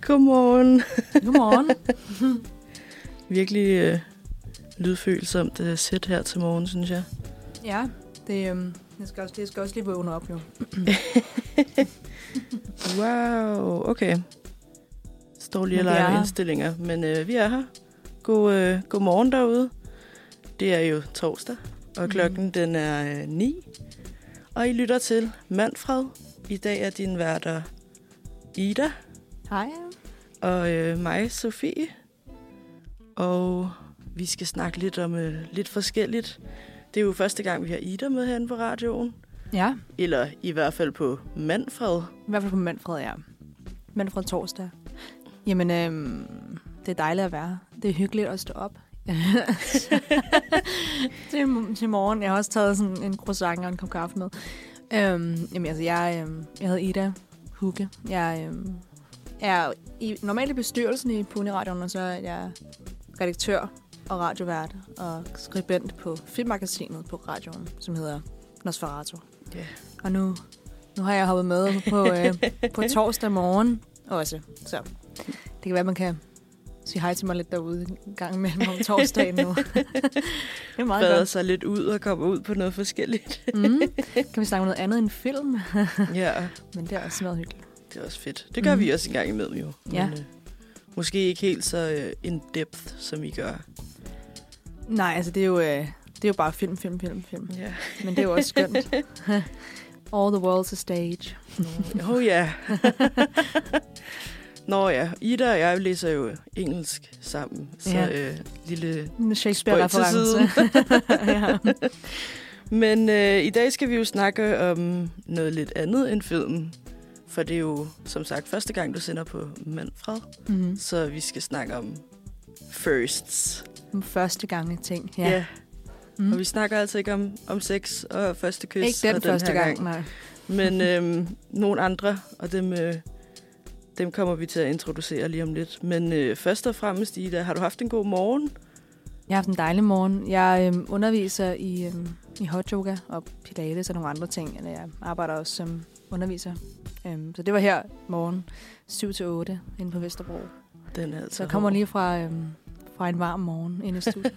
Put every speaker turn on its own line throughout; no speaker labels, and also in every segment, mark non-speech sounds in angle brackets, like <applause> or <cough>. Godmorgen.
Godmorgen.
Virkelig øh, lydfølsomt øh, sæt her til morgen, synes jeg.
ja, det, øhm, jeg, skal også, det skal også lige vågne op jo.
Wow, okay. Står lige og
Men vi er
leger med
her.
indstillinger, men øh, vi er her. God, øh, god morgen derude. Det er jo torsdag, og
Mhm.
klokken mm. den er øh, 9. Og I lytter til Manfred. I dag er din værter Ida
Hej.
og øh, mig, Sofie. Og vi skal snakke lidt om øh, lidt forskelligt. Det er jo første gang, vi har Ida med herinde på radioen.
Ja,
Eller i hvert fald på Manfred.
i hvert fald på Manfred, ja. Manfred Torsdag. Jamen, øhm, det er dejligt at være her. Det er hyggeligt at stå op. <laughs> til, til morgen. Jeg har også taget sådan en croissant og en kop kaffe med. Øhm, jamen, altså, jeg, øhm, jeg hedder Ida Hugge. Jeg øhm, er i, normalt i bestyrelsen i Pune Radioen, og så er jeg redaktør og radiovært og skribent på filmmagasinet på radioen, som hedder Nosferatu.
Ja.
Og nu, nu har jeg hoppet med på, øh, på torsdag morgen også, så det kan være, man kan sige hej til mig lidt derude en gang imellem om torsdagen nu. det er meget
Fader
godt.
sig lidt ud og kommer ud på noget forskelligt.
Mm. Kan vi snakke om noget andet end film?
<laughs> ja,
Men det er også meget hyggeligt.
det er også fedt. Det gør mm.
Mhm.
vi også en gang imellem jo.
Ja.
Men, øh, måske ikke helt så øh, in-depth, som I gør.
Nej, altså det er jo, øh, det er jo bare film, film, film, film.
Ja.
Men det er jo også
<laughs>
skønt. All the world's a stage.
Åh oh, ja. <laughs> Nå ja, Ida og jeg læser jo engelsk sammen. Så
Ja.
ja. øh, lille
En
Spøg til
Shakespeare-reference. <laughs> ja.
Men øh, i dag skal vi jo snakke om noget lidt andet end film. For det er jo, som sagt, første gang, du sender på Manfred.
Mm-hmm.
Så vi skal snakke om firsts.
Den Mm-hmm. første gang ting. Ja.
Ja.
Mm.
Og vi snakker altså ikke om, om sex og første kys.
Ikke den,
og den
første
her
gang, nej.
Men øhm, nogle andre, og dem, øh, dem kommer vi til at introducere lige om lidt. Men øh, først og fremmest, Ida, har du haft en god morgen?
Jeg har haft en dejlig morgen. Jeg øhm, underviser i, øhm, i hot yoga og pilates og nogle andre ting. Eller jeg arbejder også som underviser. Øhm, så det var her morgen 7-8 inde på Vesterbro.
Den er altså
Så jeg kommer
hård.
lige fra, øhm, fra en varm morgen ind i studiet.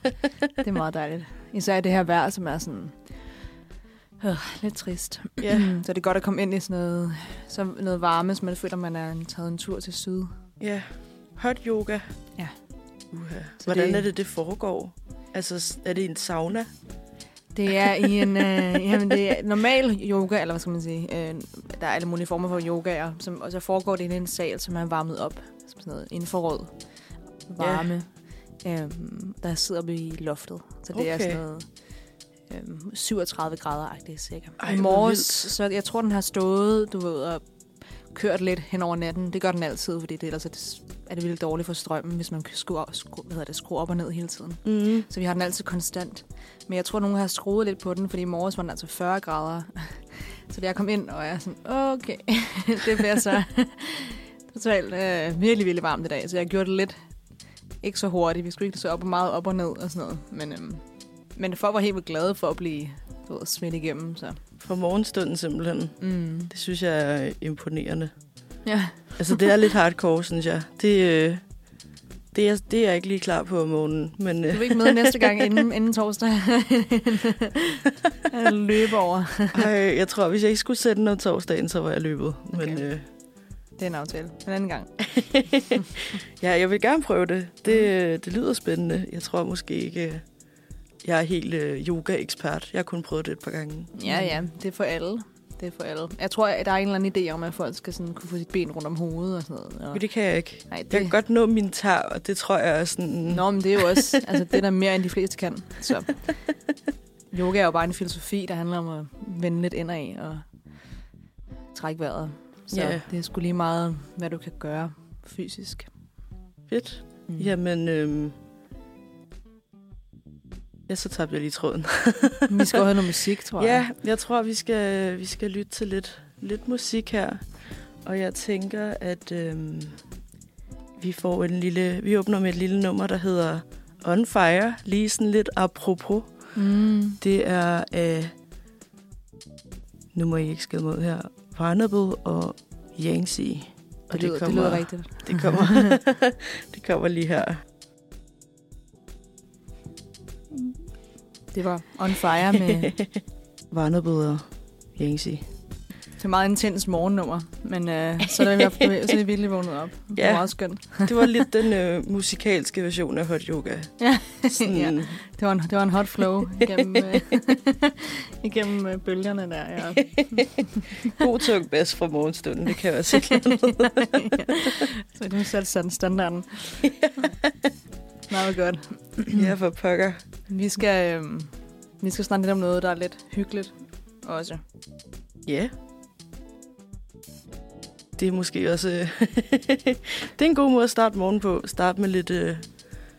det er meget dejligt. Især i det her vejr, som er sådan øh, lidt trist. Mm,
Ja.
Så det er godt at komme ind i sådan noget, så noget varme, så man føler, man er taget en tur til syd.
Ja, hot yoga.
Ja.
Uha.
Så
Hvordan
det-
er det, det foregår? Altså, s- er det en sauna?
Det er i en øh, jamen det er normal yoga, eller hvad skal man sige. Øh, der er alle mulige former for yogaer, som, og så foregår det inde i en sal, som er varmet op. Som sådan noget infrarød varme. Yeah. Øhm, der sidder vi i loftet. Så det okay. er
Okay.
sådan noget øhm, 37 grader-agtigt sikkert.
Ej,
I
hvor
morges,
vildt.
så jeg tror, den har stået, du ved, og kørt lidt hen over natten. Det gør den altid, fordi det, ellers er det, er det vildt dårligt for strømmen, hvis man skruer, skruer, hvad hedder det, skruer op og ned hele tiden.
Mm.
Så vi har den altid konstant. Men jeg tror, nogen har skruet lidt på den, fordi i morges var den altså 40 grader. <laughs> Så da jeg kom ind, og jeg er sådan, okay, <laughs> det bliver så <laughs> totalt øh, virkelig, virkelig varmt i dag. Så jeg gjorde det lidt ikke så hurtigt. Vi skulle ikke så op og meget op og ned og sådan noget. Men, øhm, men folk var helt vildt glade for at blive du ved, smidt igennem. Så.
Fra morgenstunden simpelthen.
Mm.
Det synes jeg er imponerende.
Ja.
Altså, det er lidt hardcore, synes jeg. Det, øh, det, er, det er jeg ikke lige klar på om morgenen, men
<laughs> Du
øh,
vil ikke med næste gang inden, inden torsdag. <laughs> Jeg løber over.
ej, jeg tror, hvis jeg ikke skulle sætte den om torsdagen, så var jeg løbet. Men
Okay.
øh,
Det er en aftale. En anden gang.
ja, jeg vil gerne prøve det. Det,
Mm.
øh, det lyder spændende. Jeg tror måske ikke, øh, jeg er helt øh, yoga-ekspert. Jeg har kun prøvet det et par gange.
Ja, ja, det er for alle. Det er for alle. Jeg tror, at der er en eller anden idé om, at folk skal sådan kunne få sit ben rundt om hovedet og sådan noget. Og...
Men det kan jeg ikke.
Nej, det...
Jeg kan godt Mm. nå min tar, og det tror jeg er sådan...
Nå, men det er jo også, altså det er der mere end de fleste kan.
<laughs>
Så. Yoga er jo bare en filosofi, der handler om at vende lidt indad og trække vejret. Så
Ja.
det er sgu lige meget, hvad du kan gøre fysisk.
Fedt.
Mm.
Jamen, øhm... Ja, så tabte jeg lige tråden.
Vi skal jo have noget musik, tror
Ja,
jeg.
jeg tror, vi skal, vi skal lytte til lidt, lidt musik her. Og jeg tænker, at øhm, vi får en lille... Vi åbner med et lille nummer, der hedder On Fire. Lige sådan lidt apropos.
Mm.
Det er... Øh, nu må I ikke skille mod her. Barnable og Yangtze. Og det,
lyder, det
kommer,
lyder rigtigt.
det kommer, <laughs> det kommer lige her.
Det var on fire med...
Varnebøder, Yancy.
det er meget intens morgennummer, men øh, så, er det, i hvert
<laughs>
fald- så er det virkelig vågnet op. Det var
Ja.
meget skønt.
Det var lidt den øh, musikalske version af hot yoga.
Ja.
Sådan,
Ja.
ja.
Det var en, det var en hot flow igennem, øh, <laughs> igennem øh, bølgerne der.
<laughs>
Ja.
God tung bas fra morgenstunden, det kan jeg <laughs> også ikke.
Så nu satte sådan standarden. Meget godt.
Ja, for pokker.
Vi skal, øh, vi skal snakke lidt om noget, der er lidt hyggeligt også.
Ja. Det er måske også... øh, <laughs> det er en god måde at starte morgen på. Start med lidt... Øh,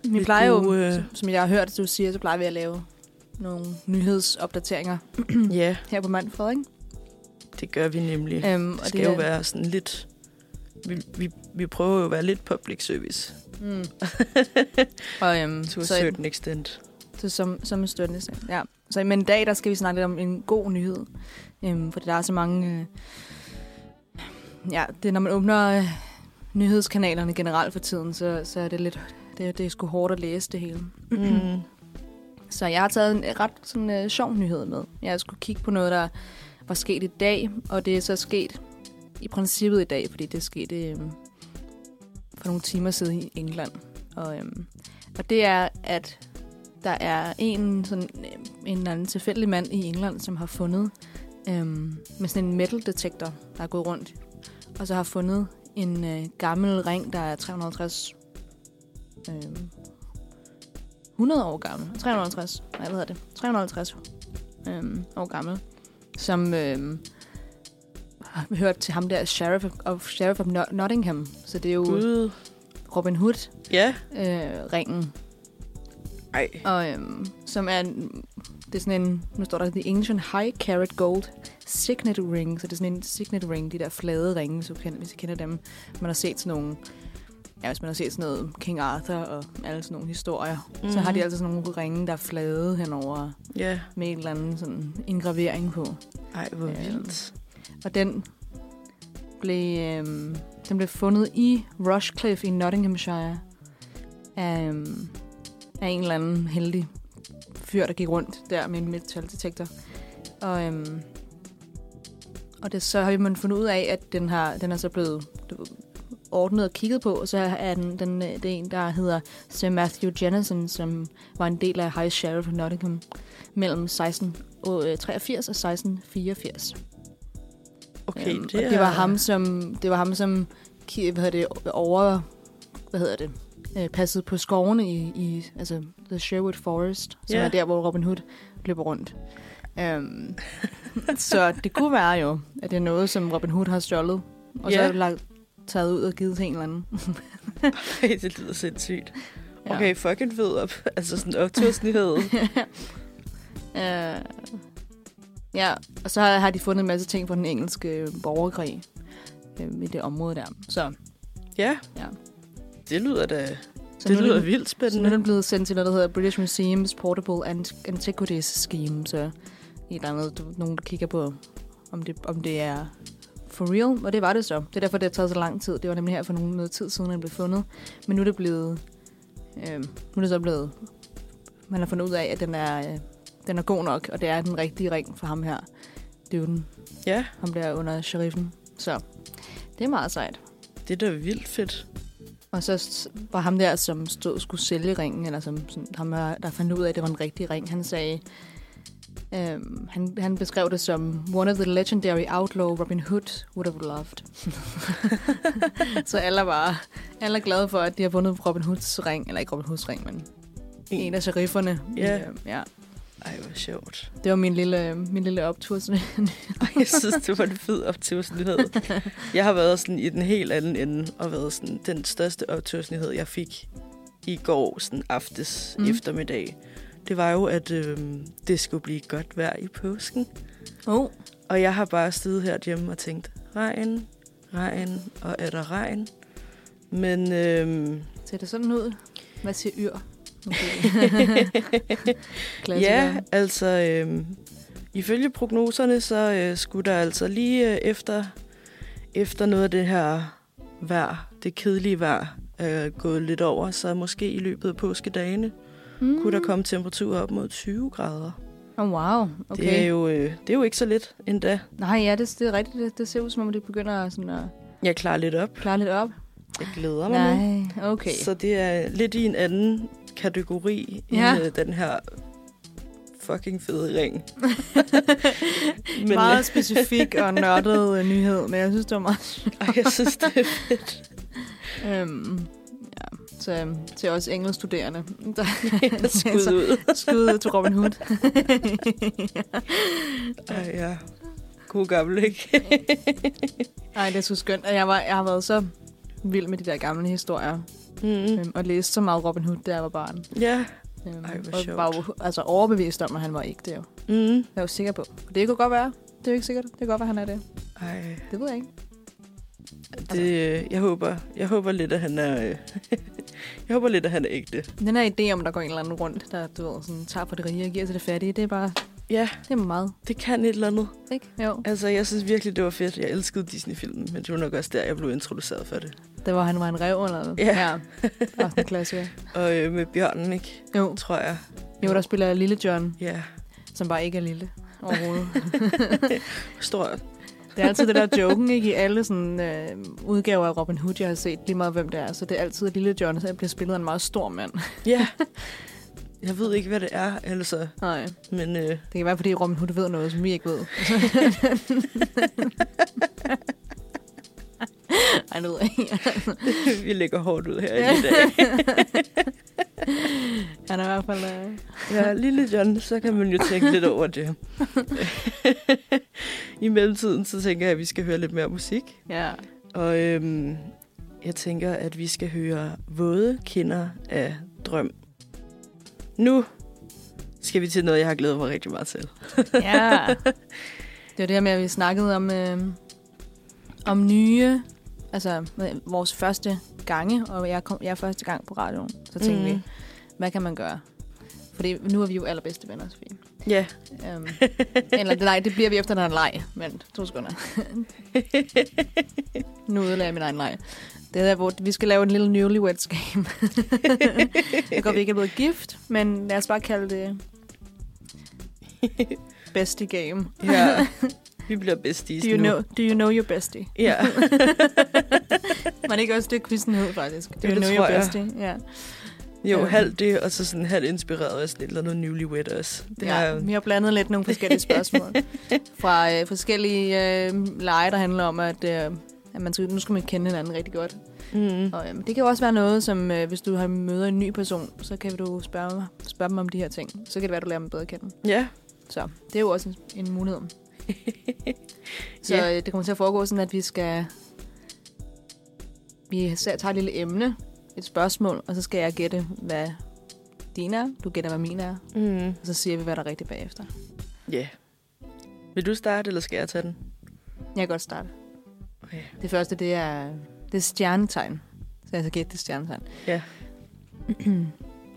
Vi
Lidt
plejer jo,
gode, øh,
som- som jeg har hørt, du siger, så plejer vi at lave nogle nyhedsopdateringer
<clears throat> ja,
her på Manfred, ikke?
det gør vi nemlig. Ja,
Øhm,
det skal
er-
jo være sådan lidt... Vi, vi, vi prøver jo at være lidt public service.
Mm. <laughs> og, øhm,
To a
så,
certain extent.
så, som, som en støttende sag. Ja. Så, men i dag, der skal vi snakke lidt om en god nyhed. Øhm, fordi der er så mange... Øh, ja, det er, når man åbner øh, nyhedskanalerne generelt for tiden, så, så er det lidt... Det, det er sgu hårdt at læse det hele.
Mm.
Så jeg har taget en ret sådan, øh, sjov nyhed med. Jeg skulle kigge på noget, der var sket i dag, og det er så sket i princippet i dag, fordi det skete øh, for nogle timer siden i England. Og, øh, og det er, at der er en, sådan, øh, en eller anden tilfældig mand i England, som har fundet øh, med sådan en metal detektor, der er gået rundt, og så har fundet en øh, gammel ring, der er 350 øh, 100 år gammel. 350, nej, hvad hedder det? 350 øhm, år gammel, som øhm, har hørt til ham der, Sheriff of, Sheriff of Not- Nottingham. Så det er jo
Gud.
Robin Hood-ringen.
Ja.
Øh, ringen.
Ej.
Og øhm, som er, en- det er sådan en, nu står der The Ancient High Carat Gold Signet Ring. Så det er sådan en signet ring, de der flade ringe, hvis du kender, hvis I kender dem. Man har set sådan nogle, ja, hvis man har set sådan noget King Arthur og alle sådan nogle historier. Mm-hmm. Så har de
Mhm.
altså sådan nogle ringe, der er flade henover
Ja.
med en eller anden sådan engravering på.
Ej, hvor
Øhm.
vildt.
Og den blev, øhm, den blev fundet i Rushcliffe i Nottinghamshire af, øhm, af en eller anden heldig fyr, der gik rundt der med en metaldetektor. Og, øhm, og det, så har man fundet ud af, at den, har, den er så blevet du ved, ordnet og kigget på, og så er den, den, øh, det er en, der hedder Sir Matthew Jennison, som var en del af High Sheriff of Nottingham mellem 1683 og 1684.
Okay,
Øhm,
det,
det, og
er...
det var ham som det var ham som ki- hvad hedder det over hvad hedder det øh, passede på skovene i, i altså The Sherwood Forest, som
Ja.
er der hvor Robin Hood løber rundt.
<laughs>
Øhm, så det kunne være jo at det er noget som Robin Hood har stjålet og så
Ja.
yeah. lagt, taget ud og givet til en eller anden.
<laughs> Ej, det lyder sindssygt. Okay, fucking fed op. <laughs> Altså sådan optursnyhed.
<laughs> Øh, ja, og så har, har de fundet en masse ting fra den engelske borgerkrig øh, i det område der. Så,
Ja.
Ja.
Det lyder da...
så
Så det
nu er
lyder
den-
vildt
Så nu er
spændende.
den blevet sendt til noget, der hedder British Museums Portable Ant- Antiquities Scheme. Så et eller andet, du- nogen der kigger på, om det, om det er for real. Og det var det så. Det er derfor, det har taget så lang tid. Det var nemlig her for nogen, noget tid siden, den blev fundet. Men nu er det blevet... Øh, nu er det så blevet... Man har fundet ud af, at den er, øh, den er god nok, og det er den rigtige ring for ham her. Det er jo den.
Ja,
Ham der under sheriffen. Så det er meget sejt.
det er da vildt fedt.
Og så s- var ham der, som stod skulle sælge ringen, eller som sådan, ham, her, der fandt ud af, at det var en rigtig ring, han sagde, øhm, han, han beskrev det som, one of the legendary outlaw Robin Hood would have loved. <laughs> så alle er bare alle er glade for, at de har vundet Robin Hoods ring, eller ikke Robin Hoods ring, men en, en af sherifferne.
Ja.
Øhm, ja.
Ej, hvor sjovt.
Det var min lille, min lille
<laughs>
optur. Sådan.
Ej, jeg synes, det var en fed
<laughs>
optursnyhed. Jeg har været sådan i den helt anden ende, og været sådan den største optursnyhed, jeg fik i går sådan aftes
Mm.
mm. eftermiddag. Det var jo, at øhm, det skulle blive godt vejr i påsken.
Oh,
Og jeg har bare siddet her hjemme og tænkt, regn, regn, og er der regn? Men
<laughs>
øhm,
ser det sådan ud? Hvad siger Yr?
<laughs> Ja, altså øh, ifølge prognoserne, så øh, skulle der altså lige øh, efter, efter noget af det her vejr, det kedelige vejr, er gået lidt over, så måske i løbet af påskedagene
Mm.
kunne der komme temperaturer op mod 20 grader.
Oh, wow, okay.
Okay. Det, er jo, øh, det er jo ikke så lidt endda.
Nej, ja, det, det er rigtigt. Det, det ser ud som om, det begynder sådan at
Jeg klarer lidt op.
klare lidt op.
Jeg glæder mig nu.
Nej, okay.
Så det er lidt i en anden kategori
Ja.
ja. end øh, den her fucking fede
<laughs>
ring. Men øh,
Men, meget
jeg,
specifik
<laughs>
og nørdet øh, nyhed, men jeg synes, det var meget...
og jeg synes, det
<laughs>
er fedt.
Øhm, ja, så øhm, til os engelskstuderende.
<laughs>
Der,
Jeg er
altså-
skudt ud.
skud til Robin Hood.
Ej, ja. God gammel, ikke?
Nej, det er så skønt. Og Jeg, var, jeg har været så vild med de der gamle historier.
Mm.
Øhm, og læste så meget Robin Hood, da jeg var barn.
Ja.
Øhm,
Ej, hvor
og
sjovt.
var jo altså, overbevist om, at han var ikke det. Jo.
Mm.
Jeg var sikker på. Det kunne godt være. Det er jo ikke sikkert. Det kan godt være, han er det.
Ej,
Det ved jeg ikke.
det,
Altså-
øh, jeg, håber, jeg håber lidt, at han er... øh, <laughs> jeg håber lidt, at han er ægte.
Den her idé om, der går en eller anden rundt, der du ved, sådan, tager fra det rige og giver til det fattige, det er bare
Ja,
det er meget.
det kan et eller andet.
Ikke? Jo.
Altså, jeg synes virkelig, det var fedt. Jeg elskede Disney-filmen, men det var nok også der, jeg blev introduceret for det.
Det var, han var en rev eller noget.
Ja.
<laughs> ja. Også en klassiker.
Og øh, med bjørnen, ikke?
Jo.
Tror jeg.
jo, der spiller Lille John,
Ja.
som bare ikke er lille <laughs> overhovedet.
Stor.
Det er altid det der joken, ikke? I alle sådan, øh, udgaver af Robin Hood, jeg har set lige meget, hvem det er. Så det er altid Lille John, der bliver spillet af en meget stor mand.
Ja. <laughs> Jeg ved ikke, hvad det er, altså.
Nej,
Men øh, <laughs>
det kan være, fordi Robin Hood ved noget, som vi <laughs> ikke ved. Ej, nu ved jeg ikke.
vi lægger hårdt ud her
<laughs>
i dag.
Han er i hvert fald... Øh...
Ja, lille John, så kan man jo tænke lidt over det. <laughs> I mellemtiden, så tænker jeg, at vi skal høre lidt mere musik.
Ja.
Og øhm, jeg tænker, at vi skal høre Våde kinder af drøm. Nu skal vi til noget, jeg har glædet mig rigtig meget til.
ja. Det var det her med, at vi snakkede om, øh, om nye... Altså, øh, vores første gange, og jeg, kom, jeg er første gang på radioen. Så tænkte mm. vi, hvad kan man gøre? Fordi nu er vi jo allerbedste venner, Sofie.
Ja,
Øhm, eller nej, det bliver vi efter den her leg, men to sekunder.
<laughs>
nu ødelagde jeg min egen leg. Det er der, hvor vi skal lave en lille newlyweds game. det går vi ikke er blevet gift, men lad os bare kalde det bestie game. <laughs>
ja. Vi bliver besties
Do you,
nu.
know, do you know your bestie?
Ja,
<laughs> Var det ikke også det, quizzen hed, faktisk? Do
Jo,
you
det
know
tror
your
jeg.
bestie? Ja.
jo,
Øhm.
halvt det, og så sådan halvt inspireret os lidt, eller noget newlywed os. Det
ja,
er,
vi har blandet lidt nogle forskellige
<laughs>
spørgsmål fra øh, forskellige øh, lege, der handler om, at, øh, at man skal, nu skal man kende hinanden rigtig godt.
mm,
Og, øh, det kan jo også være noget, som øh, hvis du har møder en ny person, så kan du spørge, mig, spørge dem om de her ting. Så kan det være, du lærer dem bedre at kende.
ja,
Så det er jo også en, en mulighed. så
Ja.
yeah. det kommer til at foregå sådan, at vi skal... Vi sa- tager et lille emne, et spørgsmål, og så skal jeg gætte, hvad din er. Du gætter, hvad min er.
mm,
Og så siger vi, hvad der er rigtigt bagefter.
yeah. Vil du starte, eller skal jeg tage den?
Jeg kan godt starte.
Okay.
Det første, det er, det er stjernetegn. Så jeg skal gætte det er stjernetegn.
Ja.
<clears throat>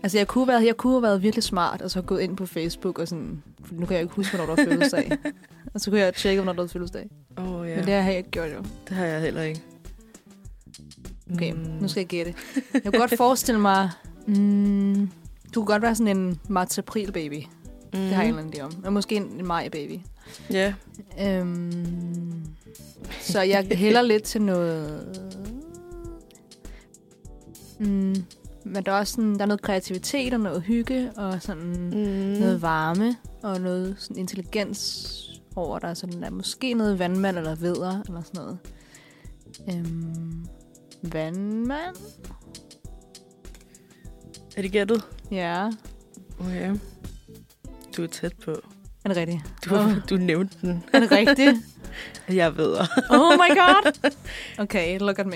altså, jeg kunne, have været, jeg kunne have været virkelig smart, og så gået ind på Facebook og sådan... For nu kan jeg jo ikke huske, hvornår du har fødselsdag. og så kunne jeg tjekke, hvornår du har fødselsdag.
Åh, oh, ja.
Ja. Men
Det,
det har jeg ikke gjort jo.
det har jeg heller ikke.
Okay, mm. nu skal jeg gætte. Jeg kunne godt forestille mig... Mm, du kunne godt være sådan en marts-april-baby. Mm.
mm,
Det har jeg en eller anden idé om. Og måske en, en maj-baby.
Ja,
Øhm, så jeg hælder lidt til noget... Mm, men der er også sådan, der er noget kreativitet og noget hygge og sådan mm.
Mm-hmm.
noget varme og noget sådan intelligens over der. Sådan der er måske noget vandmand eller veder eller sådan noget. Øhm, vandmand?
Er det gættet?
Ja,
Okay. Du er tæt på.
er det rigtigt?
Du,
Åh.
oh. du nævnte den.
Er det rigtigt?
Jeg
<laughs>
ved.
Oh my god! Okay, look at me.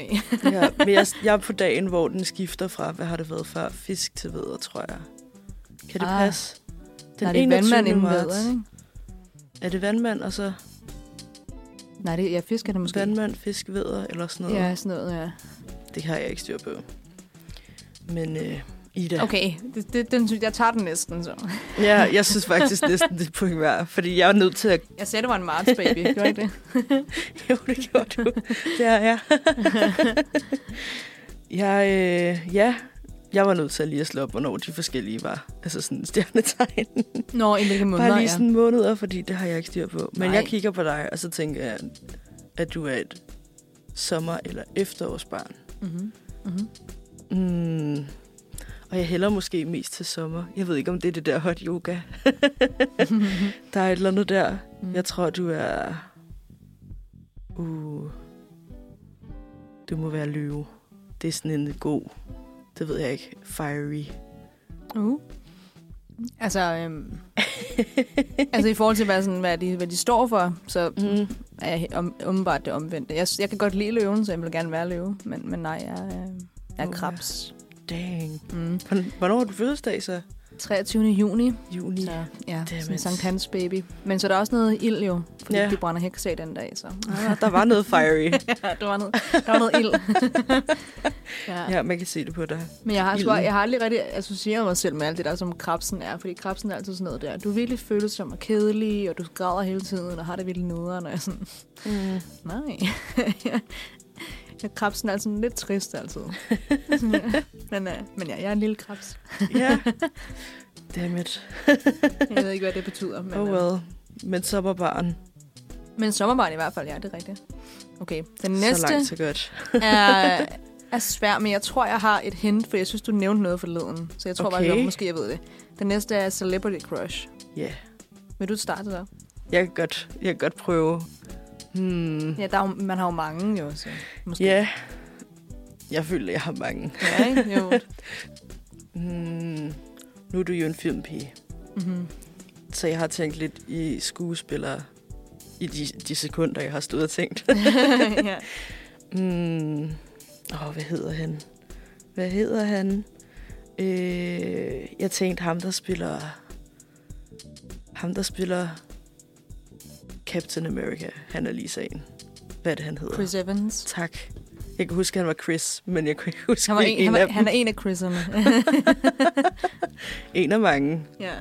ja, men jeg, jeg er på dagen, hvor den skifter fra, hvad har det været før, fisk til veder, tror jeg. Kan det
Ah.
ah. passe?
Den Nej, det er vandmand inden
marts.
veder, ikke?
Er det vandmand, og så
Nej, det, jeg fisker det måske.
Måske. vandmand, fisk, veder, eller sådan noget?
Ja, sådan noget, ja.
Det har jeg ikke styr på. Men øh, i Ida.
Okay, det, det, den synes jeg tager den næsten så.
Ja, jeg synes <laughs> faktisk næsten, det er point værd, fordi jeg er nødt til at...
Jeg sagde, det var en marts baby, gjorde jeg ikke det?
<laughs> Jo, det gjorde <laughs> du. Det er jeg. jeg øh, ja, jeg var nødt til at lige at slå op, hvornår de forskellige var. Altså sådan stjernetegn.
Nå, i hvilke måneder,
Bare lige
ja.
sådan måneder, fordi det har jeg ikke styr på. Men
Nej.
Nej. jeg kigger på dig, og så tænker jeg, at du er et sommer- eller efterårsbarn.
Mm-hmm. Mm-hmm.
Mm. Og jeg hælder måske mest til sommer. Jeg ved ikke, om det er det der hot yoga.
mhm.
der er et eller andet der. <laughs>
Mm.
Jeg tror, du er... Uh... Du må være løve. Det er sådan en god... Det ved jeg ikke. Fiery.
Uh. Altså, øhm, altså i forhold til, hvad, sådan, hvad, de, hvad de står for, så
Mm.
er jeg he- om, umiddelbart det omvendte. Jeg, jeg kan godt lide løven, så jeg vil gerne være løve, men, men nej, jeg, er, øh, jeg er
Uh,
krebs.
Dang.
Mm.
Hvorn- Hvornår har du fødselsdag så?
23. juni,
Juni.
så ja, sådan en
Dammit.
Sankt Hans baby. Men så er der også noget ild jo, fordi
Ja.
de brænder hækse den dag, så
Ah, der var noget
<laughs>
fiery.
ja, der, var noget, der var noget
<laughs>
ild. ja.
ja, man kan se det på dig.
Men jeg har, sgu,
Ilden.
jeg har aldrig rigtig associeret mig selv med alt det der, som krabsen er. Fordi krabsen er altid sådan noget der. Du er virkelig følsom og kedelig, og du græder hele tiden, og har det virkelig nederen. Og jeg er sådan,
Mm.
nej. <laughs> jeg, krabsen er sådan lidt
<laughs>
trist altid. men, øh, men ja, jeg er en lille krabs. <laughs>
Ja. Dammit.
Jeg ved ikke, hvad det betyder. Men,
Oh
øh,
well. Men sommerbarn.
men sommerbarn i hvert fald, ja, det er rigtigt. Okay, den
Så langt,
næste
så godt.
er, er svær, men jeg tror, jeg har et hint, for jeg synes, du nævnte noget forleden. Så jeg tror okay. bare,
Okay.
at måske jeg ved det. Den næste er Celebrity Crush.
Ja. Yeah.
Vil du starte der?
Jeg kan godt, jeg kan godt prøve. Hmm.
Ja, der er jo, man har jo mange jo, så måske.
Ja. Jeg føler, jeg har mange.
<laughs> ja ikke? Jo.
Hmm. Nu er du jo en filmpige,
Mm-hmm.
så jeg har tænkt lidt i skuespillere i de, de sekunder, jeg har stået og tænkt.
<laughs>
<laughs>
ja.
Hmm. Åh, hvad hedder han? Hvad hedder han? Øh, jeg tænkte ham, der spiller... Ham, der spiller Captain America. Han er lige sagen. Hvad er det, han hedder?
Chris Evans.
Tak. Jeg kan huske, at han var Chris, men jeg kunne ikke huske
Han, var en,
en,
han, var,
af
han er en af Chris'erne.
dem. en af mange.
<laughs> ja.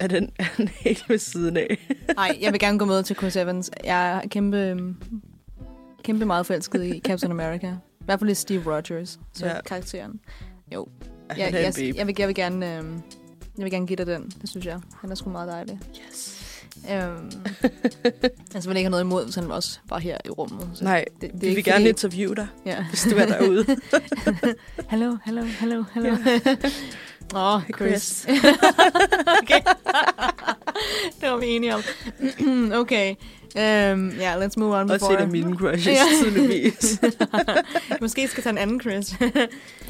Er den, er den helt ved siden af?
Ej, jeg vil gerne gå med til Chris Evans. Jeg er kæmpe, øhm, kæmpe meget forelsket i Captain America. I hvert fald i Steve Rogers, så ja.
Ja.
karakteren.
Er
Jeg,
han er en
jeg,
babe.
jeg, vil, jeg, vil gerne, øhm, jeg vil gerne give dig den, det synes jeg. Han er sgu meget dejlig.
Yes.
<laughs> Øhm, altså, vil ikke have noget imod, så han også var her i rummet. Så.
Nej,
det
det,
er
det vi
ikke
vil gerne
fordi-
interviewe dig,
Ja.
hvis du er derude.
<laughs> Hallo, hallo, hallo, hallo. Åh, oh, Chris.
Chris.
<laughs> okay. <laughs> det var vi enige om. <clears throat> okay. Um, yeah, let's move on
Også
before...
en af
<laughs>
mine crushes,
Ja.
ja. tydeligvis.
<laughs> Måske skal jeg tage en anden Chris. <laughs>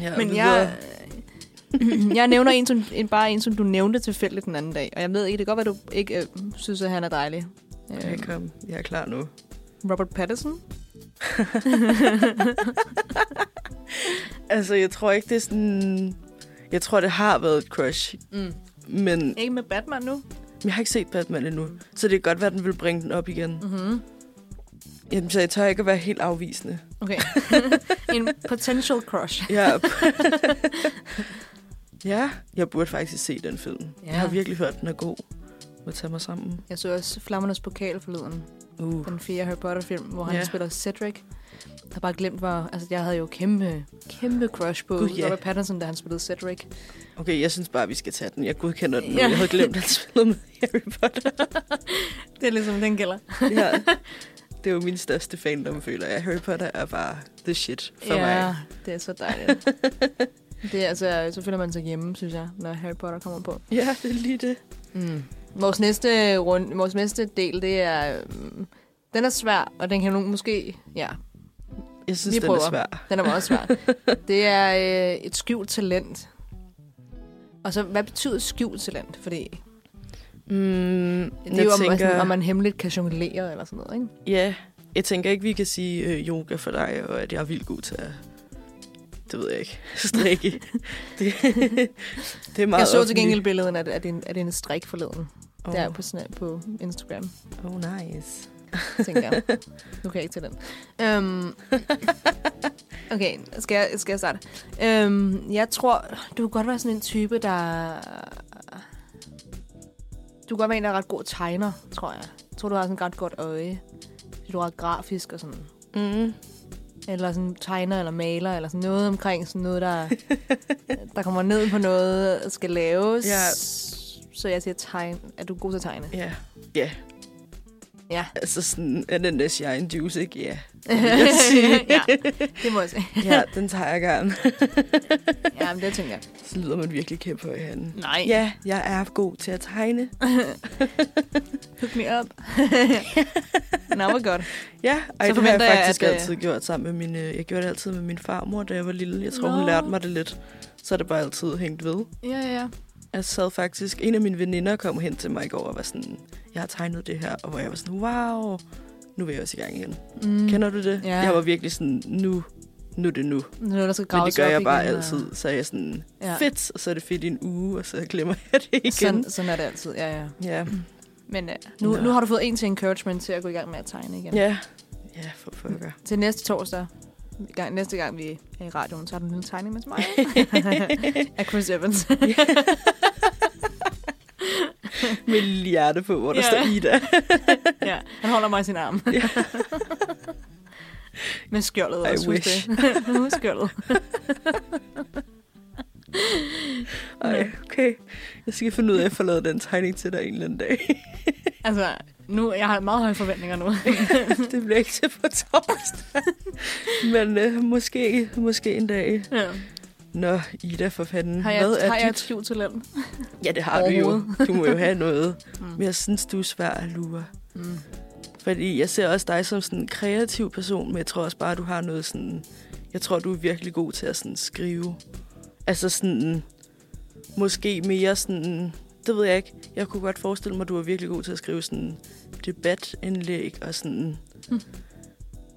Ja,
Men
videre.
jeg... <clears throat> jeg nævner en, som, en, bare en, som du nævnte tilfældigt den anden dag. Og jeg ved ikke, det kan godt være, du ikke øh, synes, at han er dejlig.
Okay,
Øhm,
kom. Jeg er klar nu.
Robert Pattinson?
Altså, jeg tror ikke, det er sådan... Jeg tror, det har været et crush,
Mm.
men
Ikke med Batman nu?
jeg har ikke set Batman endnu. Så det kan godt være, at den vil bringe den op igen.
Mm-hmm.
Jamen, så jeg tør ikke at være helt afvisende.
Okay. <laughs> en potential crush.
Ja. <laughs> ja, jeg burde faktisk se den film. Ja.
Ja.
Jeg har virkelig hørt, at den er god. Må tage mig sammen.
Jeg så også Flammernes Pokal forleden.
Uh.
den fjerde Harry Potter-film, hvor han
Ja.
spiller Cedric. Jeg har bare glemt, hvor... Altså, jeg havde jo kæmpe, kæmpe crush på
Gud, ja.
Robert Pattinson, da han spillede Cedric.
Okay, jeg synes bare, vi skal tage den. Jeg godkender den nu.
Ja.
Ja. Jeg havde glemt, at den spillede med Harry
<laughs>
Potter.
Det er ligesom, den gælder.
ja. Det er jo min største fandom, føler jeg. Harry Potter er bare the shit for
ja,
mig.
det er så <laughs> dejligt. det er altså... Så føler man sig hjemme, synes jeg, når Harry Potter kommer på.
Ja, det er lige det.
Mm. Vores næste rund, vores næste del, det er... øhm, Den er svær, og den kan nogen måske... Ja,
Jeg synes,
Vi
den
prøver.
er svær.
den er meget svær. det er øh, et skjult talent. Og så, hvad betyder skjult talent? Fordi
Mm,
Det er jo, om, tænker... sådan, om man hemmeligt kan jonglere eller sådan noget, ikke?
Ja, jeg tænker ikke, vi kan sige øh, yoga for dig, og at jeg er vildt god til at... Det ved jeg ikke. <laughs> Strikke. det, det er meget
jeg så til
offentligt.
gengæld billedet af, af, din, af din strik forleden.
Oh,
Oh. Der på, sådan, på Instagram,
oh nice.
tænker jeg. Nu kan jeg ikke til den. Øhm, Okay, skal jeg, skal jeg starte? Øhm, jeg tror, du kunne godt være sådan en type, der... Du kunne godt være en, der er ret god tegner, tror jeg. Jeg tror, du har sådan et ret godt øje. Du er ret grafisk og sådan.
Mm.
Eller sådan tegner eller maler, eller sådan noget omkring sådan noget, der,
<laughs>
der kommer ned på noget og skal laves.
Ja.
Så jeg siger tegn. Er du god til at tegne?
Ja. Ja.
Ja.
Altså sådan, er den der shine juice, ikke?
<laughs>
Ja.
ja, det må jeg sige.
Ja, den tager jeg gerne.
Ja, men det tænker jeg.
Så lyder man virkelig kæmpe i handen.
Nej. Ja.
Ja, jeg er god til at tegne.
Hook me up. <laughs> Nå, hvor godt.
Ja, ej,
Så
det har jeg
forventer jeg,
faktisk
at, øh,
altid gjort sammen med min... øh, Jeg gjorde det altid med min farmor, da jeg var lille. Jeg tror,
Nå.
hun lærte mig det lidt. Så er det bare altid hængt ved.
Ja, ja, ja.
Jeg sad faktisk... En af mine veninder kom hen til mig i går og var sådan... Jeg har tegnet det her. Og hvor jeg var sådan, wow, nu vil jeg også i gang igen.
Mm.
Kender du det?
Ja.
Jeg var virkelig sådan, nu, nu er det nu.
Nu er der noget, der skal
Men det
graves
gør
op
jeg bare
igen, og-
altid. Så er jeg sådan,
Ja.
ja. fedt, og så er det fedt i en uge, og så glemmer jeg det igen.
Sådan, sådan er det altid, ja, ja.
Ja.
Men uh, nu,
Nå.
nu har du fået en til encouragement til at gå i gang med at tegne igen.
ja. Ja, for
<laughs>
pokker.
Til næste torsdag, i gang- næste gang vi er i radioen, så har du en lille tegning med til mig.
<laughs>
af Chris Evans.
Med lille hjerte på, hvor der
Ja.
ja. står Ida.
ja, <laughs> han holder mig i sin arm.
Ja.
<laughs> med skjoldet
I
også, husk
wish.
det. <laughs> Husk skjoldet.
Ej, okay. Jeg skal finde ud af, at jeg får lavet den tegning til dig en eller anden dag.
Altså, nu, jeg har meget høje forventninger nu.
det bliver ikke til <laughs> på torsdag. Men øh, måske, måske en dag.
ja.
Nå, Ida, for fanden.
Har jeg,
Hvad er
har jeg et
dit?
skjult talent?
Ja, det har du jo.
Overhovedet.
Du må jo have noget.
Mm.
Men jeg synes, du er svær at lure.
Mm.
Fordi jeg ser også dig som sådan en kreativ person, men jeg tror også bare, du har noget sådan... Jeg tror, du er virkelig god til at sådan skrive. Altså sådan... Måske mere sådan... Det ved jeg ikke. Jeg kunne godt forestille mig, at du er virkelig god til at skrive sådan debatindlæg og sådan...
Hmm.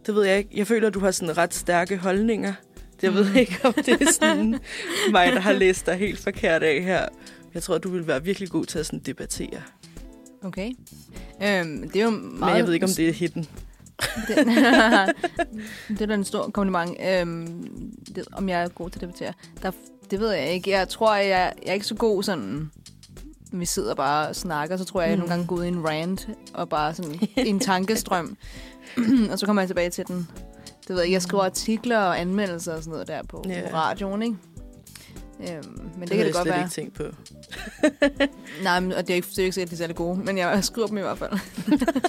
Det ved jeg ikke. Jeg føler, at du har sådan ret stærke holdninger. Det jeg ved
Hmm.
ikke, om det er sådan mig, der har læst dig helt forkert af her. Jeg tror, du vil være virkelig god til at sådan debattere.
Okay. Øhm, det er jo meget...
Men jeg ved ikke, om det er hitten.
Den, <laughs> det er da en stor kompliment, øhm, det, om jeg er god til at debattere. Der, det ved jeg ikke. Jeg tror, jeg, jeg er ikke så god sådan... når Vi sidder bare og snakker, så tror jeg, jeg
Mm.
nogle gange går ud i en rant og bare
<laughs>
sådan i en tankestrøm. <clears throat> og så kommer jeg tilbage til den. Det ved jeg, ikke, jeg skriver artikler og anmeldelser og sådan noget der på, yeah.
Ja.
på radioen, ikke? Øhm, men
havde
det, det kan
jeg
det godt
slet
være.
ikke tænkt på.
Nej, men, og det er ikke, det er ikke sikkert, at de er særlig gode, men jeg skriver dem i hvert fald.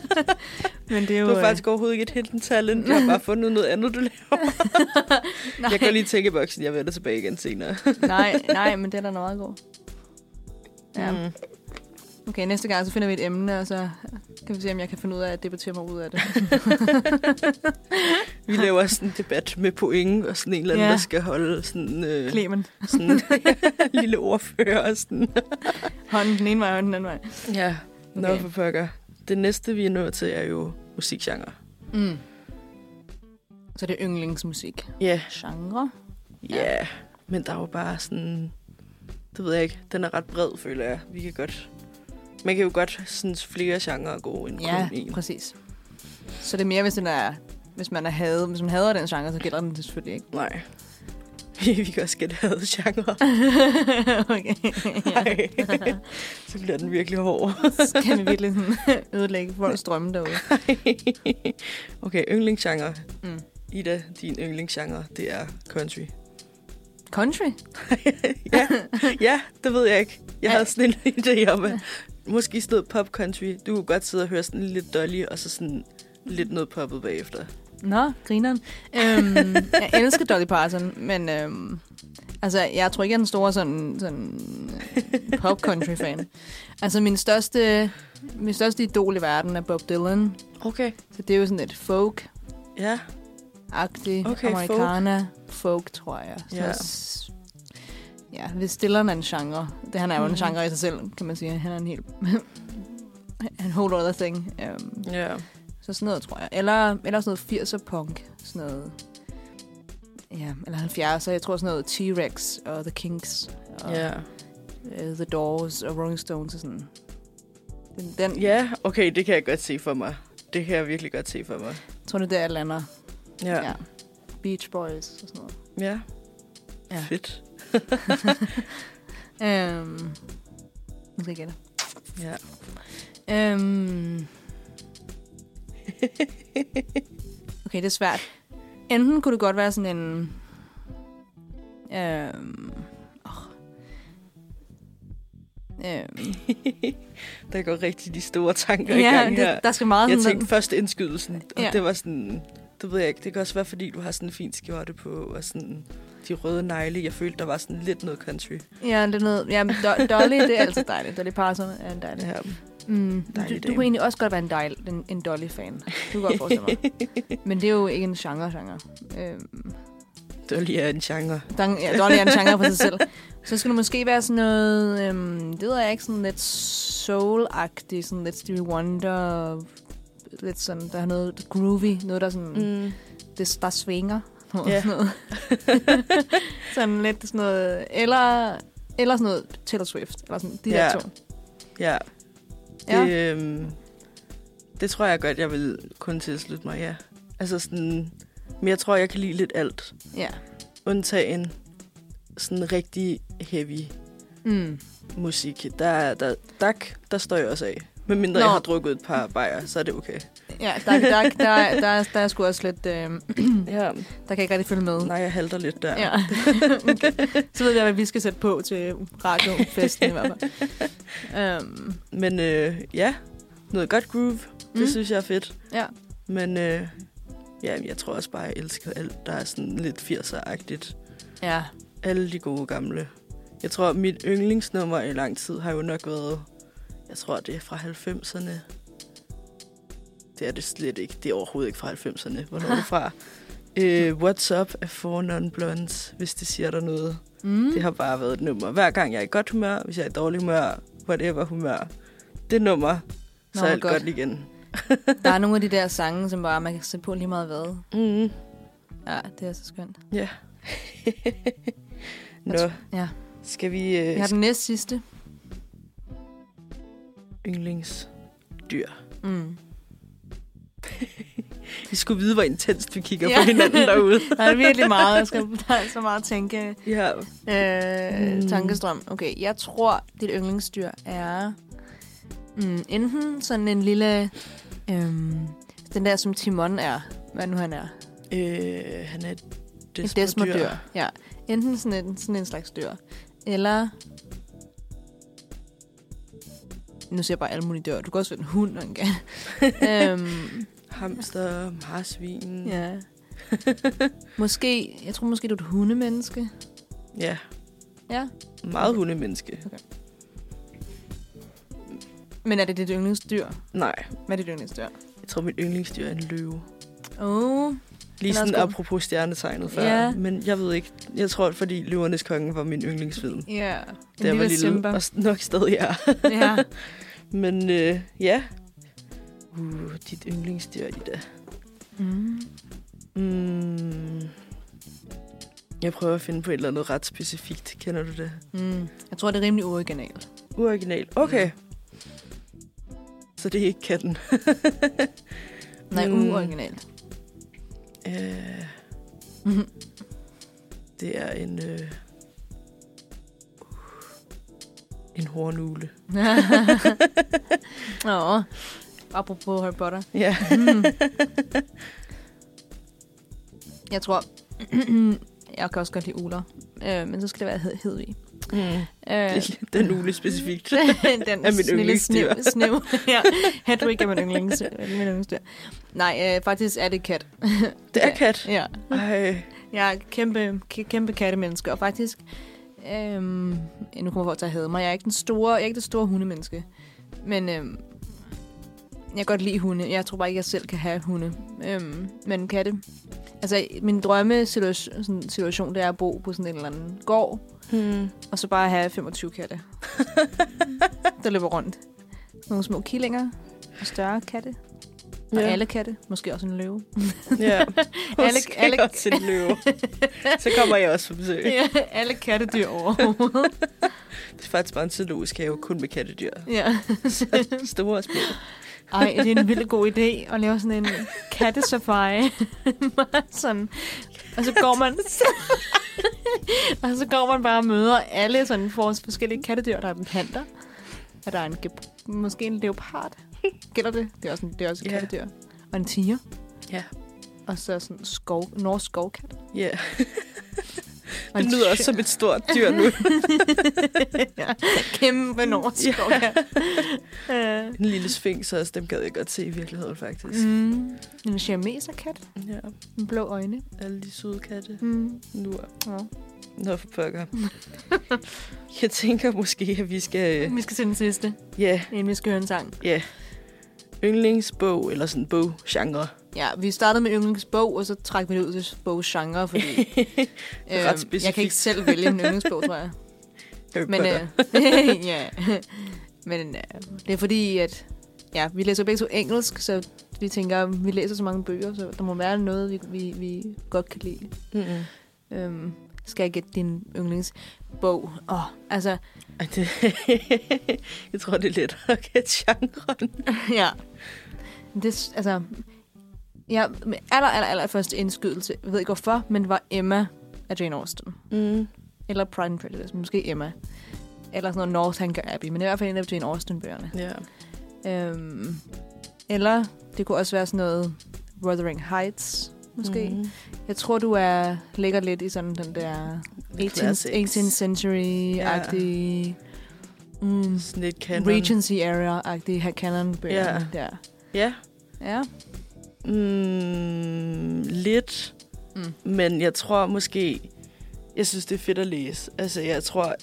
<laughs> men det er
Det
jo...
var
øh,
faktisk overhovedet ikke et hidden talent. Jeg har bare fundet noget
<laughs>
andet, du laver.
nej,
Jeg går lige i tænkeboksen. Jeg vender tilbage igen senere.
<laughs> nej, nej, men det er da noget god. Ja. Mm.
Mm. <laughs>
Okay, næste gang så finder vi et emne, og så kan vi se, om jeg kan finde ud af at debattere mig ud af <laughs> det.
Vi laver sådan en debat med point, og sådan en eller anden,
Ja.
ja. der skal holde sådan, øh,
Klemen.
sådan
<laughs>
<laughs> en lille ordfører. Og sådan.
Hånden den ene vej, hånden den anden vej.
Ja, nå
Okay.
okay. for pokker. Det næste, vi er nået til, er jo musikgenre.
Mm. Så det er yndlingsmusik.
Ja. Yeah.
Genre.
Ja, yeah. men der er jo bare sådan... Det ved jeg ikke. Den er ret bred, føler jeg. Vi kan godt... Man kan jo godt synes, flere genrer er gode end
Ja,
kun én.
præcis. Så det er mere, hvis, den er, hvis man er hadet, hvis man hader den genre, så gælder den selvfølgelig ikke. <laughs>
Nej. <laughs> Vi kan også gætte havde genre.
<laughs> okay. ja.
Nej. <laughs> så bliver den virkelig hård.
<laughs> Så kan vi virkelig sådan <laughs> ødelægge folks drømme derude.
<laughs> okay, yndlingsgenre.
Mm.
Ida, din yndlingsgenre, det er country. <laughs>
Country?
ja, ja, det ved jeg ikke. Jeg havde
Ja.
sådan en <laughs> idé om, at måske stod pop country. Du kunne godt sidde og høre sådan lidt dolly, og så sådan lidt noget poppet bagefter.
Nå, grineren. Øhm,
<laughs>
jeg elsker Dolly Parton, men øhm, altså, jeg tror ikke, jeg er den store sådan, sådan øh, pop-country-fan. Altså, min største, min største idol i verden er Bob Dylan,
Okay.
så det er jo sådan et folk-agtigt,
Ja, Okay, folk.
americana, folk. folk, tror jeg. Så
Ja.
s- ja, hvis Dylan er en genre, det han er jo en
Mhm.
genre i sig selv, kan man sige. Han er en helt... <laughs> en whole other thing. Øhm,
ja.
så sådan noget, tror jeg. Eller, eller sådan noget 80'er punk. Sådan noget... Ja, eller 70'er. Jeg tror sådan noget T-Rex og The Kinks og
Ja,
øh, The Doors og Rolling Stones og sådan. Den, den yeah.
ja okay, det kan jeg godt se for mig. Det kan jeg virkelig godt se for mig.
tror du, det er et eller andet.
Ja. ja.
Beach Boys og sådan noget.
Ja.
Ja.
ja. Fedt.
Øhm, nu skal jeg gætte.
Ja. <laughs>
Øhm. Okay, det er svært. Enten kunne det godt være sådan en... Øhm. åh. Øhm.
Der går rigtig de store tanker i
Ja,
gang her.
det, der skal meget
Jeg
sådan...
tænkte først indskydelsen, og
Ja.
ja. det var sådan, det ved jeg ikke, det kan også være, fordi du har sådan en fin skjorte på, og sådan de røde negle. Jeg følte, der var sådan lidt noget country
Ja, lidt noget... Ja, men Do- Dolly, det er altid dejligt. Dolly Parton er en dejlig.
her.
Mm,
Dejlig
du, du
dame.
kunne egentlig også godt være en, dejl, en, en Dolly-fan. Det kunne jeg godt forestille
<laughs>
mig. Men det er jo ikke en genre-genre. Øhm,
Dolly er en genre.
Dan- ja, Dolly er en genre for sig selv. Så skal det måske være sådan noget, øhm, det ved jeg ikke, sådan lidt soul-agtigt, sådan lidt Stevie Wonder, lidt sådan, der er noget groovy, noget der sådan, mm.
Mm.
det, der svinger, <laughs> noget,
Ja. <laughs>
yeah. sådan noget. sådan lidt sådan noget, eller, eller sådan noget Taylor Swift, eller sådan de yeah.
Ja.
der to.
Ja,
Ja.
det, øhm, det tror jeg godt, jeg vil kun tilslutte mig, ja. Altså sådan, men jeg tror, jeg kan lide lidt alt.
ja.
Undtagen sådan rigtig heavy
Mm.
musik. Der, der, der, der står jeg også af. Medmindre
Nå.
jeg har drukket et par bajer, så er det okay.
Ja, der, der, der, der, der, der er sgu også lidt, øhm,
Ja.
der kan jeg ikke rigtig følge med.
Nej, jeg halter lidt der. <laughs>
Ja. okay. Så ved jeg, hvad vi skal sætte på til radiofesten i hvert fald. Um,
Men øh, ja, noget godt groove, det
Mm.
mm. synes jeg er fedt.
Ja.
Men øh, ja, jeg tror også bare, jeg elsker alt, der er sådan lidt 80'er-agtigt.
ja.
Alle de gode gamle. Jeg tror, mit yndlingsnummer i lang tid har jo nok været, jeg tror, det er fra 90'erne. Det er det slet ikke. Det er overhovedet ikke fra 90'erne. Hvornår
<laughs>
er det fra? Øh, What's Up af Four Non Blondes, hvis det siger dig noget.
Mm.
Det har bare været et nummer. Hver gang jeg er i godt humør, hvis jeg er i dårlig humør, whatever humør, det nummer, så
Nå,
er alt
godt.
godt. godt igen.
Der er nogle af de der sange, som bare man kan sætte på lige meget hvad.
Mm.
Ja, det er så skønt.
Ja. Nå,
Ja.
skal vi øh,
Vi har den næste sidste.
yndlingsdyr?
Mm.
Vi skulle vide, hvor intenst vi kigger
Ja.
på hinanden
<laughs>
derude.
Der er virkelig meget. Jeg skal,
<laughs>
der er så meget tænke.
Ja.
Øh,
Mm.
Tankestrøm. Okay, jeg tror, dit yndlingsdyr er mm, enten sådan en lille... Øhm, den der, som Timon er. Hvad nu han er.
Øh, han er et
Et
desmodyr.
desmodyr. Ja. Enten sådan en, sådan en slags dyr. Eller... Nu ser jeg bare alle mulige dyr. Du kan også være en hund, og en kat. øhm,
Hamster, marsvin. Ja.
ja. Måske, jeg tror måske, du er et hundemenneske.
ja.
Ja.
Meget hundemenneske.
Men er det dit yndlingsdyr?
Nej,
Hvad er dit yndlingsdyr?
jeg tror, mit yndlingsdyr er en løve.
Oh,
Lige
Den er
sådan
også god.
apropos stjernetegnet før.
Ja.
Men jeg ved ikke. Jeg tror, fordi Løvernes Konge var min yndlingsfilm.
ja. Yeah.
Da jeg var lille, <laughs> Simba. og nok stadig er.
ja.
Men øh, ja. Uh, dit yndlingsdyr, Ida.
Mm.
Mm. Jeg prøver at finde på et eller andet ret specifikt. Kender du det?
Mm. Jeg tror, det er rimelig originalt.
Uoriginal. Okay. Så det er ikke katten.
Nej,
Mm. <laughs>
uoriginalt.
Øh, det er en... Øh, uh, en hornugle.
Nå, apropos Harry Potter.
<laughs>
Mm.
Ja.
Jeg tror, <clears throat> jeg kan også godt lide uler, øh, men så skal det være Hed Hedvig.
Mm.
Øh,
Den ugle specifikt.
<laughs> den
Er
mit
mit
lille snev.
yndlingsdyr.
snev. <laughs> ja, Hedwig er min yndlings- min yndlingsdyr. Nej, øh, faktisk er det kat.
<laughs> Det er kat.
Ja,
Ej.
jeg er kæmpe, kæ- kæmpe kattemenneske, og faktisk... Øhm, ja, nu kommer folk til at hade mig. Jeg er ikke den store, jeg er ikke det store hundemenneske. Men øhm, jeg kan godt lide hunde. Jeg tror bare ikke, jeg selv kan have hunde. Øhm, men katte. Altså, min drømme situation, situation, det er at bo på sådan en eller anden gård,
Hmm.
Og så bare have 25 katte. der løber rundt. Nogle små killinger. Og større katte. Og ja. alle katte. Måske også en løve.
<laughs> Ja.
Alle-
alle,
alle-
alle... også en løve. Så kommer jeg også på besøg. Ja.
ja, <laughs> alle kattedyr overhovedet.
<laughs> Det er faktisk bare en zoologisk have, kun med kattedyr.
ja.
Så Store og små.
Ej, det er en vildt god idé at lave sådan en kattesafari. <laughs> sådan. Og så går
<laughs>
man... og så går man bare og møder alle sådan for forskellige kattedyr. Der er en panda, og der er en gep- måske en leopard. Gælder det? Det er også en, det er også et
Ja.
kattedyr. Og en tiger.
Ja.
Og så sådan skov, norsk skovkat.
Ja,
Og
<laughs>
en
det lyder også som et stort dyr <laughs> nu.
<laughs> ja, kæmpe norsk
Ja. <laughs>
skovkat. Øh.
en lille sfinks også, dem gad jeg godt se i virkeligheden faktisk. Mm.
Mm. En siameserkat
Ja,
med blå øjne.
alle de søde katte.
Mm.
Nu
Ja.
Nå, for pokker. Jeg tænker måske, at vi skal... øh,
Vi skal til den sidste,
Ja,
inden vi skal høre en sang.
yndlingsbog, eller sådan boggenre.
Ja, vi startede med yndlingsbog, og så trak vi det ud til
<laughs>
bogsgenre, <laughs> fordi
Ret
Øhm, jeg
specifikt.
kan ikke selv vælge en yndlingsbog, tror
<laughs>
jeg.
Harry
Men,
Potter.
<laughs> øh, ja. Men øh, det er fordi, at ja, vi læser begge to engelsk, så vi tænker, vi læser så mange bøger, så der må være noget, vi, vi, vi godt kan lide.
Mm-mm.
Øhm, skal jeg gætte din yndlingsbog? Åh, oh,
<laughs>
altså,
Ej, det... jeg tror, det er lettere at gætte genren.
ja. Det, s- altså, ja, min aller, aller, aller første indskydelse, jeg ved ikke hvorfor, men var Emma af Jane Austen.
Mm.
Eller Pride and Prejudice, men måske Emma. Eller sådan noget Northanger Abbey, men i hvert fald en af Jane Austen-bøgerne.
Ja.
Øhm, eller det kunne også være sådan noget Wuthering Heights, måske. Mm.
Mm.
Jeg tror, du er ligger lidt i sådan den der 18th,
Classics.
18th century-agtige... Ja. Mm,
Sådan lidt canon.
Regency area-agtige her canon bøgerne ja. der.
Ja.
Ja.
Mm, lidt.
Mm.
Mm. Men jeg tror måske... Jeg synes, det er fedt at læse. Altså, jeg tror...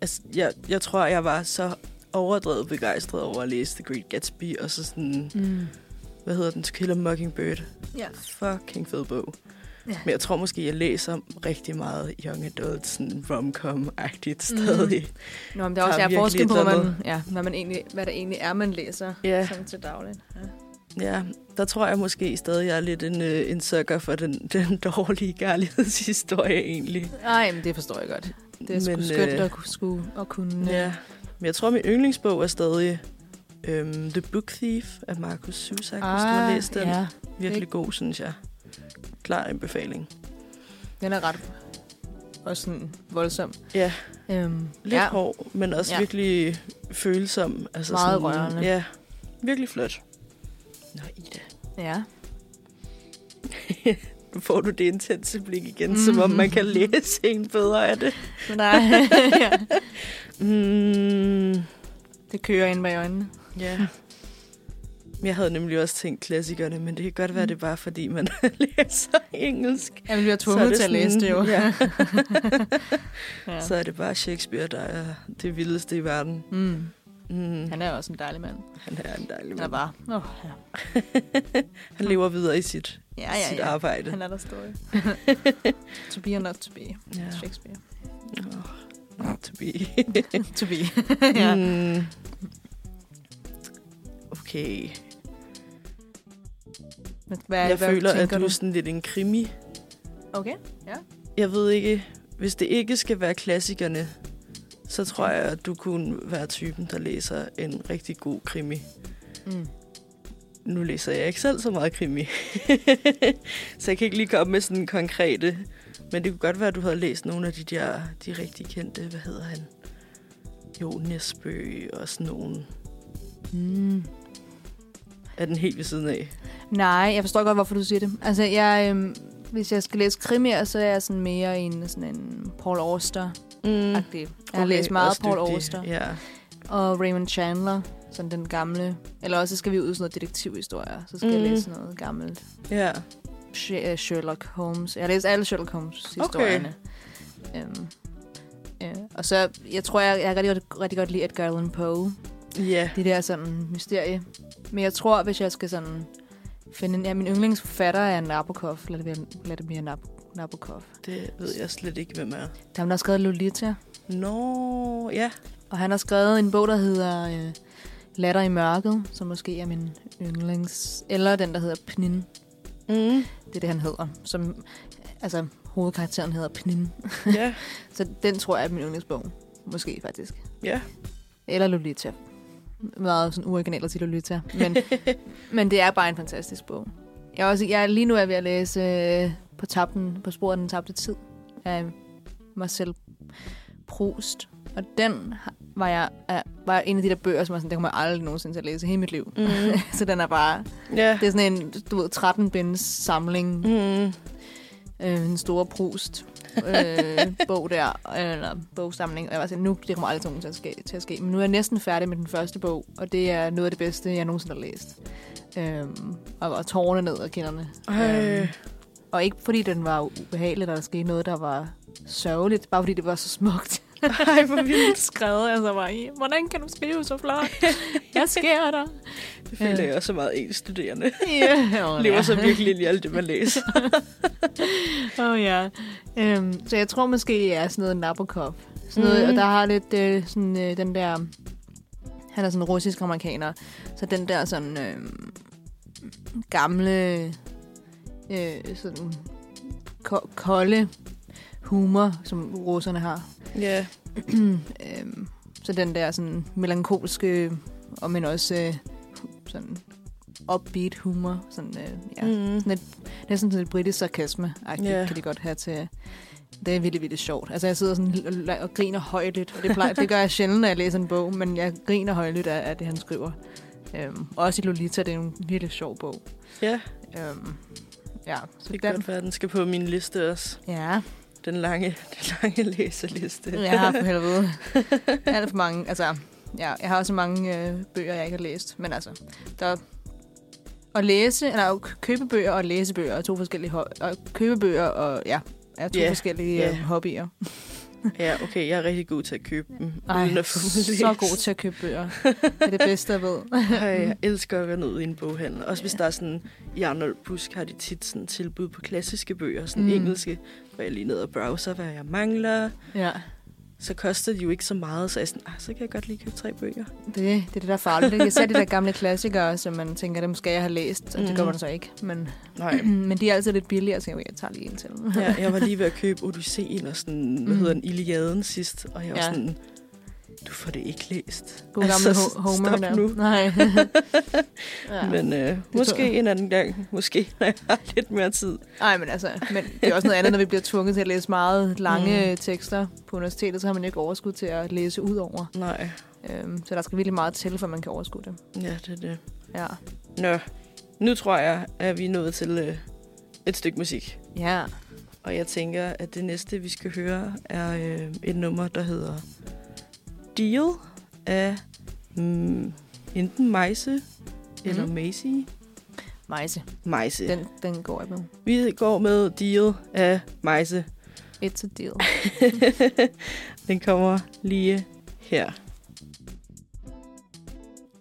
Altså, jeg, jeg tror, jeg var så overdrevet begejstret over at læse The Great Gatsby, og så sådan,
Mm.
hvad hedder den, To Kill a Mockingbird.
Ja.
Fucking fed bog.
Ja.
Men jeg tror måske, jeg læser rigtig meget young adult, sådan rom-com-agtigt
Mm.
stadig.
Nå, men der er også
Der er
der er forskel
virkelig
på, hvad
et
man, ja, hvad, man egentlig, hvad det egentlig er, man læser
Ja.
sådan til dagligt. Ja.
Ja, der tror jeg måske stadig, jeg er lidt en, øh, en sucker for den, <laughs> den dårlige kærlighedshistorie egentlig.
Ej, men det forstår jeg godt. Det er sgu
Men,
skønt
øh,
at, kunne- skulle, at kunne... øh,
Ja. Men jeg tror, min yndlingsbog er stadig øhm, The Book Thief af Markus Susak, ah, hvis du har læst den. Ja.
Ja,
Virkelig god, synes jeg. Klar anbefaling.
den er ret også sådan voldsom.
Ja.
Øhm,
Lidt ja. hård, men også
Ja.
ja. virkelig følsom. Altså
Meget
sådan,
rørende.
Ja, virkelig flot. Nå, Ida. <laughs>
Ja.
Nu får du det intense blik igen, mm-hmm. som om man kan læse en bedre af <laughs> det.
Men der er, <laughs> ja.
Mm.
Det kører ind bag øjnene.
Ja. Jeg havde nemlig også tænkt klassikerne, men det kan godt
Mm.
være, det er bare fordi, man <laughs> læser engelsk.
Jeg bliver
Så er
tvunget
det
til at læse det
sådan-
jo.
Ja.
<laughs> ja.
Så er det bare Shakespeare, der er det vildeste i verden.
Mm.
Mm.
Han er jo også en dejlig mand.
Han er en dejlig
Han er
mand.
bare... Oh, ja.
Han lever videre i sit,
Ja, ja,
sit
ja.
arbejde.
Han er der <laughs> stadig. to be or not to be.
Ja.
Shakespeare.
Oh, not to be.
<laughs> to be. <laughs> ja.
mm. Okay.
Men Hvad,
Jeg føler, at
tænker
du er sådan lidt en krimi.
Okay.
Jeg ved ikke, hvis det ikke skal være klassikerne, så tror jeg, at du kunne være typen, der læser en rigtig god krimi.
Mm.
Nu læser jeg ikke selv så meget krimi, <laughs> så jeg kan ikke lige komme med sådan konkrete. Men det kunne godt være, at du havde læst nogle af de der, de rigtig kendte, hvad hedder han? Jo, Nesbø og sådan nogen.
Mm.
Er den helt ved siden af?
Nej, jeg forstår godt, hvorfor du siger det. Altså, jeg, øhm, hvis jeg skal læse krimier, så er jeg sådan mere en, sådan en Paul Auster-agtig.
Mm.
Jeg har læst meget Paul Auster.
Ja.
Og Raymond Chandler, sådan den gamle. Eller også skal vi ud i sådan noget detektivhistorier. Så skal mm. jeg
Mhm.
læse sådan noget gammelt.
ja.
Sh- øh, Sherlock Holmes. Jeg har læst alle Sherlock Holmes-historierne. Okay. Øhm, øh, og så, jeg tror, jeg, jeg kan rigtig godt, rigtig godt lide Edgar Allan Poe.
Ja.
Det der sådan mysterie. Men jeg tror, hvis jeg skal sådan finde en... Ja, min yndlingsforfatter er Nabokov. Vladimir Nab- Nabokov.
Det ved jeg slet ikke, hvem er.
Der har skrevet Lolita.
Nå, ja.
Og han har skrevet en bog, der hedder øh, Latter i mørket, som måske er min yndlings... Eller den, der hedder Pnin.
Mm.
Det er det, han hedder. Som, altså, hovedkarakteren hedder Pnin.
Ja.
Så den tror jeg er min yndlingsbog. Måske faktisk.
Ja.
Eller Lolita. meget sådan uoriginal til at lytte til. Men, men det er bare en fantastisk bog. Jeg er også, jeg, er- lige nu er jeg ved at læse øh, på, tabten, på sporet af den tabte tid af Marcel Proust. Og den har- var, jeg, er, var en af de der bøger, som var sådan, den kommer jeg aldrig nogensinde til at læse i hele mit liv. <laughs>
Mm.
Så den er bare,
<laughs> Ja.
det er sådan en, du ved, 13-binds samling
Mm.
øh, en store Proust øh, <laughs> bog der, øh, eller bogsamling. Og jeg var sådan, nu det kommer aldrig nogen til at, ske, til at ske. Men nu er jeg næsten færdig med den første bog, og det er noget af det bedste, jeg nogensinde har læst. Øh, og, og tårerne ned og kinderne.
Ej.
Øhm, og ikke fordi den var ubehagelig, eller der skete noget, der var sørgeligt, bare fordi det var så <laughs> smukt.
<laughs> Ej, hvor <laughs> vildt.
skrevet, altså bare i, hvordan kan du skrive så <laughs> flot? Jeg sker dig.
Det føler jeg også er meget ens studerende.
Yeah,
Lever så virkelig ind i alt det, man læser.
Åh oh, ja. Øhm, så jeg tror måske, jeg er sådan noget Nabokov. Sådan noget,
Mhm.
mm. Og der har lidt øh, sådan øh, den der... Han er sådan russisk amerikaner. Så den der sådan øh, gamle, øh, sådan ko- kolde humor, som russerne har.
<laughs>
<clears throat>
Ja.
øhm, så den der sådan melankolske, og men også øh, sådan upbeat humor. Sådan, øh, ja,
Mm.
sådan et, næsten sådan et britisk sarkasme
Ja.
yeah. kan de godt have til... øh, Det er virkelig, virkelig sjovt. Altså, jeg sidder sådan og, la- og griner højlydt. og Det, plejer, det gør jeg sjældent, når jeg læser en bog, men jeg griner højlydt af, af det, han skriver. Øhm, også i Lolita, det er en virkelig sjov bog.
Ja,
Øhm, ja, så
det
det
kan
den,
godt være, den skal på min liste også.
ja,
Den lange, <laughs> den lange læserliste.
jeg har for helvede. Alt for mange, altså, ja, jeg har også mange øh, bøger, jeg ikke har læst. Men altså, der, at læse, eller at købe bøger og læse bøger er to forskellige, ho- og købe bøger og, ja, er to
Ja,
yeah, forskellige
ja.
yeah. hobbyer.
<laughs> Ja, okay, jeg er rigtig god til at købe dem.
Ej,
uden at få dem læst.
så god til at købe bøger. Det er det bedste, jeg ved.
<laughs> Ej, jeg elsker at være nede i en boghandel. Også hvis
Ja.
der er sådan, i Arnold Busk har de tit sådan tilbud på klassiske bøger, sådan
Mm.
mm. engelske. Hvor jeg lige ned og browser, hvad jeg mangler.
Ja,
Så koster de jo ikke så meget, så jeg er sådan, ah, så kan jeg godt lige købe tre bøger.
det, det er det, der er farligt. ikke? Især de der gamle klassikere, som man tænker, dem skal jeg have læst, og det gør
Mhm.
man så ikke. Men,
<clears throat> Nej,
men de er altid lidt billigere, så jeg, okay, jeg tager lige en til.
<laughs> ja, jeg var lige ved at købe Odysseen og sådan, hvad
Mm.
hedder den, Iliaden sidst. Og jeg var
Ja.
Mhm. ja. sådan, du får det ikke læst.
God gamle altså,
s-
Homer
stop
der.
nu.
Nej. ja.
<laughs> Ja. Men øh,
tror
måske
jeg.
en anden gang. Måske, <laughs> når jeg har lidt mere tid.
Nej, men altså, men det er også noget andet, når vi bliver tvunget til at læse meget lange mm. tekster på universitetet, så har man jo ikke overskud til at læse ud over.
Nej,
Øhm, så der skal virkelig meget til, for man kan overskue det.
ja, det er det.
Ja.
Nå, nu tror jeg, at vi er nået til øh, et stykke musik.
Ja.
Og jeg tænker, at det næste, vi skal høre, er øh, et nummer, der hedder Deal af mm, enten Meise mm. eller Macy.
Majse.
Meise. Den.
Den, den går jeg med.
Vi går med Deal af Meise. <laughs>
It's a deal.
Den kommer lige her.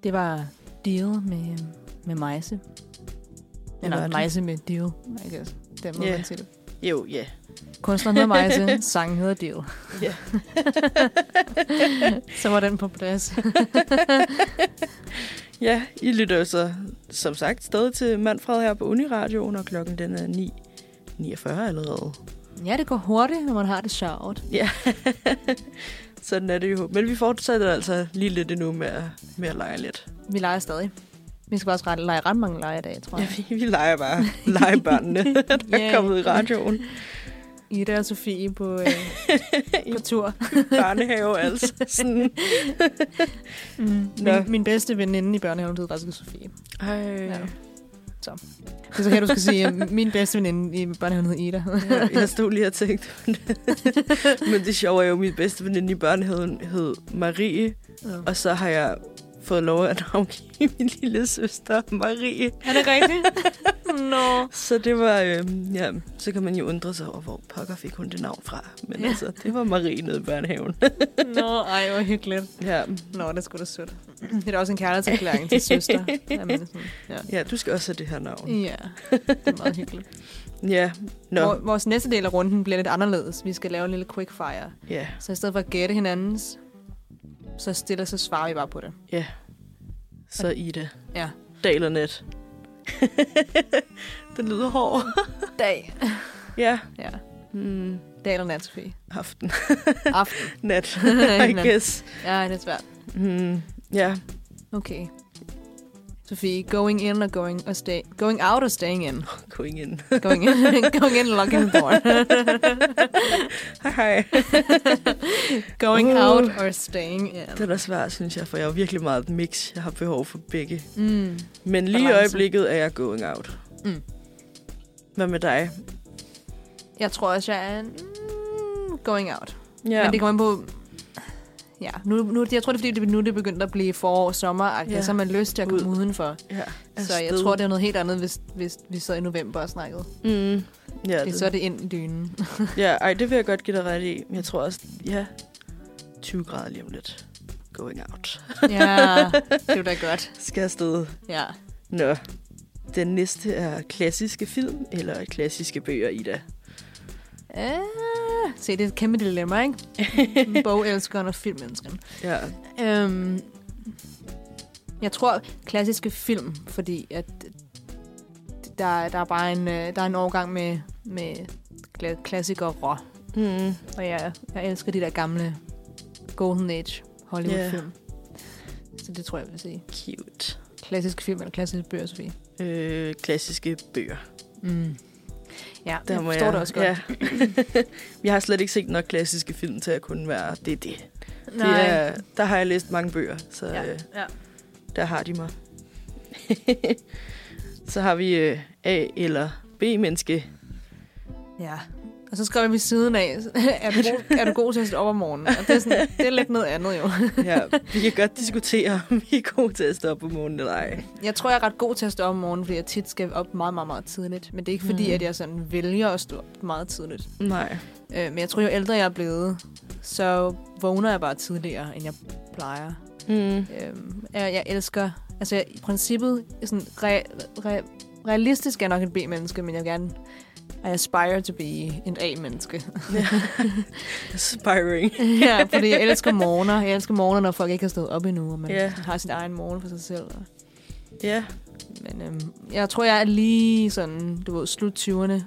Det var deal med, med Majse.
var
Eller
det.
Majse med deal, I guess. Den må
Ja.
yeah. man sige det.
Jo, ja.
Kunstneren hedder <laughs> Majse, sangen hedder Deal.
Ja. <laughs>
så var den på plads.
Ja, I lytter jo så som sagt stadig til Manfred her på Uniradioen, og klokken den er 9.49 allerede.
Ja, det går hurtigt, når man har det sjovt.
Ja, sådan er det jo. Men vi fortsætter altså lige lidt endnu med at, med at lege lidt.
Vi leger stadig. Vi skal også ret, lege ret mange lege i dag, tror
Ja,
jeg.
vi, vi leger <laughs> bare. Legebørnene, <laughs> der
Ja.
er kommet i <laughs> radioen.
Ida og Sofie på, <laughs> øh, på tur.
Børnehave altså. Sådan.
Mm.
Nå.
Min, min bedste veninde i børnehaven hed faktisk Sofie.
Ej.
Ja. Det er så her, du skal <laughs> sige, at min bedste veninde i børnehaven hed Ida.
Jeg stod lige og tænkte, <laughs> men det sjove er jo, at min bedste veninde i børnehaven hed Marie, og så har jeg fået lov at navngive min lille søster Marie.
Er det rigtigt? Nå.
Så det var, øh, ja, så kan man jo undre sig over, hvor pokker fik hun det navn fra. Men
Ja.
ja. altså, det var Marie nede i børnehaven.
Nå, ej, hvor hyggeligt.
<laughs> ja.
Nå, det er sgu da sødt. Det er da også en kærlighedserklæring til søster. at man er sådan, ja.
ja, du skal også have det her navn.
ja, det er meget hyggeligt.
Ja, nå,
Vor- Vores næste del af runden bliver lidt anderledes. Vi skal lave en lille quickfire.
ja,
Så i stedet for at gætte hinandens, så stiller så svarer vi bare på det.
ja. Så Ida.
Ja.
Dal og
<laughs>
net. Den lyder hård.
Dag.
ja.
Ja.
Mm,
Dag eller nat, Sofie.
aften. <laughs>
Aften.
Nat, I
<laughs> Nat.
guess.
Ja, det er svært.
Mm, ja,
Okay. Sofie, going in og going, og stay, going out og staying in.
Going in.
<laughs> Going in, going in, locking the door.
<laughs> Hej, hej.
<laughs> going
Uh.
out or staying in.
Den er svær, synes jeg, for jeg er virkelig meget et mix. Jeg har behov for begge.
Mm.
Men lige i
Balance.
øjeblikket er jeg going out.
Mm.
Hvad med dig?
Jeg tror også, jeg er mm, going out.
Ja,
Ja. Men det kommer an på... Ja, nu, nu, jeg tror, det er, fordi det, nu er det begyndt at blive forår og sommer, ja.
Ja.
så har man lyst til at komme
Ud.
udenfor.
ja,
Så jeg tror, det er noget helt andet, hvis, hvis vi sad i november og snakkede.
Mm. Ja,
Ja, det. Så er det ind i dynen.
ja, ej, det vil jeg godt give dig ret i. Men jeg tror også, ja, 20 grader lige om lidt. Going out.
<laughs> ja, det er da godt.
Skal afsted.
Ja.
Nå. Den næste er klassiske film eller klassiske bøger,
<laughs>
Ida.
Øh, se, det er et kæmpe dilemma, ikke? <laughs> Bogelskeren og filmelskeren.
Ja,
Øhm, jeg tror klassiske film, fordi at der, der er bare en, øh, der er en overgang med, med kla- klassikere,
mm.
og jeg, jeg elsker de der gamle Golden Age Hollywood-film. Så det tror jeg, jeg vil sige.
cute.
Klassisk film eller klassiske bøger, Sofie?
Øh, klassiske bøger.
Mm. Ja,
Der
der jeg
må
forstår jeg. det også godt.
Ja. <laughs> jeg har slet ikke set nok klassiske film til at kunne være, det er det.
Nej.
det er, der har jeg læst mange bøger, så ja. øh,
ja.
der har de mig. så har vi øh, A eller B-menneske.
Ja. Og så <laughs> skriver vi ved siden af, er du, god, er du god til at stå op om morgenen? Og det, er sådan, det er lidt noget andet jo.
Ja, vi kan godt diskutere, om vi er gode til at stå op om morgenen eller ej.
Jeg tror, jeg er ret god til at stå op om morgenen, fordi jeg tit skal op meget, meget, meget tidligt. Men det er ikke fordi,
Mm.
at jeg sådan vælger at stå op meget tidligt.
Nej.
Øh, men jeg tror, jo ældre jeg er blevet, så vågner jeg bare tidligere, end jeg plejer. <laughs>
Mm.
Øh, jeg, jeg elsker... Altså, jeg, i princippet, sådan re, re, realistisk er jeg nok et B-menneske, men jeg vil gerne... I aspire to be en A-menneske.
Aspiring.
<laughs> ja, fordi jeg elsker morgener. Jeg elsker morgener, når folk ikke har stået op endnu, og man
Ja.
yeah. har sin egen morgen for sig selv. Og-
Ja.
Men øhm, jeg tror, jeg er lige sådan, du ved, slut 20'erne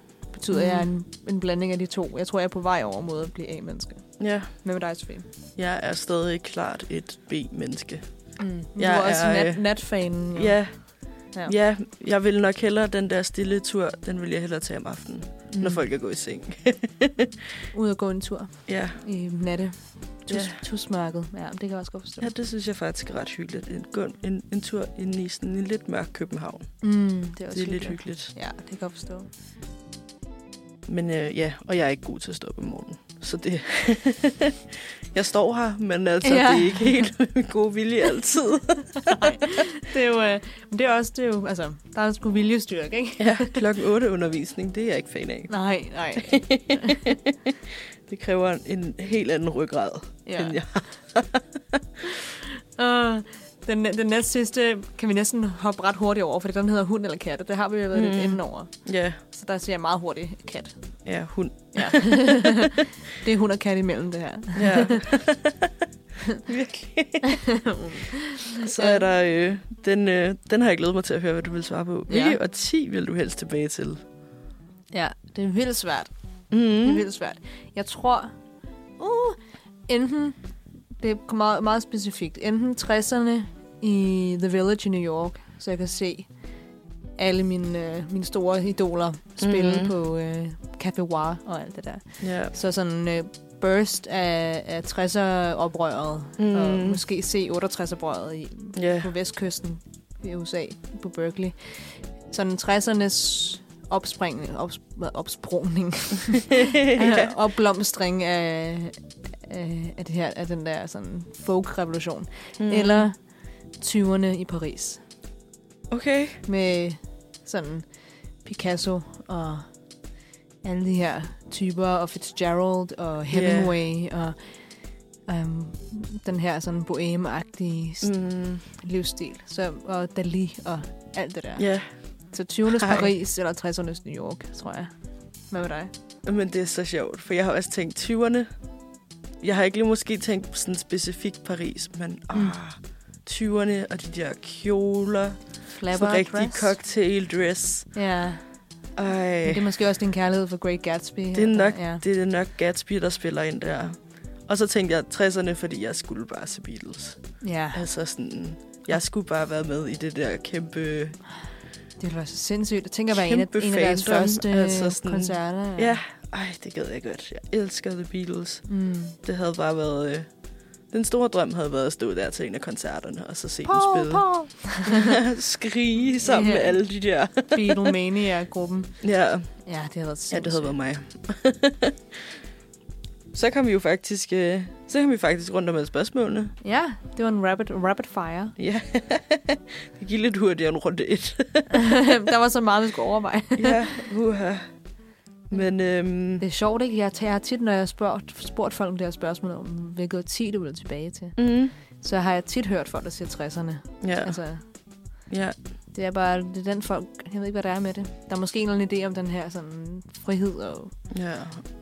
Mhm.
betyder, mm. jeg er en, en blanding af de to. Jeg tror, jeg er på vej over mod at blive A-menneske.
ja,
Hvad med dig, Sofie?
jeg er stadig klart et B-menneske.
Mm. Du
Jeg
er også
er,
nat,
øh,
natfanen. jo.
Ja.
Mm. Ja.
Ja. ja, jeg vil nok hellere den der stille tur, den vil jeg hellere tage om aftenen, mm.
Mm.
når folk er gået i
<laughs>
seng.
Ud og Mm. gå en tur
ja.
i natte. Tus,
Ja.
yeah. Tusmørket. Ja, det kan jeg også godt forstå.
ja, det synes jeg faktisk er ret hyggeligt. En, gå en, en tur ind i sådan en lidt mørk København.
Mm, det er også
Det er lidt hyggeligt.
Ja, det kan jeg godt forstå.
Men øh, ja, og jeg er ikke god til at stå op om morgenen. Så det... <laughs> jeg står her, men altså,
Ja.
ja. det er ikke helt med min gode vilje
<laughs>
altid.
Nej, det er jo, øh, men det er også, det er jo, altså, der er sgu viljestyrke, ikke?
ja, klokken 8 undervisning, det er jeg ikke fan af.
Nej,
<laughs>
nej.
Det kræver en, en helt anden ryggrad, ja. end jeg
Og den, den næste sidste kan vi næsten hoppe ret hurtigt over, for den hedder hund eller katte. Det har vi jo været mm. lidt
Mm.
inden over.
Ja,
Så der siger jeg meget hurtigt kat.
ja hund. <laughs>
Ja. det er hund og kat imellem det her.
Ja. <laughs>
<laughs>
Virkelig. Så er der... Øh, den, øh, den har jeg glædet mig til at høre, hvad du vil svare på. Hvilke
Ja.
ja. 10 vil du helst tilbage til?
Ja, det er vildt svært. Det er
Mm.
vildt svært. Jeg tror, uh, enten, det er meget, meget specifikt, enten 60'erne i The Village i New York, så jeg kan se alle mine, øh, mine store idoler spille mm-hmm.
Mhm.
på øh, Café War og alt det der.
Ja.
Så sådan øh, burst af, af 60'er-oprøret, mm. og
Mm.
måske se 68-oprøret i,
Ja.
på vestkysten i USA, på Berkeley. Sådan 60'ernes opspring, ops, hvad, opsprungning, <laughs>
<laughs>
<laughs> ja. opblomstring af, af, af, det her, af den der sådan folk-revolution. Mm. Eller 20'erne i Paris
Mm. Okay.
med sådan Picasso og alle de her typer, og Fitzgerald og Hemingway yeah. og um, den her sådan boheme-agtige mm.
Mm.
livsstil. Så, og Dali og alt det der.
Ja.
Så 20'ernes
Hej.
Paris eller 60'ernes New York, tror jeg. Hvad med dig?
Men det er så sjovt, for jeg har også tænkt 20'erne. Jeg har ikke lige måske tænkt på sådan specifikt Paris, men
Mm.
mm. ah, 20'erne og de der kjoler.
Flapper
Sådan rigtig
dress?
cocktail dress.
Ja,
Ej.
men det er måske også din kærlighed for Great Gatsby.
Øh. Det er, nok,
Ja.
det er nok Gatsby, der spiller ind der. Og så tænkte jeg 60'erne, fordi jeg skulle bare se Beatles.
ja.
Altså sådan Jeg skulle bare have været med i det der kæmpe...
Det var så sindssygt. Jeg tænker, at være en af,
Kæmpe
en af deres
fandom,
første
altså sådan-
koncerter.
Ja, ej, det gad jeg godt. Jeg elsker The Beatles.
Mm.
Det havde bare været... Øh, den store drøm havde været at stå der til en af koncerterne, og så se dem
Paul,
spille. <laughs>
Paul.
Skrige sammen
Ja.
med alle de der.
Beatlemania-gruppen.
<laughs> ja.
Ja, det havde været sindssygt.
Ja, det havde været mig. <laughs> så kom vi jo faktisk, øh, så kom vi faktisk rundt om alle spørgsmålene.
Ja, det var en rapid, rapid fire. <laughs>
Ja, <laughs> det gik lidt hurtigere end runde <laughs> et.
der var så meget, vi skulle overveje. <laughs>
ja, uha. Men øhm,
Det er sjovt, ikke? Jeg tager tit, når jeg har spurgt, spurgt folk om det her spørgsmål, om hvilket årti du vil tilbage til,
mm,
så har jeg tit hørt folk, der siger 60'erne.
ja, altså,
Altså,
ja,
det er bare det er den folk, jeg ved ikke, hvad der er med det. Der er måske en eller anden idé om den her sådan, frihed og,
ja,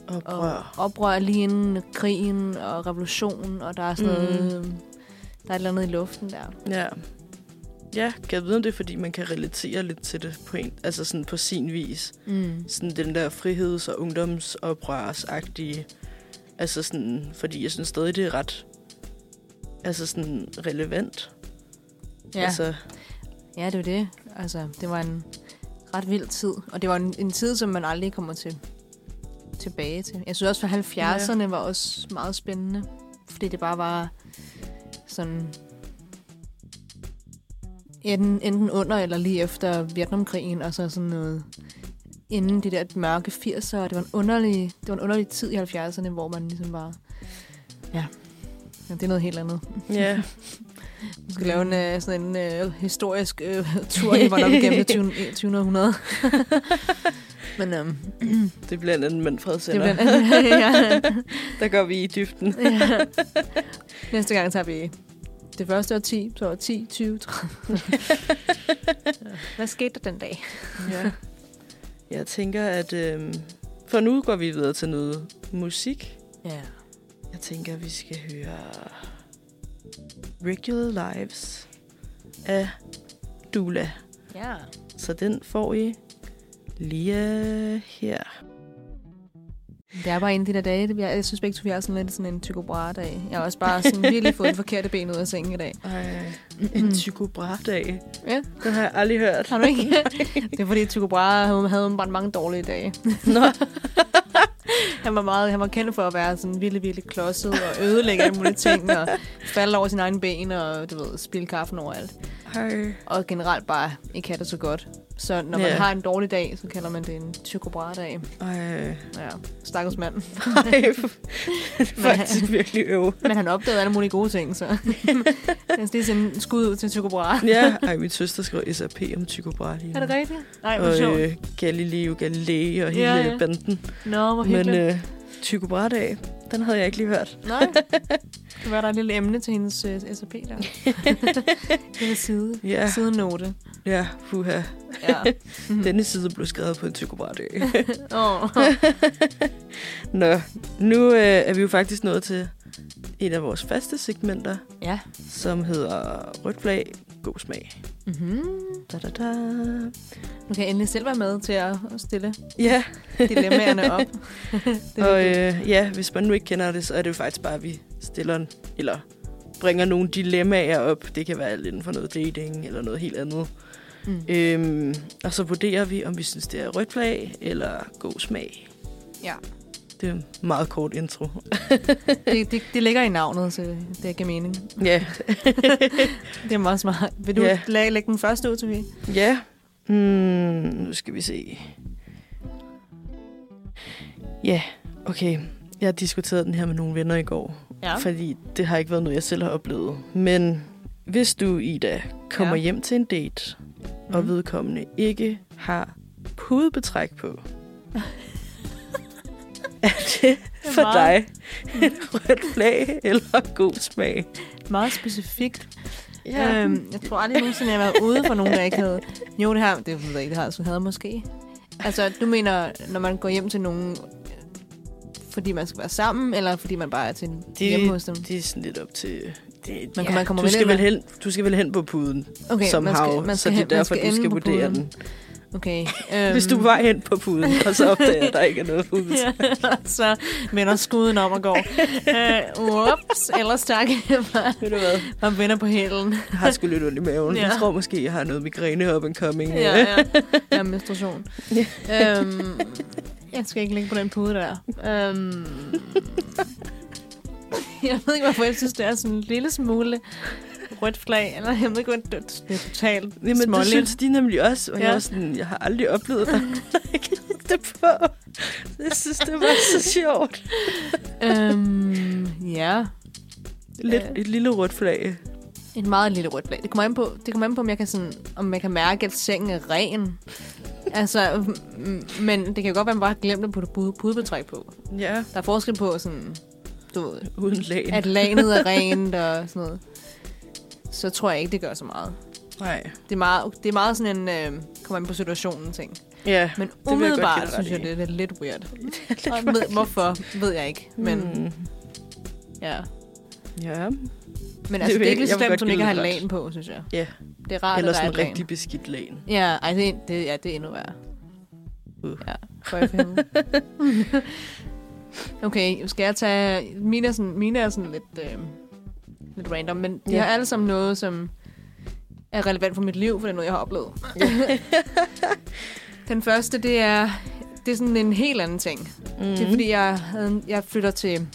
og
oprør.
oprør lige inden krigen og revolutionen, og der er sådan
Mhm.
noget, øh, der er et eller andet i luften der.
Ja. Ja, kan jeg vide, om det er, fordi man kan relatere lidt til det på, en, altså sådan på sin vis.
Mm.
sådan den der friheds- og ungdomsoprørsagtige, altså sådan, fordi jeg synes stadig, det er ret, altså sådan relevant.
Ja.
Altså,
ja, det var det. Altså, det var en ret vild tid, og det var en, en tid, som man aldrig kommer til tilbage til. Jeg synes også, at 70'erne var også meget spændende, fordi det bare var sådan enten, enten under eller lige efter Vietnamkrigen, og så sådan noget inden de der mørke 80'er, og det var en underlig, det var en underlig tid i 70'erne, hvor man ligesom bare, ja, ja det er noget helt andet.
ja,
Vi skal lave en, øh, sådan en øh, historisk øh, <laughs> tur i Vollerup gennem det 20. <laughs> 21. århundrede. Men øhm,
det er blandt andet Manfred
det
Sender.
bliver <laughs> ja,
<laughs> Der går vi i dybden.
ja. Næste gang tager vi det første år 10, så år 10, 20, 30. Hvad skete der den dag?
ja. Jeg tænker, at øhm, for nu går vi videre til noget musik.
Ja.
Jeg tænker, vi skal høre Regular Lives af Dula.
ja.
Så den får I lige her.
Det er bare en af de der dage. det bliver- Jeg synes begge to, vi har sådan lidt sådan en Tycho Brahe-dag. Jeg har også bare sådan virkelig fået den forkerte ben ud af sengen i dag.
Ej, en Tycho Brahe-dag.
Ja.
Den har jeg aldrig hørt.
Har du
<laughs>
ikke? det er fordi Tycho Brahe havde, havde bare mange dårlige dage.
Nå,
<laughs> Han var, meget, han var kendt for at være sådan virkelig, virkelig klodset og ødelægge alle mulige ting og falde over sine egne ben og du ved, spille kaffen overalt.
hej.
Og generelt bare ikke have det så godt. Så når man
Ja.
har en dårlig dag, så kalder man det en tykobradag.
Ej,
Ja, stakkels mand.
ej. Det er <laughs> faktisk virkelig øv.
<laughs> Men han opdagede alle mulige gode
<laughs>
ting, så han skal lige sende en skud ud til Tycho Brahe.
Ja, ej, min søster skrev SAP om Tycho Brahe. lige
Er det
nu.
rigtigt? Nej, hvor sjovt.
Og øh, Galileo Galilei og hele
Ja,
ja,
ja.
ja. banden.
Nå, hvor hyggeligt.
Men øh, Tycho Brahe-dag, den havde jeg ikke lige hørt.
Nej, det var der et lille emne til hendes uh, SAP <laughs> der. lille side.
Ja,
Sidenote.
ja, puha.
Ja. Mm.
Denne side blev skrevet på en Tycho
<laughs>
Brahe-dag.
Åh.
Nå, nu øh, er vi jo faktisk nået til et af vores faste segmenter,
Ja.
som hedder Rødt flag, god smag.
Mm-hmm.
Da, da, da.
Nu kan jeg endelig selv være med til at <laughs> stille
Ja,
dilemmaerne <laughs> op. det er
og
vigtigt.
øh, ja, hvis man nu ikke kender det, så er det jo faktisk bare, at vi stiller en, eller bringer nogle dilemmaer op. Det kan være alt inden for noget dating eller noget helt andet.
mm.
Øhm, og så vurderer vi, om vi synes, det er rødt flag eller god smag.
Ja.
Det er en meget kort intro.
det, det, det ligger i navnet, så det giver mening.
Ja.
Det er meget smart. Vil du
Ja.
yeah. lægge, lægge den første ud, Sofie?
ja. Hmm, nu skal vi se. Ja, okay. Jeg har diskuteret den her med nogle venner i går.
Ja.
fordi det har ikke været noget, jeg selv har oplevet. Men hvis du, Ida, kommer
Ja.
ja. hjem til en date, mm.
Mhm.
og vedkommende ikke har pudebetræk på, er det
er
for
meget-
dig <laughs> et rødt flag eller god smag?
Meget specifikt. Øhm, jeg tror aldrig nogensinde, jeg har været ude for nogen, der ikke havde... Jo, det har det ved jeg ikke, det har jeg så havde måske. Altså, du mener, når man går hjem til nogen, øh, fordi man skal være sammen, eller fordi man bare er til
Det-
hjemme hos dem?
Det er sådan lidt op til... Det,
Man- man kommer
du,
vel
skal
ind-
vel hen, du skal vel hen på puden, okay, somehow, man skal, man skal så det
hen-
er derfor, du
ende
skal
på
vurdere
puden.
den.
Okay.
Øhm. <laughs> Hvis du var hen på puden, og så opdager jeg, at der ikke er noget pude.
Ja, <laughs> så vender skuden om og
<laughs>
går. Uh, whoops, ellers tak. <laughs>
Ved du hvad?
Man vender på hælen.
Jeg har sgu lidt ondt i maven. Ja.
Ja.
Jeg tror måske, jeg har noget migræne up and coming.
Ja, ja.
<laughs>
ja menstruation. øhm, jeg skal ikke ligge på den pude der. Øhm, <laughs> jeg ved ikke, hvorfor jeg synes, det er sådan en lille smule rødt flag. Eller jeg ved ikke, hvordan det det er totalt
Jamen, det
småligt.
synes de nemlig også. Og ja. jeg,
Ja.
var sådan, jeg har aldrig
<laughs>
oplevet, at der der ikke havde det på. Jeg synes, det var så sjovt.
øhm, ja,
Lidt,
Ja.
Et lille rødt flag.
et meget lille rødt flag. Det kommer an på, det kommer an på om, jeg kan sådan, om jeg kan mærke, at sengen er ren. altså, m- men det kan jo godt være, at man bare glemte at putte pude- pudebetræk på.
Ja,
Der er forskel på sådan, du ved,
uden lag.
at
<laughs>
lanet er rent og sådan noget, så tror jeg ikke, det gør så meget.
Nej.
Det er meget, det er meget sådan en, øh, kommer an på situationen ting.
Ja,
Men
jeg godt
umiddelbart
give dig
synes jeg,
ret i.
det er lidt weird.
<laughs> lidt
Og ved, hvorfor, ved jeg ikke. Men mm.
Mm.
ja.
Ja, ved
Men altså, det er
jeg ikke.
ikke
Jeg vil
slemt,
godt
hun ikke
give
har
det ret.
lagen på, synes jeg.
Ja.
Det er rart,
eller
at der
sådan
er
en
et lagen.
rigtig beskidt lag.
Ja, ej, det, er- det, ja, det er endnu værre.
Uh.
Ja, for jeg fanden. <laughs> okay, skal jeg tage... Mine er sådan, mine er sådan lidt, øh, lidt random, men de
Ja.
har alle sammen noget, som er relevant for mit liv, for det er noget, jeg har <laughs> oplevet. Den første, det er, det er sådan en helt anden ting. Mm.
Mm.
Det er fordi, jeg, havde, en- jeg flytter til...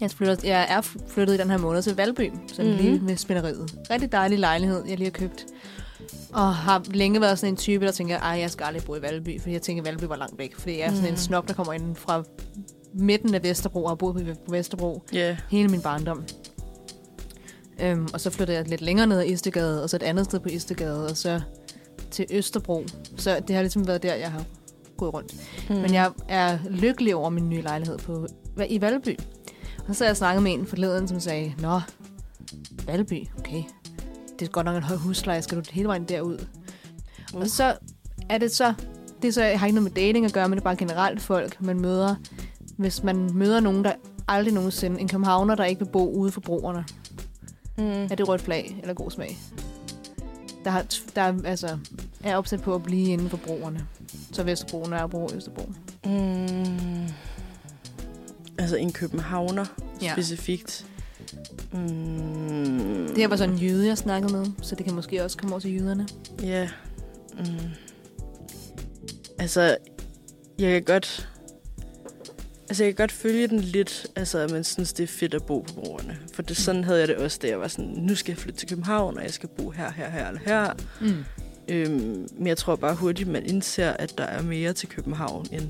Jeg, flytter, jeg er flyttet i den her måned til Valby, sådan
Mhm.
mm. lige ved spænderiet. Rigtig dejlig lejlighed, jeg lige har købt. Og har længe været sådan en type, der tænker, at jeg skal aldrig bo i Valby, fordi jeg tænker, at Valby var langt væk. Fordi jeg er sådan mm.
Mhm.
en snop, der kommer ind fra midten af Vesterbro, og har boet på- på Vesterbro
Mm. Ja,
hele min barndom. Øhm, og så flyttede jeg lidt længere ned ad Istegade, og så et andet sted på Istegade, og så til Østerbro. Så det har ligesom været der, jeg har gået rundt. Mm. Men jeg er lykkelig over min nye lejlighed på, i Valby. Og så sad jeg og snakkede med en forleden, som sagde, Nå, Valby, okay. Det er godt nok en høj husleje, skal du hele vejen derud?
Uh.
Uh. Og så er det så, det er så, jeg har ikke noget med dating at gøre, men det er bare generelt folk, man møder. Hvis man møder nogen, der aldrig nogensinde, en københavner, der ikke vil bo ude for broerne,
Mm.
er det rødt flag eller god smag? Der, har, der er, altså, er opsat på at blive inden for broerne. Så Vesterbro, Nørrebro og Østerbro.
Mm. Altså en københavner ja.
Ja.
specifikt. Mm.
Det her var sådan en jøde, jeg snakkede med, så det kan måske også komme over til jøderne.
Ja. Mm. Altså, jeg kan godt... Altså, jeg kan godt følge den lidt, altså, at man synes, det er fedt at bo på broerne. For det, sådan havde jeg det også, da jeg var sådan, nu skal jeg flytte til København, og jeg skal bo her, her, her eller her.
Mm.
Øhm, men jeg tror bare hurtigt, man indser, at der er mere til København end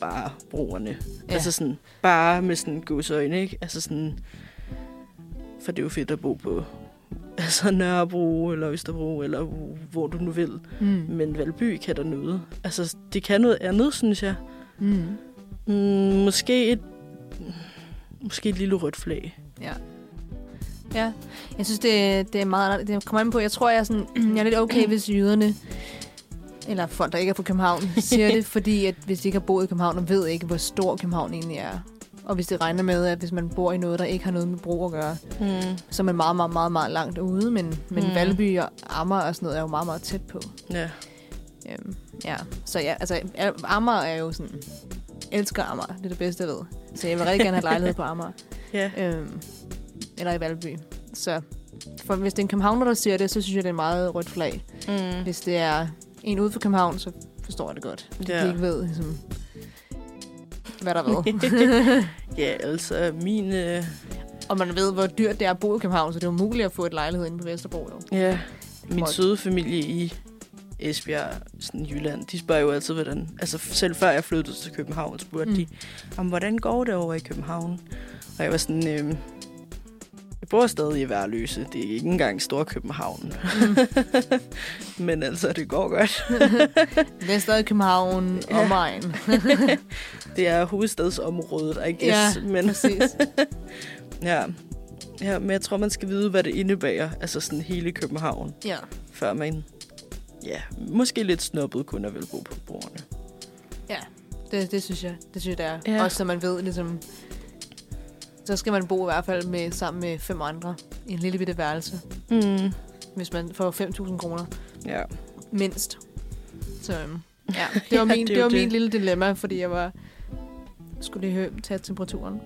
bare broerne. Ja.
Ja.
Altså sådan, bare med sådan godsøjne, ikke? Altså sådan, for det er jo fedt at bo på <laughs> altså Nørrebro eller Østerbro, eller hvor du nu vil.
Mm.
Men Valby kan der noget. Altså, det kan noget andet, synes jeg.
Mm.
Mm, måske et, måske et lille rødt flag.
Ja, jeg synes, det, det er meget Det kommer an på, jeg tror, jeg er, sådan, jeg er lidt okay, hvis jøderne, eller folk, der ikke er fra København, <laughs> siger det, fordi at hvis de ikke har boet i København, og ved ikke, hvor stor København egentlig er, og hvis det regner med, at hvis man bor i noget, der ikke har noget med bro at gøre,
Mm.
så er man meget, meget, meget, meget langt ude, men, men
Mm.
mm. Valby og Amager og sådan noget er jo meget, meget tæt på.
Ja.
Øhm, ja, så ja, altså Al- Amager er jo sådan, elsker Amager, det er det bedste, jeg ved. Så jeg vil rigtig gerne have lejlighed på Amager,
Ja.
øhm, eller i Valby. Så for hvis det er en københavner, der siger det, så synes jeg, det er en meget rødt flag.
Mm.
Hvis det er en ude for København, så forstår jeg det godt. Ja.
Ja.
De ikke ved, ligesom, hvad der er hvad.
<laughs> ja, altså min... Øh,
Og man ved, hvor dyrt det er at bo i København, så det er umuligt at få et lejlighed inde på Vesterbro, jo.
Ja, min
Folk.
søde familie i Esbjerg, sådan Jylland, de spørger jo altid, hvordan... Altså selv før jeg flyttede til København, spurgte mm.
Mm.
de, om hvordan går det over i København? Og jeg var sådan, øhm, jeg bor stadig i Værløse, det er ikke engang stor København. Mm. <laughs> Men altså, det går godt.
Det er stadig København
Ja.
ja. og Majen.
Det er hovedstadsområdet, I guess. Ja. Men,
Præcis.
ja. ja, men jeg tror, man skal vide, hvad det indebærer, altså sådan hele København,
Ja.
før man... Ja, måske lidt snobbet kun at vil bo på brugerne.
Ja, det, det synes jeg, det synes jeg, det er.
Ja.
Ja. Også så man ved, ligesom, så skal man bo i hvert fald med, sammen med fem andre i en lille bitte værelse,
Mm.
hvis man får 5.000 kroner
Ja.
mindst. Så øhm, <laughs> ja, det var,
Ja,
min,
det er
det
jo
var min
det.
lille dilemma, fordi jeg var skulle lige hø- tage temperaturen.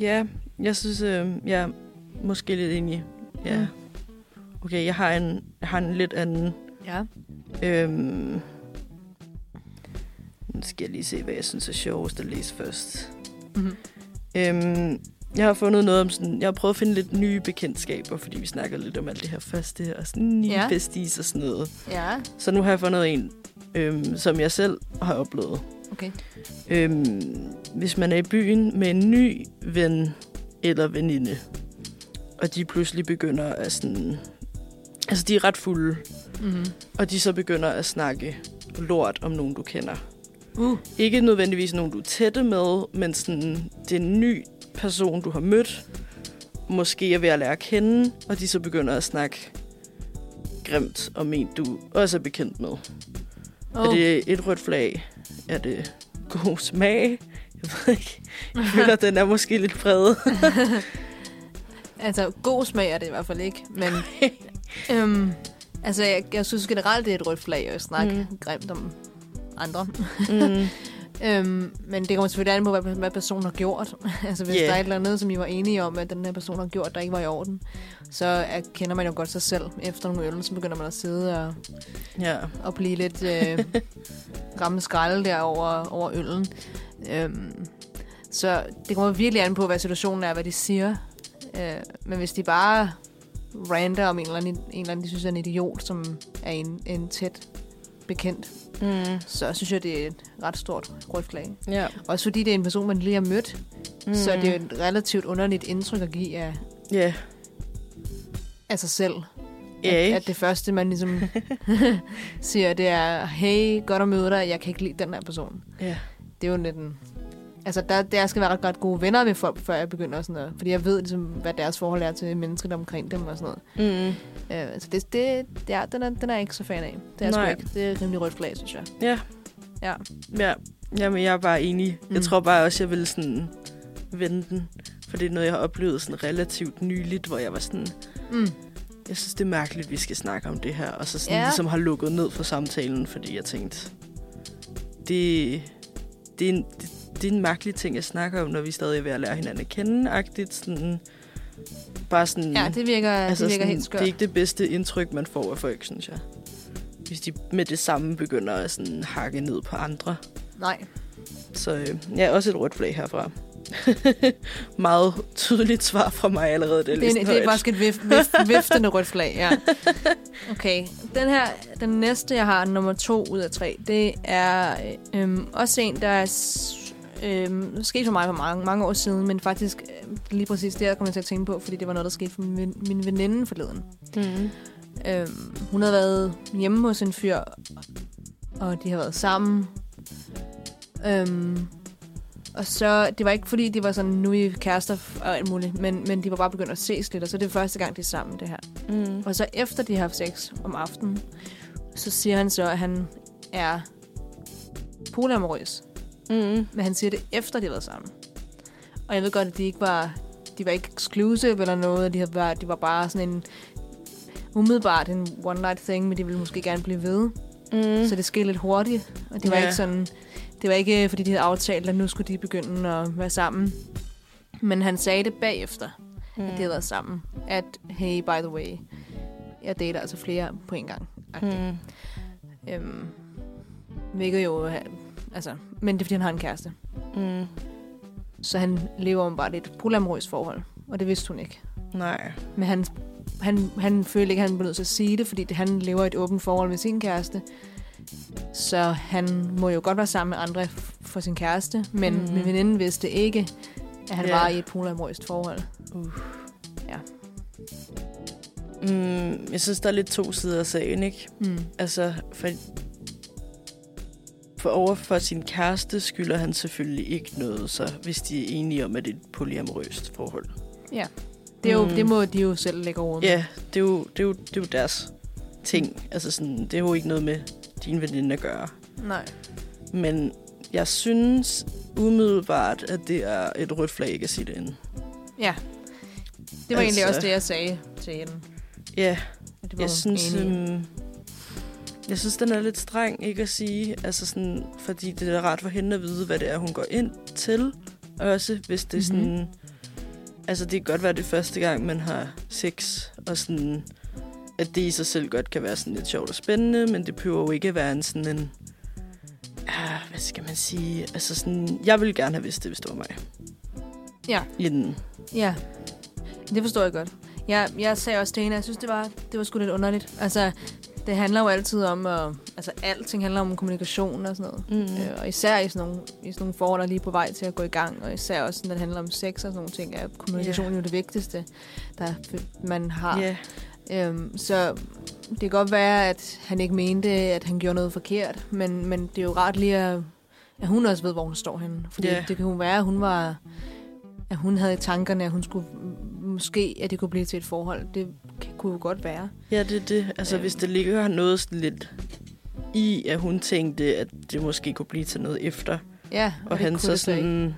Ja, jeg synes, øh, jeg er måske lidt enig. Ja. Okay, jeg har en, jeg har en lidt anden...
Ja.
Øhm, nu skal jeg lige se, hvad jeg synes er sjovest at læse først.
Mm-hmm.
Øhm, jeg har fundet noget om sådan... Jeg har prøvet at finde lidt nye bekendtskaber, fordi vi snakker lidt om alt det her faste og sådan nye
Ja.
ja. besties og sådan noget.
Ja,
Så nu har jeg fundet en, øhm, som jeg selv har oplevet.
okay.
Øhm, hvis man er i byen med en ny ven eller veninde, og de pludselig begynder at sådan... Altså, de er ret fulde,
Mm-hmm.
og de så begynder at snakke lort om nogen, du kender.
Uh.
Ikke nødvendigvis nogen, du er tætte med, men sådan, det er en ny person, du har mødt. Måske er ved at lære at kende, og de så begynder at snakke grimt om en, du også er bekendt med. Oh. Er det et rødt flag? Er det god smag? Jeg ved ikke. Jeg føler, den er måske lidt
<laughs>
bred.
Altså, god smag er det i hvert fald ikke, <laughs> men... øhm, altså, jeg, jeg synes generelt, det er et rødt flag at snakke mm.
Mm.
grimt om andre.
Mm.
Øhm, men det kommer selvfølgelig an på, hvad, hvad personen har gjort. <laughs> altså, hvis
Ja.
yeah. der er et eller andet, som I var enige om, at den her person har gjort, der ikke var i orden, så øh, kender man jo godt sig selv. Efter nogle øl, så begynder man at sidde og,
Ja.
og blive lidt øh, ramme skralde der over, over øllen. Øhm, så det kommer virkelig an på, hvad situationen er, hvad de siger. Øh, men hvis de bare rander om en eller anden, en eller anden de synes er en idiot, som er en, en tæt bekendt,
Mm.
så synes jeg, det er et ret stort rødt flag.
Ja.
Også fordi det er en person, man lige har mødt,
Mm.
mm. så det er jo et relativt underligt indtryk at give af,
Ja.
af sig selv.
Ja,
at,
ikke?
at det første, man
<laughs>
ligesom siger, det er, hey, godt at møde dig, jeg kan ikke lide den her person.
Ja.
Det er jo lidt en... Altså, der, der skal være ret godt gode venner med folk, før jeg begynder sådan noget. Fordi jeg ved, ligesom, hvad deres forhold er til mennesket omkring dem og sådan noget.
Mm.
Øh, altså, det, det, det er, den, er, den er jeg ikke så fan af. Det er, jeg
Nej.
sgu ikke. det er et rimelig rødt flag, synes jeg.
Ja.
Ja.
Ja. Jamen, jeg er bare enig. Mm.
Mm.
Jeg tror bare også, jeg ville sådan vende den. For det er noget, jeg har oplevet sådan relativt nyligt, hvor jeg var sådan,
Mm.
jeg synes, det er mærkeligt, vi skal snakke om det her. Og så sådan
Ja.
ja. ligesom har lukket ned for samtalen, fordi jeg tænkte, det, det, er en, det, det er en mærkelig ting at snakke om, når vi stadig er ved at lære hinanden at kende. Agtigt, sådan, bare sådan,
Ja, det virker, altså, det virker
sådan,
helt skørt.
det er ikke det bedste indtryk, man får af folk, synes jeg. Hvis de med det samme begynder at sådan hakke ned på andre.
Nej.
Så øh, ja, også et rødt flag herfra. <laughs> Meget tydeligt svar fra mig allerede. Det er, ligesom
Det er, en, det er faktisk et vif, vif, viftende rødt flag,
<laughs>
ja. Okay, den her, den næste, jeg har, nummer to ud af tre, det er øhm, også en, der er s- øhm, sket for mig for mange, mange år siden, men faktisk øhm, lige præcis det her kom jeg til at tænke på, fordi det var noget, der skete for min, ven- min veninde forleden.
Mm.
Øhm, hun havde været hjemme hos en fyr, og de havde været sammen. Øhm, og så, det var ikke fordi, de var sådan, nu er I kærester og alt muligt, men, men de var bare begyndt at ses lidt, og så er det første gang, de er sammen, det her.
Mm.
Og så efter de har haft sex om aftenen, så siger han så, at han er polyamorøs.
Mm.
Men han siger det efter, de har været sammen. Og jeg ved godt, at de ikke var, de var ikke exclusive eller noget. De, havde været, de var bare sådan en umiddelbart en one night thing, men de ville måske gerne blive ved.
Mm.
Mm. Så det skete lidt hurtigt. Og det var
Ja.
ikke sådan, det var ikke fordi, de havde aftalt, at nu skulle de begynde at være sammen. Men han sagde det bagefter
mm.
at de havde været sammen. At, hey, by the way, jeg dater altså flere på en gang.
Mm.
Øhm, hvilket jo, er- altså, men det er fordi, han har en kæreste.
Mm.
Så han lever åbenbart i et polyamorøst forhold, og det vidste hun ikke.
Nej.
Men han, han, han følte ikke, at han blev nødt til at sige det, fordi det- han lever i et åbent forhold med sin kæreste. Så han må jo godt være sammen med andre f- for sin kæreste, men
Mhm.
mm. min veninde vidste ikke, at han
Ja.
var i et polyamorøst forhold.
Mm. Jeg synes, der er lidt to sider af sagen, ikke?
Mm.
Altså, for, for over for sin kæreste skylder han selvfølgelig ikke noget, så hvis de er enige om, at det er et polyamorøst forhold.
Det, er jo,
Mm.
det må de jo selv lægge over med.
Ja, det er jo, det er jo, det er jo deres ting. Altså sådan, det er jo ikke noget med din veninde at gøre.
Nej.
Men jeg synes umiddelbart, at det er et rødt flag ikke at sige det inden.
Ja. Det var altså, egentlig
Altså-
også det, jeg sagde til hende.
Ja,
at Det var
jeg synes...
Øhm,
Øhm, Jeg synes, den er lidt streng ikke at sige, altså sådan, fordi det er rart for hende at vide, hvad det er, hun går ind til. Også hvis det er
Mhm.
sådan... Mm-hmm. Altså, det kan godt være det er første gang, man har sex, og sådan, at det i sig selv godt kan være sådan lidt sjovt og spændende, men det behøver jo ikke at være en sådan en... Ah, hvad skal man sige? Altså sådan, jeg ville gerne have vidst det, hvis det var mig.
Ja.
Inden.
Ja, det forstår jeg godt. Jeg, jeg sagde også til hende, at jeg synes, det var, det var sgu lidt underligt. Altså, det handler jo altid om, at, altså alting handler om kommunikation og sådan noget.
Mm.
Øh, og især i sådan, nogle, i sådan nogle forhold, der er lige på vej til at gå i gang, og især også, når det handler om sex og sådan nogle ting, er kommunikation yeah. jo det vigtigste, der man har.
Ja,
Øhm, så det kan godt være, at han ikke mente, at han gjorde noget forkert, men, men det er jo rart lige, at, at hun også ved, hvor hun står henne. Fordi
Ja.
yeah. det kan jo være, at hun var at hun havde i tankerne, at hun skulle måske, at det kunne blive til et forhold. Det kan- kunne jo godt være.
ja det er det. Altså,
Øhm.
hvis det ligger noget sådan lidt i, at hun tænkte, at det måske kunne blive til noget efter,
Ja,
og
det
han
kunne
så
det ikke.
sådan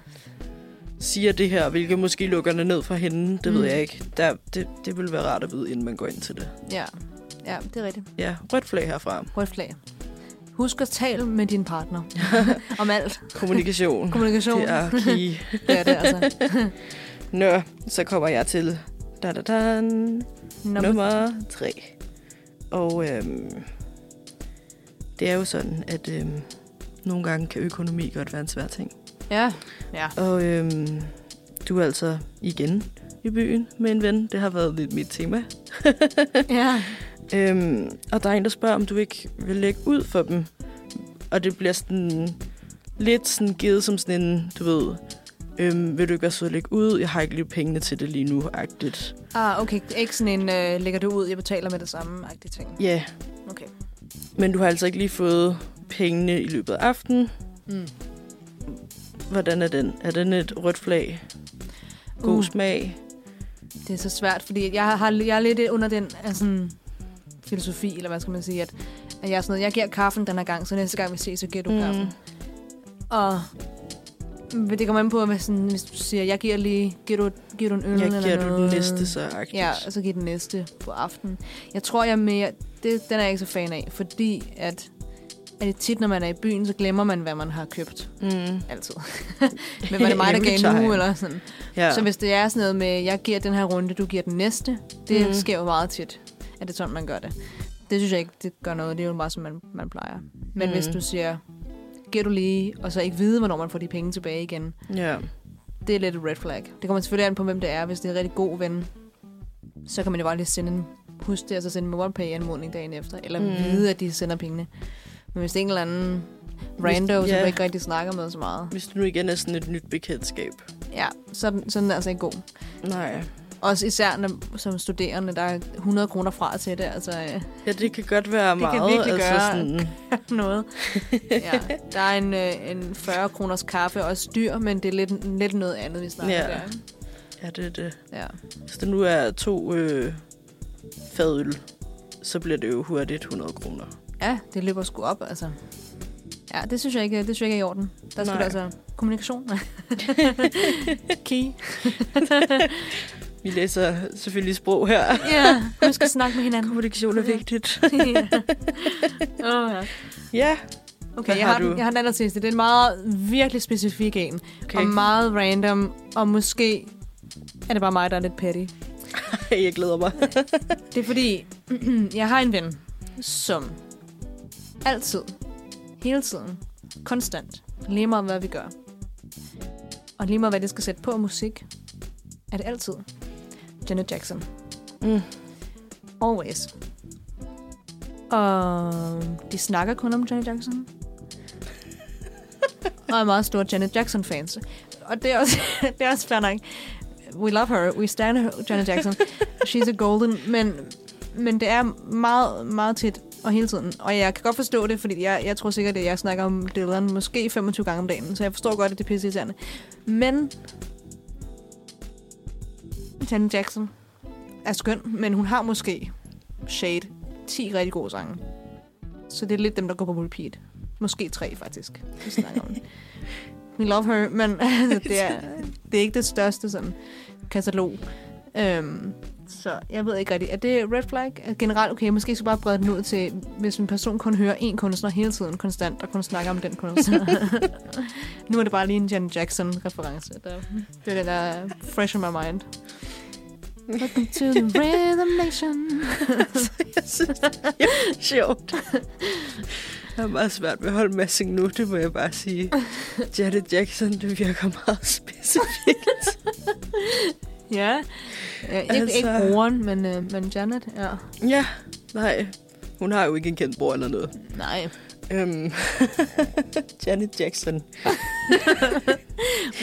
siger det her, hvilket måske lukker det ned for hende, det mm. ved
Mm.
jeg ikke. Der, det, det ville være rart at vide, inden man går ind til det.
Ja. ja, det er rigtigt.
Ja, rødt flag herfra.
Rødt flag. Husk at tale med din
<laughs>
partner om alt.
Kommunikation.
<laughs> Kommunikation.
det er key.
<laughs> det, er
<laughs>
det altså.
Nå, så kommer jeg til da, da, da, nummer tre. Og øhm, det er jo sådan, at øhm, nogle gange kan økonomi godt være en svær ting.
Ja. ja.
Og øhm, du er altså igen i byen med en ven. Det har været lidt mit tema.
ja.
Øhm, og der er en, der spørger, om du ikke vil lægge ud for dem. Og det bliver sådan lidt sådan givet som sådan en, du ved, øhm, vil du ikke være sød at lægge ud? Jeg har ikke lige pengene til det lige nu-agtigt.
Ah, okay. Ikke sådan en, øh, lægger du ud, jeg betaler med det samme, agtig ting.
Ja, yeah.
Okay.
men du har altså ikke lige fået pengene i løbet af aftenen.
Mm.
Hvordan er den? Er den et rødt flag? God
Uh.
uh. smag?
Det er så svært, fordi jeg, har, jeg er lidt under den altså, filosofi, eller hvad skal man sige, at, at jeg er sådan noget, jeg giver kaffen den her gang, så næste gang vi ses, så giver du mm. kaffen. Og men det kommer an på, hvad sådan, hvis du siger, jeg giver lige, giver du, giver du en øl
Jeg
eller
Mm. giver
noget.
du den næste så agtigt.
Ja, og så giver den næste på aftenen. Jeg tror, jeg er mere... Det, den er jeg ikke så fan af, fordi at, at det tit, når man er i byen, så glemmer man, hvad man har købt.
Mm. <laughs>
Altid. Men var det mig, der
Every
gav en uge,
time.
eller sådan?
Ja.
Så hvis det er sådan noget med, jeg giver den her runde, du giver den næste, det
Mhm.
mm. sker jo meget tit, at det er sådan, man gør det. Det synes jeg ikke, det gør noget. Det er jo bare, som man, man plejer. Men
Mhm.
mm. hvis du siger, giver du lige, og så ikke vide, hvornår man får de penge tilbage igen,
ja.
det er lidt et red flag. Det kommer selvfølgelig an på, hvem det er. Hvis det er en rigtig god ven, så kan man jo bare lige sende en, husk det, altså sende en MobilePay-anmodning dagen efter, eller
Mm.
mm. vide, at de sender pengene. Men hvis det er en eller anden rando,
Hvis-
som
ja.
du ikke rigtig snakker med så meget,
Hvis du nu igen er sådan et nyt bekendtskab.
ja, så, er den- så er den altså ikke god.
Nej.
Også især når, som studerende, der er 100 kroner fra til det, altså øh, <laughs>
Ja, det kan godt være
Det kan
meget.
virkelig
altså
gøre-
sådan,
noget. Ja, der er en, øh, en 40 kroners kaffe, også dyr, men det er lidt, lidt noget andet, vi snakker
Ja.
ja. der. ikke?
ja, det er det.
Ja.
Hvis det nu er to øh, fadøl, så bliver det jo hurtigt 100 kroner.
ja, det løber sgu op, altså. Ja, det synes jeg ikke, det synes jeg ikke er i orden.
Nej.
Der skulle altså
<laughs>
kommunikation. <laughs> Key.
Vi læser selvfølgelig sprog her.
Ja, husk at snakke med hinanden.
Kommunikation er vigtigt.
<laughs> ja. Oh, ja.
Ja,
Okay, jeg
har
har,
du?
den, jeg har den aller sidste. Det er en meget virkelig specifik en.
okay.
Okay. Og meget random. Og måske er det bare mig, der er lidt petty.
<laughs> Jeg glæder mig.
Det er fordi, <clears throat> jeg har en ven, som altid, hele tiden, konstant, lige meget hvad vi gør, og lige meget hvad det skal sætte på af musik, er det altid Janet Jackson.
Mm.
Always. Og de snakker kun om Janet Jackson. og er meget store Janet Jackson-fans. Og det er også, <laughs> det er også fair nok. We love her. We stand her, Janet Jackson. She's a golden. Men, men det er meget, meget tit og hele tiden. Og jeg kan godt forstå det, fordi jeg, jeg tror sikkert, at jeg snakker om Dylan måske 25 gange om dagen. Så jeg forstår godt, at det er pisse Men Janet Jackson er skøn, men hun har måske Shade 10 rigtig gode sange. Så det er lidt dem, der går på repeat. Måske tre, faktisk. Vi snakker om det. We love her, <laughs>
<laughs>
men altså, det, er, det er ikke det største sådan, katalog. Øhm, Så jeg ved ikke rigtigt. Er det red flag Er generelt? Okay, måske skulle bare brede den ud til, hvis en person kun hører én kunstner hele tiden konstant, og kun snakker om den <laughs> kunstner. nu er det bare lige en Janet Jackson-reference. Der- Det er den, der er fresh in my mind. Welcome to the Rhythm Nation.
Jeg synes, det er sjovt. Jeg har meget svært ved at holde massing nu, det må jeg bare
<laughs>
sige. Janet Jackson, det virker meget specifikt.
Ja. ja ikke, altså... ikke
Altså-
broren, men, øh, men Janet. Ja.
Ja, nej. Hun har jo ikke en kendt bror eller noget.
<laughs> Nej.
Øhm. <laughs> Janet Jackson.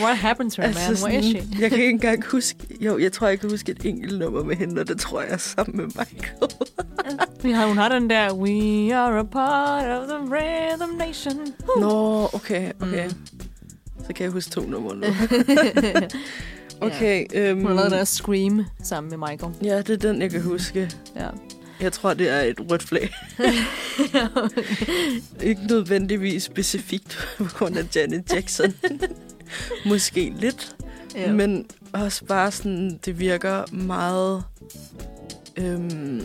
What happened to her, man? Where is she?
jeg kan ikke engang huske... Jo, jeg tror, jeg kan huske et enkelt nummer med hende, og det tror jeg er sammen med Michael.
Vi har, hun har den der, we are a part of the rhythm nation. <laughs>
Nå, okay, okay.
Mm.
Så kan jeg huske to numre nu. Okay, øhm,
Hun har lavet der Scream sammen med Michael.
Ja, det er den, jeg kan huske.
Ja.
Jeg tror, det er et rødt
<laughs>
flag. Ikke nødvendigvis specifikt på grund af Janet
<laughs>
Jackson. Måske lidt,
ja. Men...
men også bare sådan, det virker meget... Øhm,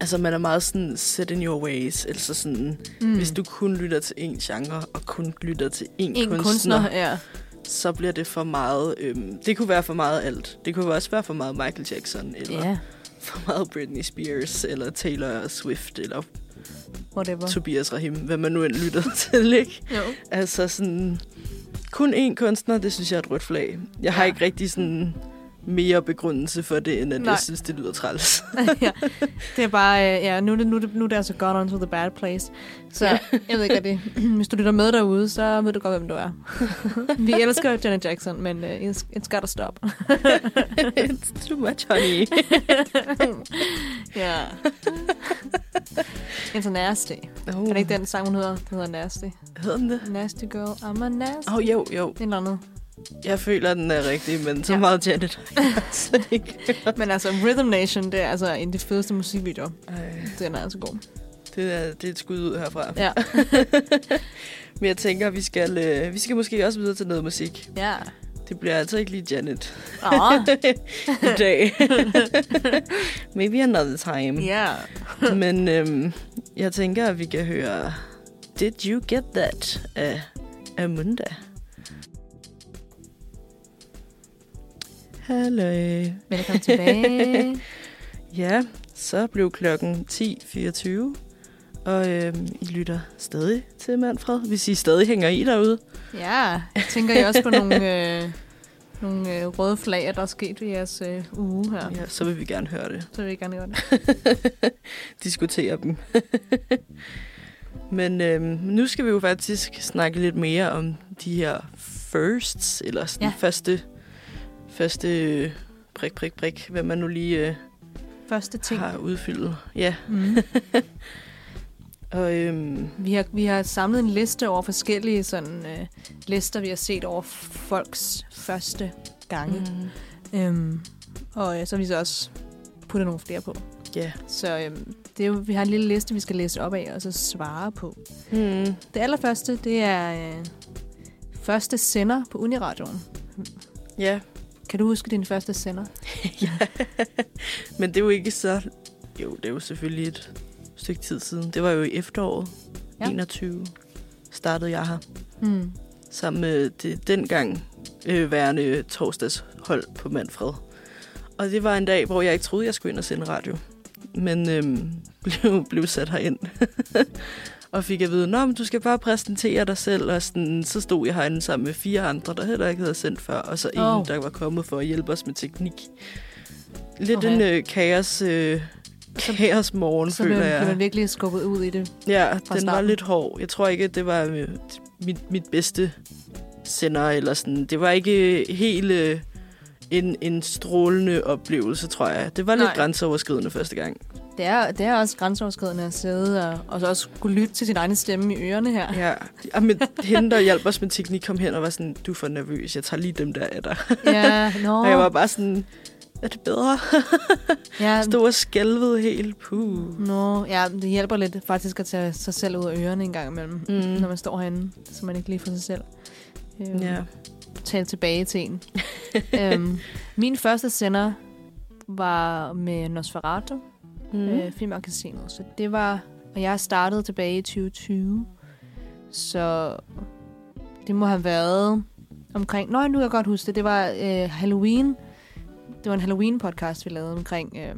altså, man er meget sådan set in your ways. Altså sådan,
Hmm.
mm. hvis du kun lytter til én genre, og kun lytter til én,
en kunstner.
kunstner,
kunstner ja.
så bliver det for meget... Øhm, det kunne være for meget alt. Det kunne også være for meget Michael Jackson, eller
ja,
for meget Britney Spears, eller Taylor Swift, eller
whatever.
Tobias Rahim, hvad man nu end lytter <laughs> til, ikke?
Jo.
Altså sådan, kun én kunstner, det synes jeg er et rødt flag. Jeg har
Ja.
ikke rigtig sådan mere begrundelse for det, end at
Nej.
Nej. jeg synes, det lyder
<laughs>
træls.
<laughs> ja. Det er bare, øh, ja, nu, er det- nu, er det- nu er det altså gone on to the bad place. Så
Ja.
<laughs> jeg ved ikke, hvad det <clears throat> Hvis du lytter med derude, så ved du godt, hvem du
<laughs>
er. Vi elsker Janet Jackson, men uh, it's, it's gotta
<laughs>
stop.
It's too much,
<laughs>
honey.
ja. It's a nasty.
Oh.
Er det ikke den sang, hun hedder? Den hedder Nasty.
Hedder den det?
Nasty girl, I'm a nasty.
Åh, oh, jo, jo.
Et eller andet.
Jeg føler, den er rigtig, men så
Ja.
ja. meget Janet.
<laughs>
så det ikke.
Men altså, Rhythm Nation, det er altså en af de fedeste musikvideoer.
Ej,
Den er altså god.
det, er, det er et skud ud herfra.
Ja.
Men jeg tænker, vi skal, øh, vi skal måske også videre til noget musik.
Ja.
Det bliver altså ikke lige Janet
Åh,
<laughs> i
<laughs>
dag. Maybe another time.
ja.
<laughs> Men øhm, jeg tænker, at vi kan høre Did You Get That af Amunda. Hallo.
Velkommen tilbage.
Ja, så blev klokken 10.24, og øhm, I lytter stadig til Manfred, hvis I stadig hænger i derude.
<laughs> Ja, jeg tænker jeg også på nogle, øh, nogle øh, røde flag, der er sket i jeres øh, uge her.
Ja, så vil vi gerne høre det.
Så vil jeg gerne gøre det.
Diskutere dem. <laughs> Men øhm, nu skal vi jo faktisk snakke lidt mere om de her firsts, eller sådan
Ja.
ja. første, første øh, prik, prik, prik, hvad man nu lige øh,
Første ting.
har udfyldt. Ja,
Mm.
og øhm,
Vi, har, vi har samlet en liste over forskellige sådan, øh, lister, vi har set over folks første gange.
mm,
Mm. Øhm, og øh, så har vi så også puttet nogle flere på.
ja.
Så øhm, det er jo, vi har en lille liste, vi skal læse op af og så svare på.
Mm,
Det allerførste, det er øh, første sender på Uniradioen.
ja. <laughs>
Kan du huske din første sender?
Men det er jo ikke så... Jo, det er jo selvfølgelig et stykke tid siden. Det var jo i efteråret
Ja.
ja. 21 startede jeg her.
Mm.
sammen med det dengang øh, værende torsdagshold på Manfred. Og det var en dag, hvor jeg ikke troede, jeg skulle ind og sende radio. Men øhm, <laughs> blev, blev sat herind. <laughs> og fik at vide, Nå, men du skal bare præsentere dig selv. Og sådan, så stod jeg herinde sammen med fire andre, der heller ikke havde sendt før. Og så en,
Oh.
oh. der var kommet for at hjælpe os med teknik. Lidt
Okay.
okay. en øh, kaos... Øh, kaos morgen,
Så blev,
føler jeg.
blev man virkelig skubbet ud i det.
Ja, den var
starten.
lidt hård. Jeg tror ikke, det var øh, mit, mit bedste sender. Eller sådan. Det var ikke helt øh, en, en strålende oplevelse, tror jeg. Det var lidt
Nej.
grænseoverskridende første gang.
Det er, det er også grænseoverskridende at sidde og, og så også kunne lytte til sin egen stemme i ørerne her.
Ja. Og med, hende, der hjalp os med teknik, kom hen og var sådan, du er for nervøs, jeg tager lige dem der af dig.
Ja, no.
Og jeg var bare sådan, er det bedre?
ja,
Stod og skælvede helt. Puh.
Nå, ja, det hjælper lidt faktisk at tage sig selv ud af ørerne en gang imellem, mm. når man står herinde, så man ikke lige får sig selv øhm,
Ja.
<laughs> tale tilbage til en. øhm, min første sender var med Nosferatu, mm. øh, filmmagasinet. Så det var... Og jeg startede tilbage i 2020. Så det må have været omkring... Nå, nu kan jeg godt huske det. Det var øh, Halloween. Det var en Halloween-podcast, vi lavede omkring øh,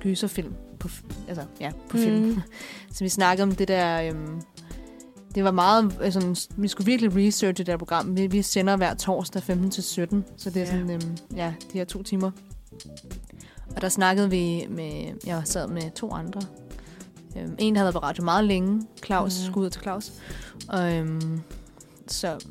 gyserfilm. På, f- altså, ja, på mm. film. så vi snakkede om det der... Øh, det var meget, altså, vi skulle virkelig researche det der program. Vi, vi sender hver torsdag 15 til 17, så det er
Ja.
sådan, øhm, ja, de her to timer. Og der snakkede vi med, jeg sad med to andre. Øhm, en, der havde været på radio meget længe, Claus,
Mhm.
mm. skud ud til Claus. Og, øhm, så,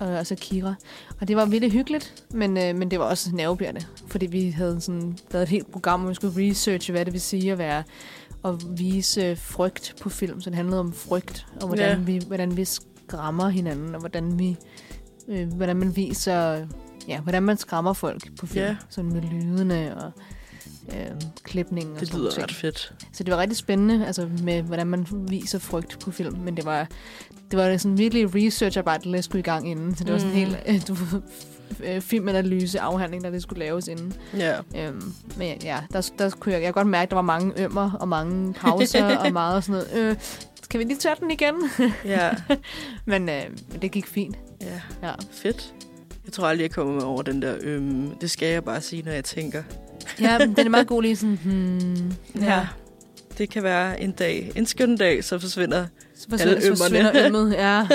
og, og så Kira. Og det var virkelig hyggeligt, men, øh, men det var også nervepirrende, fordi vi havde sådan lavet et helt program, hvor vi skulle researche, hvad det vil sige at være at vise frygt på film. Så det handlede om frygt, og hvordan,
Ja.
ja. vi, hvordan vi skræmmer hinanden, og hvordan vi øh, hvordan man viser, ja, hvordan man skræmmer folk på film.
Ja.
Ja. Sådan med lydene og øh, klipningen og
Det
sådan nogle
lyder
ting.
ret fedt.
Så det var rigtig spændende, altså med, hvordan man viser frygt på film. Men det var, det var sådan virkelig researcharbejde, der skulle i gang inden. Så det var sådan
Mm.
en helt <laughs> øh, du, ved, f- øh, filmanalyse, afhandling, der det skulle laves inden.
Ja.
Øhm, men ja, ja, der, der kunne jeg, jeg kunne godt mærke, at der var mange ømmer og mange <laughs> pauser og meget sådan noget. Øh, kan vi lige tage den igen? <laughs>
Ja.
men øh, men det gik fint.
ja.
Ja.
Fedt. Jeg tror aldrig, jeg kommer med over den der, øhm, det skal jeg bare sige, når jeg tænker.
ja, men den er meget god lige sådan, hmm, ja.
Det kan være en dag, en skøn dag, så forsvinder
Så forsvinder, så forsvinder ømmet, <laughs> ja.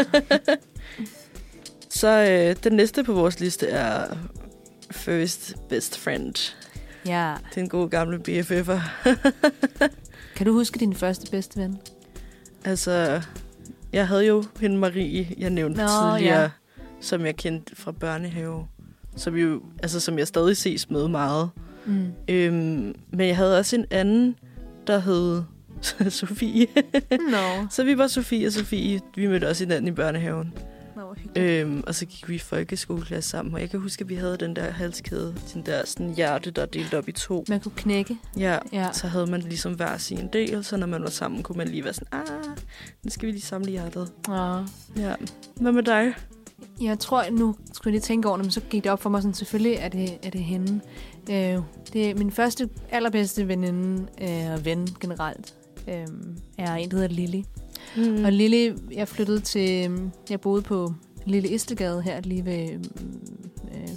Så øh, den næste på vores liste er First Best Friend.
ja.
Den gode gamle BFF'er.
Kan du huske din første bedste ven?
Altså, jeg havde jo hende Marie, jeg nævnte
Nå,
Nå, tidligere, ja. som jeg kendte fra børnehave. Som, jo, altså, som jeg stadig ses med meget.
Mm.
Øhm, men jeg havde også en anden, der hed <laughs> Sofie.
Nå,
Så vi var Sofie og Sofie. Vi mødte også hinanden i børnehaven.
Nå hvor hyggeligt.
Øhm, og så gik vi i folkeskoleklasse sammen, og jeg kan huske, at vi havde den der halskæde, den der sådan hjerte, der er delt op i to.
Man kunne knække.
Ja,
Ja.
så havde man ligesom hver sin del, så når man var sammen, kunne man lige være sådan, ah, nu skal vi lige samle hjertet.
Ja.
Ja. Hvad med dig?
Jeg tror, nu skulle jeg lige tænke over det, men så gik det op for mig sådan, selvfølgelig er det, er det hende. Øh, det er min første, allerbedste veninde øh, og ven generelt. Øh, er en, der hedder Lili.
Mm.
Og Lille, jeg flyttede til, jeg boede på Lille Istegade her lige ved, øhm, øh,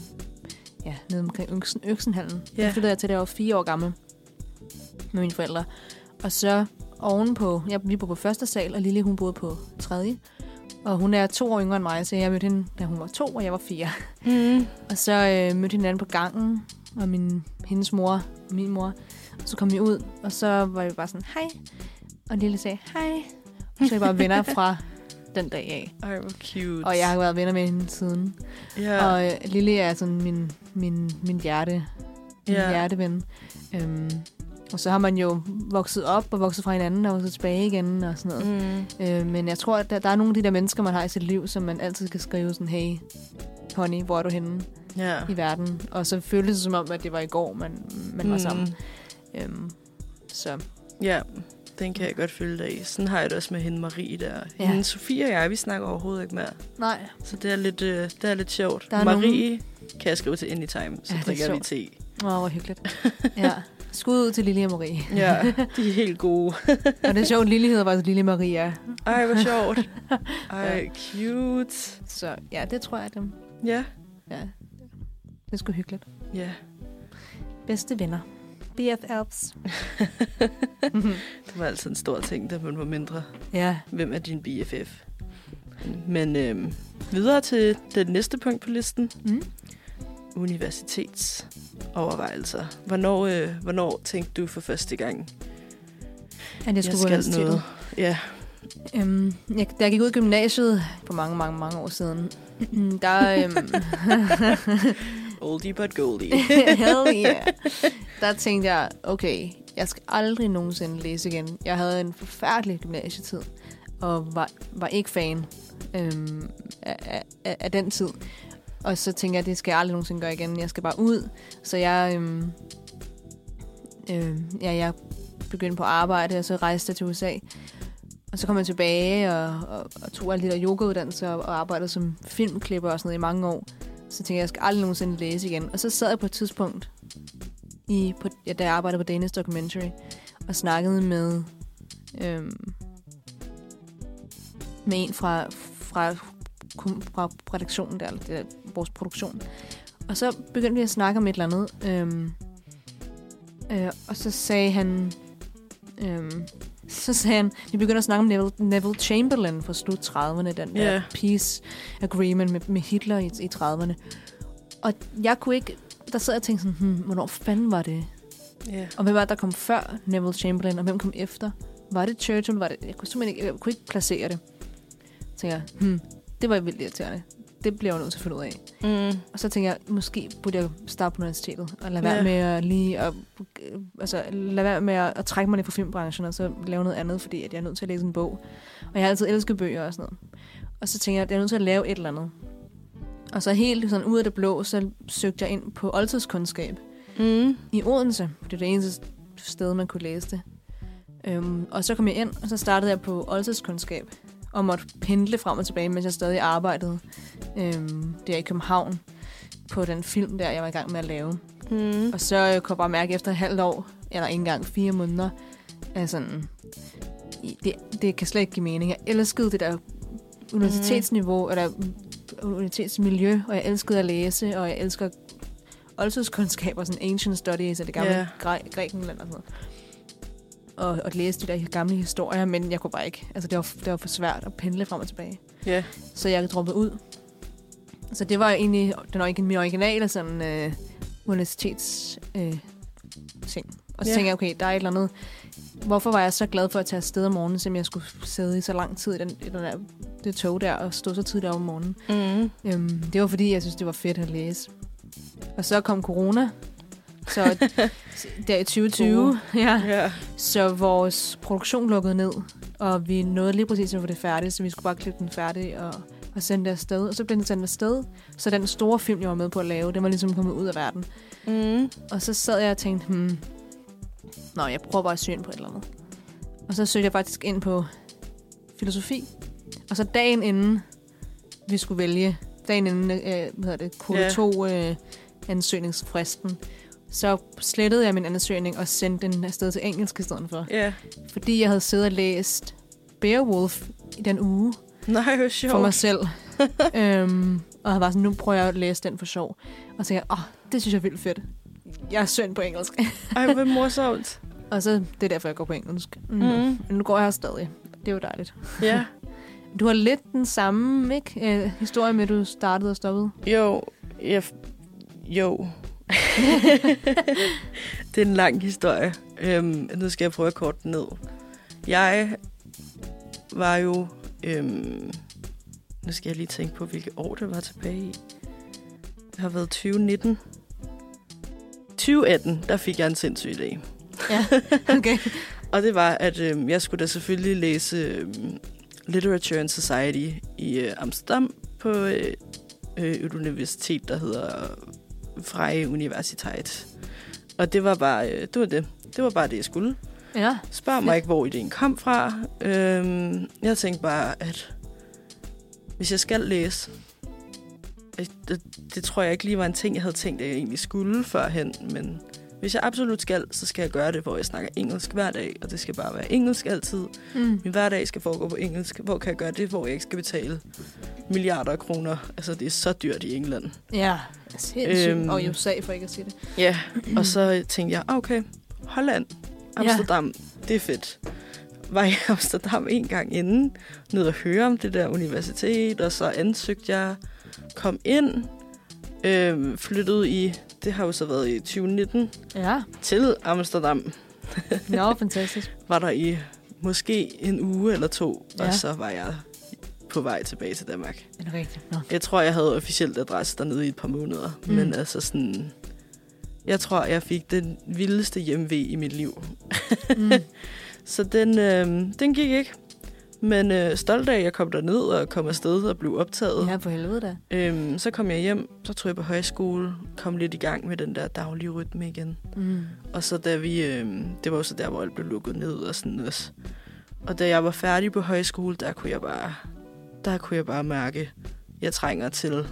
ja, nede omkring Øksen, Øksenhallen.
Ja.
Ja. Der flyttede jeg til, da jeg var fire år gammel med mine forældre. Og så ovenpå, jeg, vi boede på første sal, og Lille hun boede på tredje. Og hun er to år yngre end mig, så jeg mødte hende, da hun var to, og jeg var fire.
Mm.
Og så øh, mødte hinanden på gangen, og min, hendes mor og min mor. Og så kom vi ud, og så var vi bare sådan, hej. Og Lille sagde, hej. Og så er vi bare venner fra den dag af.
Ej, hvor cute.
Og jeg har været venner med hende siden.
ja.
Ja. Og øh, Lille er sådan min, min, min, hjerte, min
Ja.
hjerteven. Øhm, og så har man jo vokset op og vokset fra hinanden og vokset tilbage igen og sådan noget.
mm.
Øh, men jeg tror, at der, der er nogle af de der mennesker, man har i sit liv, som man altid kan skrive sådan, hey, honey, hvor er du henne?
ja.
i verden. Og så føltes det som om, at det var i går, man, man var sammen. Øhm, så
Mm. Ja, den kan jeg godt følge dig i. Sådan har jeg det også med hende Marie der. Ja.
Ja.
Hende Sofie og jeg, vi snakker overhovedet ikke mere.
nej,
Så det er lidt, øh, det er lidt sjovt.
Der er
Marie kan jeg skrive til anytime, så ja,
Ja, det er
drikker vi
sjovt. <laughs>
te.
Åh, hvor hyggeligt. <laughs> Ja. Skud ud til Lille og Marie.
Ja, de er helt gode.
<laughs> Og det er sjovt, Lille hedder faktisk Lille Maria.
Ej, hvor
<laughs>
sjovt. Ej, cute.
Så ja, det tror jeg, at dem.
Ja,
Ja. Det er sgu hyggeligt.
ja.
Bedste venner. BFFs.
Det var altså en stor ting, da man var mindre.
<laughs> ja.
Hvem er din BFF? Men øhm, videre til den næste punkt på listen.
Mm.
Universitetsovervejelser. Hvornår, øh, hvornår tænkte du for første gang,
At jeg skulle jeg skal noget.
Ja.
Øhm, jeg, da jeg gik ud af gymnasiet for mange, mange, mange år siden, <clears throat> der, øhm, <laughs>
Oldie but goldie.
Hell yeah. Der tænkte jeg, okay, jeg skal aldrig nogensinde læse igen. Jeg havde en forfærdelig gymnasietid, og var, var ikke fan øhm, af, af- af, af den tid. Og så tænkte jeg, det skal jeg aldrig nogensinde gøre igen. Jeg skal bare ud. Så jeg, øhm, øhm, ja, jeg begyndte på arbejde, og så rejste jeg til USA. Og så kom jeg tilbage og, og, og tog alle de der yogauddannelser og, og arbejdede som filmklipper og sådan noget i mange år. Så tænkte jeg, jeg skal aldrig nogensinde læse igen. Og så sad jeg på et tidspunkt i, på, ja, da jeg arbejdede på Danish Documentary, og snakkede med, øhm, med en fra, fra, kom- fra redaktionen der, eller det der, vores produktion. Og så begyndte vi at snakke om et eller andet, øhm, øh, og så sagde han, øhm, så sagde han, vi begynder at snakke om Neville, Neville Chamberlain fra slut 30'erne, den der
Ja.
peace agreement med, med Hitler i, i 30'erne. Og jeg kunne ikke, der sad jeg og tænkte sådan, hmm, hvornår fanden var det?
Ja.
Og hvem var det, der kom før Neville Chamberlain, og hvem kom efter? Var det Churchill? Var det, jeg kunne simpelthen ikke, jeg kunne ikke placere det. Så tænkte jeg, hmm, det var vildt irriterende. Det bliver jeg jo nødt til at finde ud af.
Mm.
Og så tænkte jeg, måske burde jeg starte på universitetet, og lade være
Ja.
med at lige at, øh, altså, lade være med at, at trække mig lidt fra filmbranchen, og så lave noget andet, fordi at jeg er nødt til at læse en bog. Og jeg har altid elsket bøger og sådan noget. Og så tænkte jeg, at jeg er nødt til at lave et eller andet. Og så helt sådan ud af det blå, så søgte jeg ind på oldtidskundskab
Mm.
i Odense. Det er det eneste sted, man kunne læse det. Øhm, og så kom jeg ind, og så startede jeg på oldtidskundskab og måtte pendle frem og tilbage, mens jeg stadig arbejdede øhm, der i København på den film der, jeg var i gang med at lave.
Mm.
Og så øh, kunne jeg bare mærke efter et halvt år, eller ikke engang fire måneder, at sådan, i- det, det kan slet ikke give mening. Jeg elskede det der
Mm.
universitetsniveau, eller universitetsmiljø, og jeg elskede at læse, og jeg elsker oldtidskundskab og sådan ancient studies og det gamle
Ja.
yeah. græ- Grækenland og sådan noget. Og, og læse de der gamle historier, men jeg kunne bare ikke. Altså, det var, det var for svært at pendle frem og tilbage.
Ja.
Så jeg droppede ud. Så det var egentlig den origi- min originale sådan, øh, universitets øh, ting. Og
Ja.
så yeah. tænkte jeg, okay, der er et eller andet. Hvorfor var jeg så glad for at tage afsted om morgenen, som jeg skulle sidde i så lang tid i, den, i den der, det tog der og stå så tidligt op om morgenen?
Mm.
Øhm, det var fordi, jeg synes, det var fedt at læse. Og så kom corona. Så der i 2020,
Uh.
ja,
Ja.
så vores produktion lukkede ned, og vi nåede lige præcis at få det færdigt, så vi skulle bare klippe den færdig og, og sende det afsted. Og så blev den sendt afsted, så den store film, jeg var med på at lave, den var ligesom kommet ud af verden.
Mm.
Og så sad jeg og tænkte, hmm, nå, jeg prøver bare at søge ind på et eller andet. Og så søgte jeg faktisk ind på filosofi. Og så dagen inden vi skulle vælge, dagen inden, øh, hvad hedder det, kode
Ja.
2 øh, ansøgningsfristen, så slettede jeg min ansøgning og sendte den afsted til engelsk i stedet for.
Ja.
Fordi jeg havde siddet og læst Beowulf i den uge
Nej, hvor sjovt.
for mig <laughs> selv. øhm, og jeg var sådan, nu prøver jeg at læse den for sjov. Og så tænkte jeg, åh, oh, det synes jeg er vildt fedt. Jeg er søn på engelsk. <laughs>
Ej, hvor <laughs> morsomt.
Og så, det er derfor, jeg går på engelsk. Mm. Mm.
Mm.
Nu går jeg her stadig. Det er jo dejligt.
Ja.
Du har lidt den samme, ikke? Øh, historie med, at du startede og <laughs> stoppede.
Jo, jeg... f- Jo. <laughs> det er en lang historie. Øhm, nu skal jeg prøve at korte den ned. Jeg var jo... Øhm, nu skal jeg lige tænke på, hvilket år det var tilbage i. Det har været 2019. 2018, der fik jeg en sindssyg idé.
Ja, okay.
Og det var, at øh, jeg skulle da selvfølgelig læse øh, Literature and Society i øh, Amsterdam på øh, øh, et universitet, der hedder Freie Universiteit. Og det var bare øh, det, var det. Det var bare det, jeg skulle.
Ja,
Spørg mig ikke, hvor ideen kom fra. Øhm, jeg tænkte bare, at hvis jeg skal læse, øh, det, det tror jeg ikke lige var en ting, jeg havde tænkt, at jeg egentlig skulle førhen, men hvis jeg absolut skal, så skal jeg gøre det, hvor jeg snakker engelsk hver dag, og det skal bare være engelsk altid.
mm.
Min hverdag skal foregå på engelsk. Hvor kan jeg gøre det, hvor jeg ikke skal betale milliarder af kroner? Altså, det er så dyrt i England.
ja. Sindssygt.
Øhm.
Øhm. Og i USA, for ikke at sige det.
Ja, og så tænkte jeg, ah, okay, Holland, Amsterdam, det er fedt. Var i Amsterdam en gang inden, nød at høre om det der universitet, og så ansøgte jeg, kom ind, øh, flyttede i, det har jo så været i 2019,
Ja,
til Amsterdam,
nå, fantastisk.
var der i måske en uge eller to, ja.
Ja.
og så var jeg på vej tilbage til Danmark.
Er det rigtigt? Nå.
Jeg tror, jeg havde officielt adresse dernede i et par måneder. Mm.
Mm.
Men altså sådan... Jeg tror, jeg fik den vildeste hjemve i mit liv.
Mm. <laughs>
Så den, øh, den gik ikke. Men øh, stolt af, at jeg kom derned og kom afsted og blev optaget.
Ja, for helvede da.
Øhm, så kom jeg hjem, så tog jeg på højskole, kom lidt i gang med den der daglige rytme igen.
Mm.
Og så da vi, øh, det var jo så der, hvor alt blev lukket ned og sådan også. Og da jeg var færdig på højskole, der kunne jeg bare, der kunne jeg bare mærke, jeg trænger til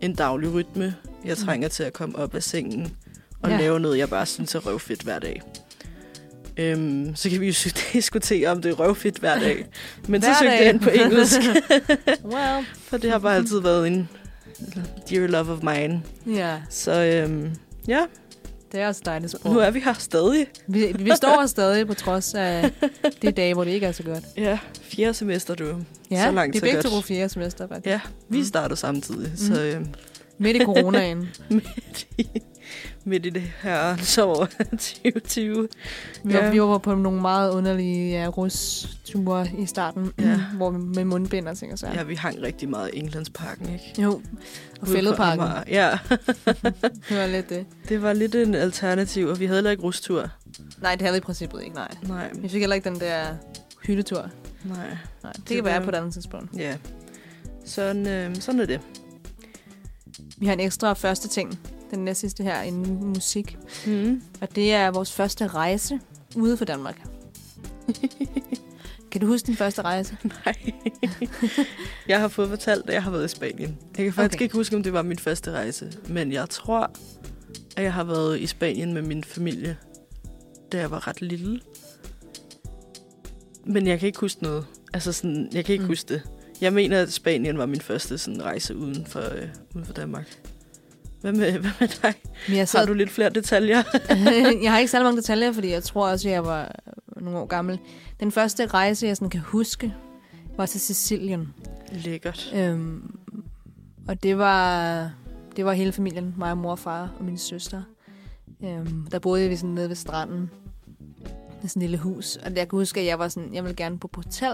en daglig rytme. Jeg
Mm.
trænger til at komme op af sengen og
Ja.
ja. lave noget, jeg bare synes er røvfedt hver dag. Øhm, så kan vi jo <laughs> diskutere, om det er røvfedt hver
<laughs>
dag. Men så
Hver
søgte
dag.
jeg ind
<laughs>
på <laughs> engelsk,
well.
for det har bare altid været en dear love of mine.
Ja,
Så øhm, ja,
det er også et dejligt sprog.
nu er vi her stadig.
Vi, vi står her stadig på trods af de dage, hvor det ikke er så godt.
Ja, fjerde semester, du.
Ja,
Så langt,
vi er
så
begge
godt.
to på fjerde semester, faktisk.
Ja, vi
Mm.
starter samtidig, så øhm, <laughs>
Midt i coronaen.
midt, i, midt i det her <laughs> så 2020.
Vi,
Ja.
var, vi var på nogle meget underlige ja, rusture i starten, mm,
Ja.
hvor vi med mundbind og ting og så.
Ja, vi hang rigtig meget i Englandsparken, ikke?
Jo, og
Ude på
fældeparken.
Amager. Ja, <laughs>
Det var lidt det.
det var lidt en alternativ, og vi havde heller ikke rustur.
Nej, det havde vi i princippet ikke, nej.
Nej,
Vi fik heller ikke den der hyttetur.
nej.
Nej, det,
Det
kan være
var-
på et andet tidspunkt.
Ja. Sådan, øh, sådan er det.
Vi har en ekstra første ting, den næste sidste her, inden musik.
Mm.
Og det er vores første rejse ude for Danmark. <laughs> kan du huske din første rejse?
Nej. jeg har fået fortalt, at jeg har været i Spanien. Jeg kan faktisk
Okay.
okay. ikke huske, om det var min første rejse, men jeg tror, at jeg har været i Spanien med min familie, da jeg var ret lille. Men jeg kan ikke huske noget. Altså sådan, jeg kan ikke
Mm.
mm. huske det. Jeg mener, at Spanien var min første sådan, rejse uden for, øh, uden for Danmark. Hvad med, <laughs> hvad med dig?
Men jeg,
Så har du lidt flere detaljer.
<laughs> jeg har ikke særlig mange detaljer, fordi jeg tror også, at jeg var nogle år gammel. Den første rejse, jeg sådan kan huske, var til Sicilien.
Lækkert.
Øhm, og det var, det var hele familien, mig og mor og far og min søster. Øhm, der boede vi sådan nede ved stranden i sådan et lille hus. Og jeg kan huske, at jeg var sådan, jeg ville gerne bo på hotel.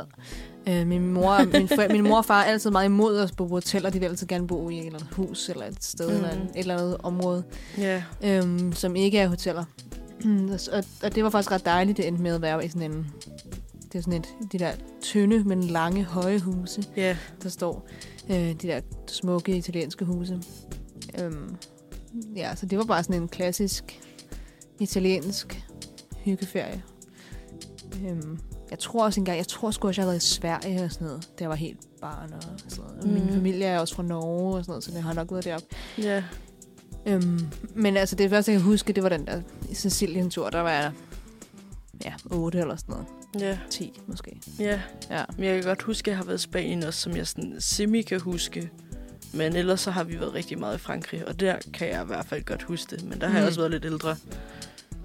Øh, min, mor, min, for, min mor og far er altid meget imod os på hotel, og de vil altid gerne bo i et eller andet hus eller et sted mm.
Mm.
eller et eller andet område,
Ja.
øhm, som ikke er hoteller. <clears throat> og, og, det var faktisk ret dejligt, det endte med at være i sådan en... Det er sådan et, de der tynde, men lange, høje huse
Ja.
der står øh, de der smukke italienske huse. Øhm, ja, så det var bare sådan en klassisk italiensk hyggeferie. Øhm, jeg tror også engang, jeg tror sgu også, jeg har været i Sverige og sådan noget, da jeg var helt barn og sådan noget. Og Min
Mm.
familie er også fra Norge og sådan noget, så det har nok været deroppe.
Ja.
Øhm, men altså det første, jeg kan huske, det var den der Sicilien-tur, der var jeg ja, 8 eller sådan noget.
Ja.
10 måske.
Ja.
Ja.
Men jeg kan godt huske, at jeg har været i Spanien også, som jeg sådan semi kan huske. Men ellers så har vi været rigtig meget i Frankrig, og der kan jeg i hvert fald godt huske det. Men der har jeg
Mm.
også været lidt ældre.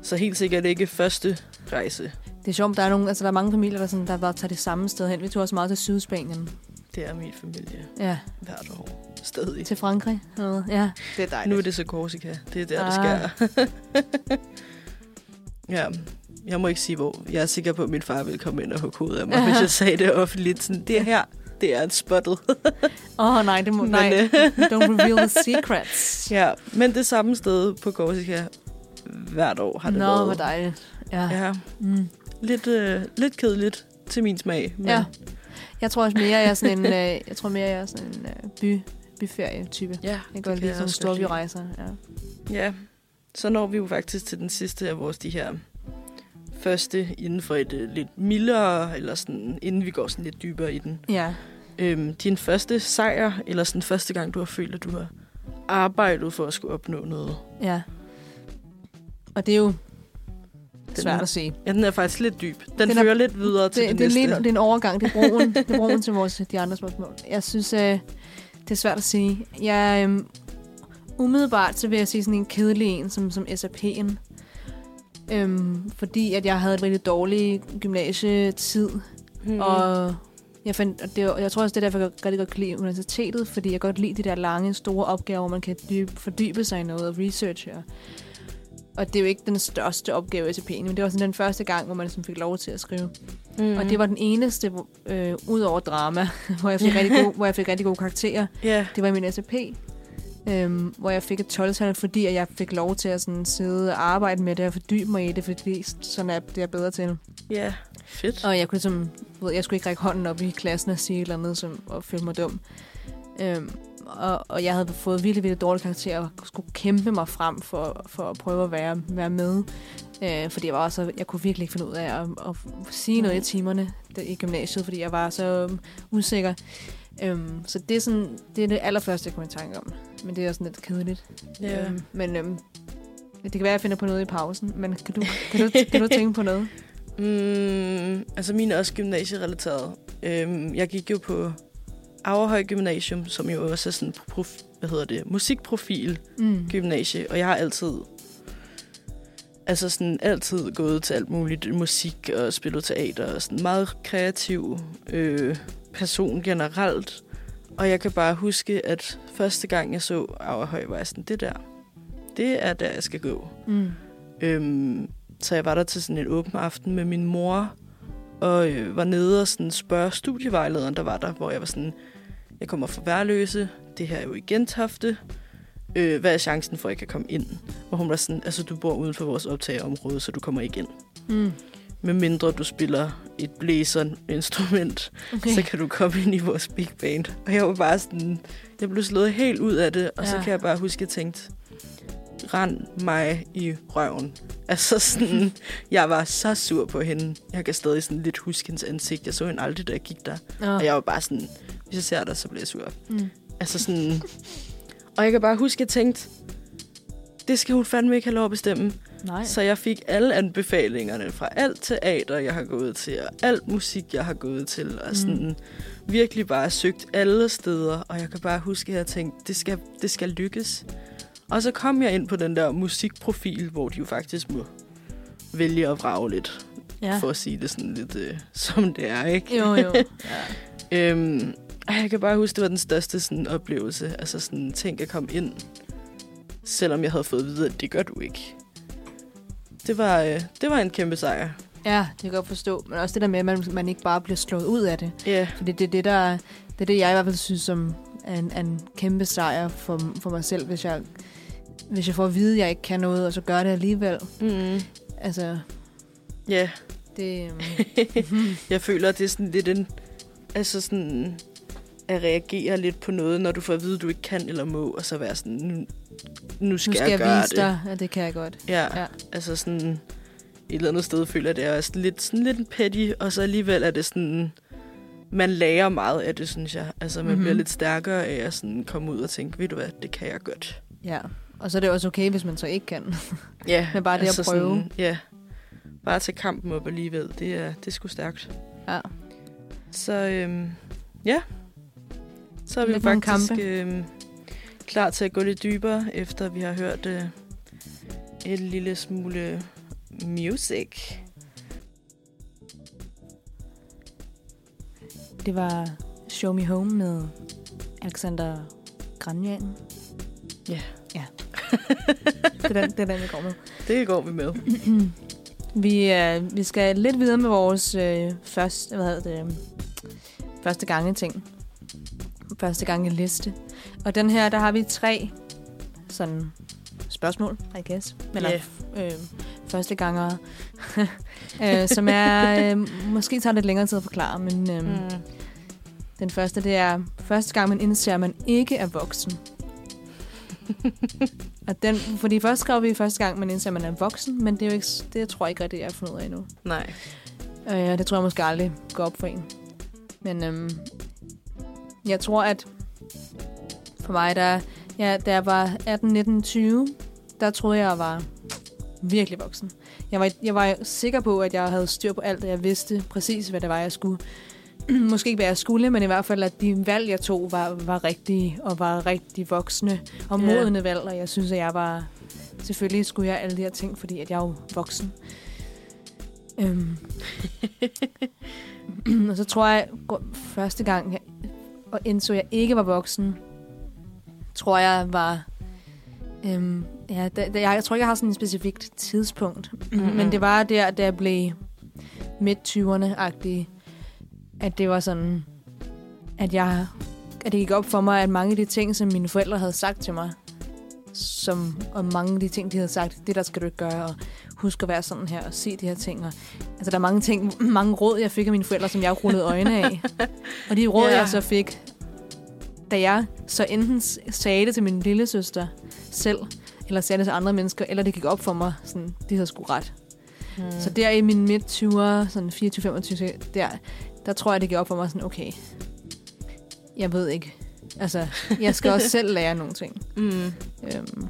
Så helt sikkert ikke første rejse.
Det er sjovt, der er, nogle, altså, der er mange familier, der, sådan, der bare tager det samme sted hen. Vi tog også meget til Sydspanien.
Det er min familie
Ja,
hvert år. Stadig.
til Frankrig. eller noget. Ja. Det er
Nu er det så Korsika. Det er der, det
Ah.
sker. <laughs> ja, jeg må ikke sige hvor. Jeg er sikker på, at min far ville komme ind og hugge hovedet af mig,
<laughs>
hvis jeg sagde det offentligt. Sådan, det her, det er en spottet.
Åh oh, nej, det må,
Men,
<laughs> nej.
øh,
Don't reveal the secrets.
Ja, men det samme sted på Korsika hvert år har det
Nå,
været.
hvor dejligt. Ja. ja.
Ja,
Mm.
lidt, øh, lidt kedeligt til min smag. Men
ja. Jeg tror også mere, jeg er sådan en, øh, jeg tror mere, jeg er sådan en øh, by, byferie-type.
ja
Jeg går lige sådan
også godt lide.
storbyrejser. Ja.
Ja, så når vi jo faktisk til den sidste af vores de her første inden for et øh, lidt mildere, eller sådan, inden vi går sådan lidt dybere i den.
ja.
Øhm, din første sejr, eller sådan første gang, du har følt, at du har arbejdet for at skulle opnå noget.
Ja. Og det er jo
Den
svært
er-
at se.
Ja, den er faktisk lidt dyb. Den,
Den
den
er-
fører lidt videre til det, det,
det, det, er
næste.
lige, det er en overgang. Det er broen, det er broen til vores, de andre spørgsmål. Jeg synes, øh, det er svært at sige. Jeg, øh, umiddelbart så vil jeg sige sådan en kedelig en, som, som SAP'en. Øhm, fordi at jeg havde et rigtig dårlig gymnasietid,
Hmm.
mm. og jeg, fandt, og det, var- jeg tror også, det er derfor, jeg rigtig godt kan lide universitetet, fordi jeg godt lide de der lange, store opgaver, hvor man kan dybe, fordybe sig i noget og researche. Og, og det er jo ikke den største opgave i SAP'en, men det var sådan den første gang, hvor man sådan fik lov til at skrive.
mm.
Og det var den eneste, hvor- øh, ud over drama, <laughs> hvor jeg, fik rigtig gode, hvor jeg fik rigtig gode karakterer.
Ja,
Det var i min SAP, øhm, hvor jeg fik et 12 fordi at jeg fik lov til at sådan sidde og arbejde med det og fordybe mig i det, fordi sådan er det er jeg bedre til.
ja. Fedt.
Og jeg kunne ligesom, du ved, jeg skulle ikke række hånden op i klassen og sige et eller andet som, og føle mig dum. Øhm, og, og jeg havde fået virkelig, virkelig dårlige karakterer og skulle kæmpe mig frem for, for at prøve at være, være med. Øh, fordi jeg, var også, jeg kunne virkelig ikke finde ud af at, at sige noget i timerne der- i gymnasiet, fordi jeg var så øhm, usikker. Øhm, så det er,
øh,
sådan, det er det allerførste, jeg kom i tanke om. Men det er også sådan lidt kedeligt.
Ja.
Øhm, men øhm, Det kan være, jeg finder på noget i pausen, men kan du, kan du, kan du tænke på noget?
Mm, altså min er også gymnasierelateret. Øhm, jeg gik jo på Averhøj Gymnasium, som jo også er sådan en prof, hvad hedder det, musikprofil
Mm.
gymnasie, og jeg har altid altså sådan altid gået til alt muligt musik og spillet teater og sådan meget kreativ øh, person generelt. Og jeg kan bare huske, at første gang jeg så Averhøj, var jeg sådan, det der, det er der, jeg skal gå.
Mm.
Øhm, så jeg var der til sådan en åben aften med min mor, og øh, var nede og sådan spørge studievejlederen, der var der, hvor jeg var sådan, jeg kommer fra Værløse, det her er jo i Gentofte, øh, hvad er chancen for, at jeg kan komme ind? Og hun var sådan, altså du bor uden for vores optageområde, så du kommer ikke ind.
Mm.
Medmindre du spiller et blæserinstrument, okay. så kan du komme ind i vores big band. Og jeg var bare sådan, jeg blev slået helt ud af det, og ja. så
Ja.
kan jeg bare huske, at jeg tænkte, rend mig i røven. Altså
<laughs>
sådan, jeg var så sur på hende. Jeg kan stadig sådan lidt huske hendes ansigt. Jeg så hende aldrig, da jeg gik der.
Nå.
Og jeg var bare sådan, hvis jeg ser dig, så bliver jeg sur.
Mm.
Altså sådan... Og jeg kan bare huske, at jeg tænkte, det skal hun fandme ikke have lov at bestemme.
Nej.
Så jeg fik alle anbefalingerne fra alt teater, jeg har gået til, og alt musik, jeg har gået til, og sådan mm. virkelig bare søgt alle steder, og jeg kan bare huske, at jeg tænkte, det skal, det skal lykkes. Og så kom jeg ind på den der musikprofil, hvor de jo faktisk må vælge at vrage lidt, ja.
ja.
for at sige det sådan lidt, øh, som det er, ikke?
Jo, jo. Ja.
Øhm, og jeg kan bare huske, det var den største sådan, oplevelse. Altså sådan, tænk at komme ind, selvom jeg havde fået at vide, at det gør du ikke. Det var, øh, det var en kæmpe sejr.
ja, det kan jeg godt forstå. Men også det der med, at man, man ikke bare bliver slået ud af det.
Ja,
Fordi det er det, der, det, er det jeg i hvert fald synes som er en, er en kæmpe sejr for, for mig selv, hvis jeg, hvis jeg får at vide, at jeg ikke kan noget, og så gør det alligevel.
mm.
Altså,
ja. <laughs>
det... øhm,
jeg føler, at det er sådan lidt en... Altså sådan at reagere lidt på noget, når du får at vide, at du ikke kan eller må, og så være sådan, nu, nu skal,
nu skal jeg,
gøre
vise
det.
dig, at det kan jeg godt.
Ja, ja,
Ja.
altså sådan et eller andet sted føler jeg, det er også lidt, sådan lidt en petty, og så alligevel er det sådan, man lærer meget af det, synes jeg. Altså man mm-hmm.
Mhm.
bliver lidt stærkere af at sådan komme ud og tænke, ved du hvad, det kan jeg godt.
Ja. Og så er det også okay, hvis man så ikke kan.
Ja,
Men bare det at prøve.
Altså Sådan, ja, bare at tage kampen op alligevel, det er, det er sgu stærkt.
Ja.
Så øhm, ja, så er vi
Lidt nogle
faktisk
kampe.
øhm, klar til at gå lidt dybere, efter vi har hørt øh, en lille smule music.
Det var Show Me Home med Alexander Granjan.
Ja. <laughs>
Ja. det, er den, det er den, vi går med.
Det går vi med.
Vi, øh, vi skal lidt videre med vores øh, første, hvad hedder det, øh, første gange ting. Første gange liste. Og den her, der har vi tre sådan spørgsmål, I guess. Eller
Ja.
øh, første ganger, <laughs> øh, som er, øh, måske tager lidt længere tid at forklare, men øh, mm. den første, det er første gang, man indser, at man ikke er <laughs> voksen. Og den, fordi først skrev vi første gang, man indser, at man er voksen, men det, er jo ikke, det tror jeg ikke rigtig, jeg har fundet ud af endnu.
Nej.
Øh, det tror jeg måske aldrig går op for en. Men øhm, jeg tror, at for mig, der, ja, da jeg var 18, 19, 20, der troede jeg, jeg var virkelig voksen. Jeg var, jeg var sikker på, at jeg havde styr på alt, og jeg vidste præcis, hvad det var, jeg skulle. <clears throat> Måske ikke, hvad jeg skulle, men i hvert fald, at de valg, jeg tog, var, var rigtige og var rigtig voksne og
Ja.
modne valg, og jeg synes, at jeg var... Selvfølgelig skulle jeg alle de her ting, fordi at jeg er jo voksen. Øhm, <clears throat> og så tror jeg, gr- første gang, jeg, og indså, jeg ikke var voksen, tror jeg var... Øhm, ja, da, da, jeg, jeg tror ikke, jeg har sådan et specifikt tidspunkt.
Mhm.
Mm-hmm. Men det var der, da jeg blev midt-20'erne-agtig, at det var sådan, at jeg at det gik op for mig, at mange af de ting, som mine forældre havde sagt til mig, som, og mange af de ting, de havde sagt, det der skal du ikke gøre, og husk at være sådan her, og se de her ting. Og, altså, der er mange ting, mange råd, jeg fik af mine forældre, som jeg rullede øjnene
<laughs>
af. Og de råd,
Ja.
jeg så fik, da jeg så enten s- sagde det til min lille søster selv, eller sagde det til andre mennesker, eller det gik op for mig, sådan, de havde sgu ret.
Mm.
Så der i min midt 20'er, sådan 24-25, der, der tror jeg, det gik op for mig sådan, okay,
<laughs>
jeg ved ikke. Altså, jeg skal også selv lære nogle ting.
Mm.
Øhm,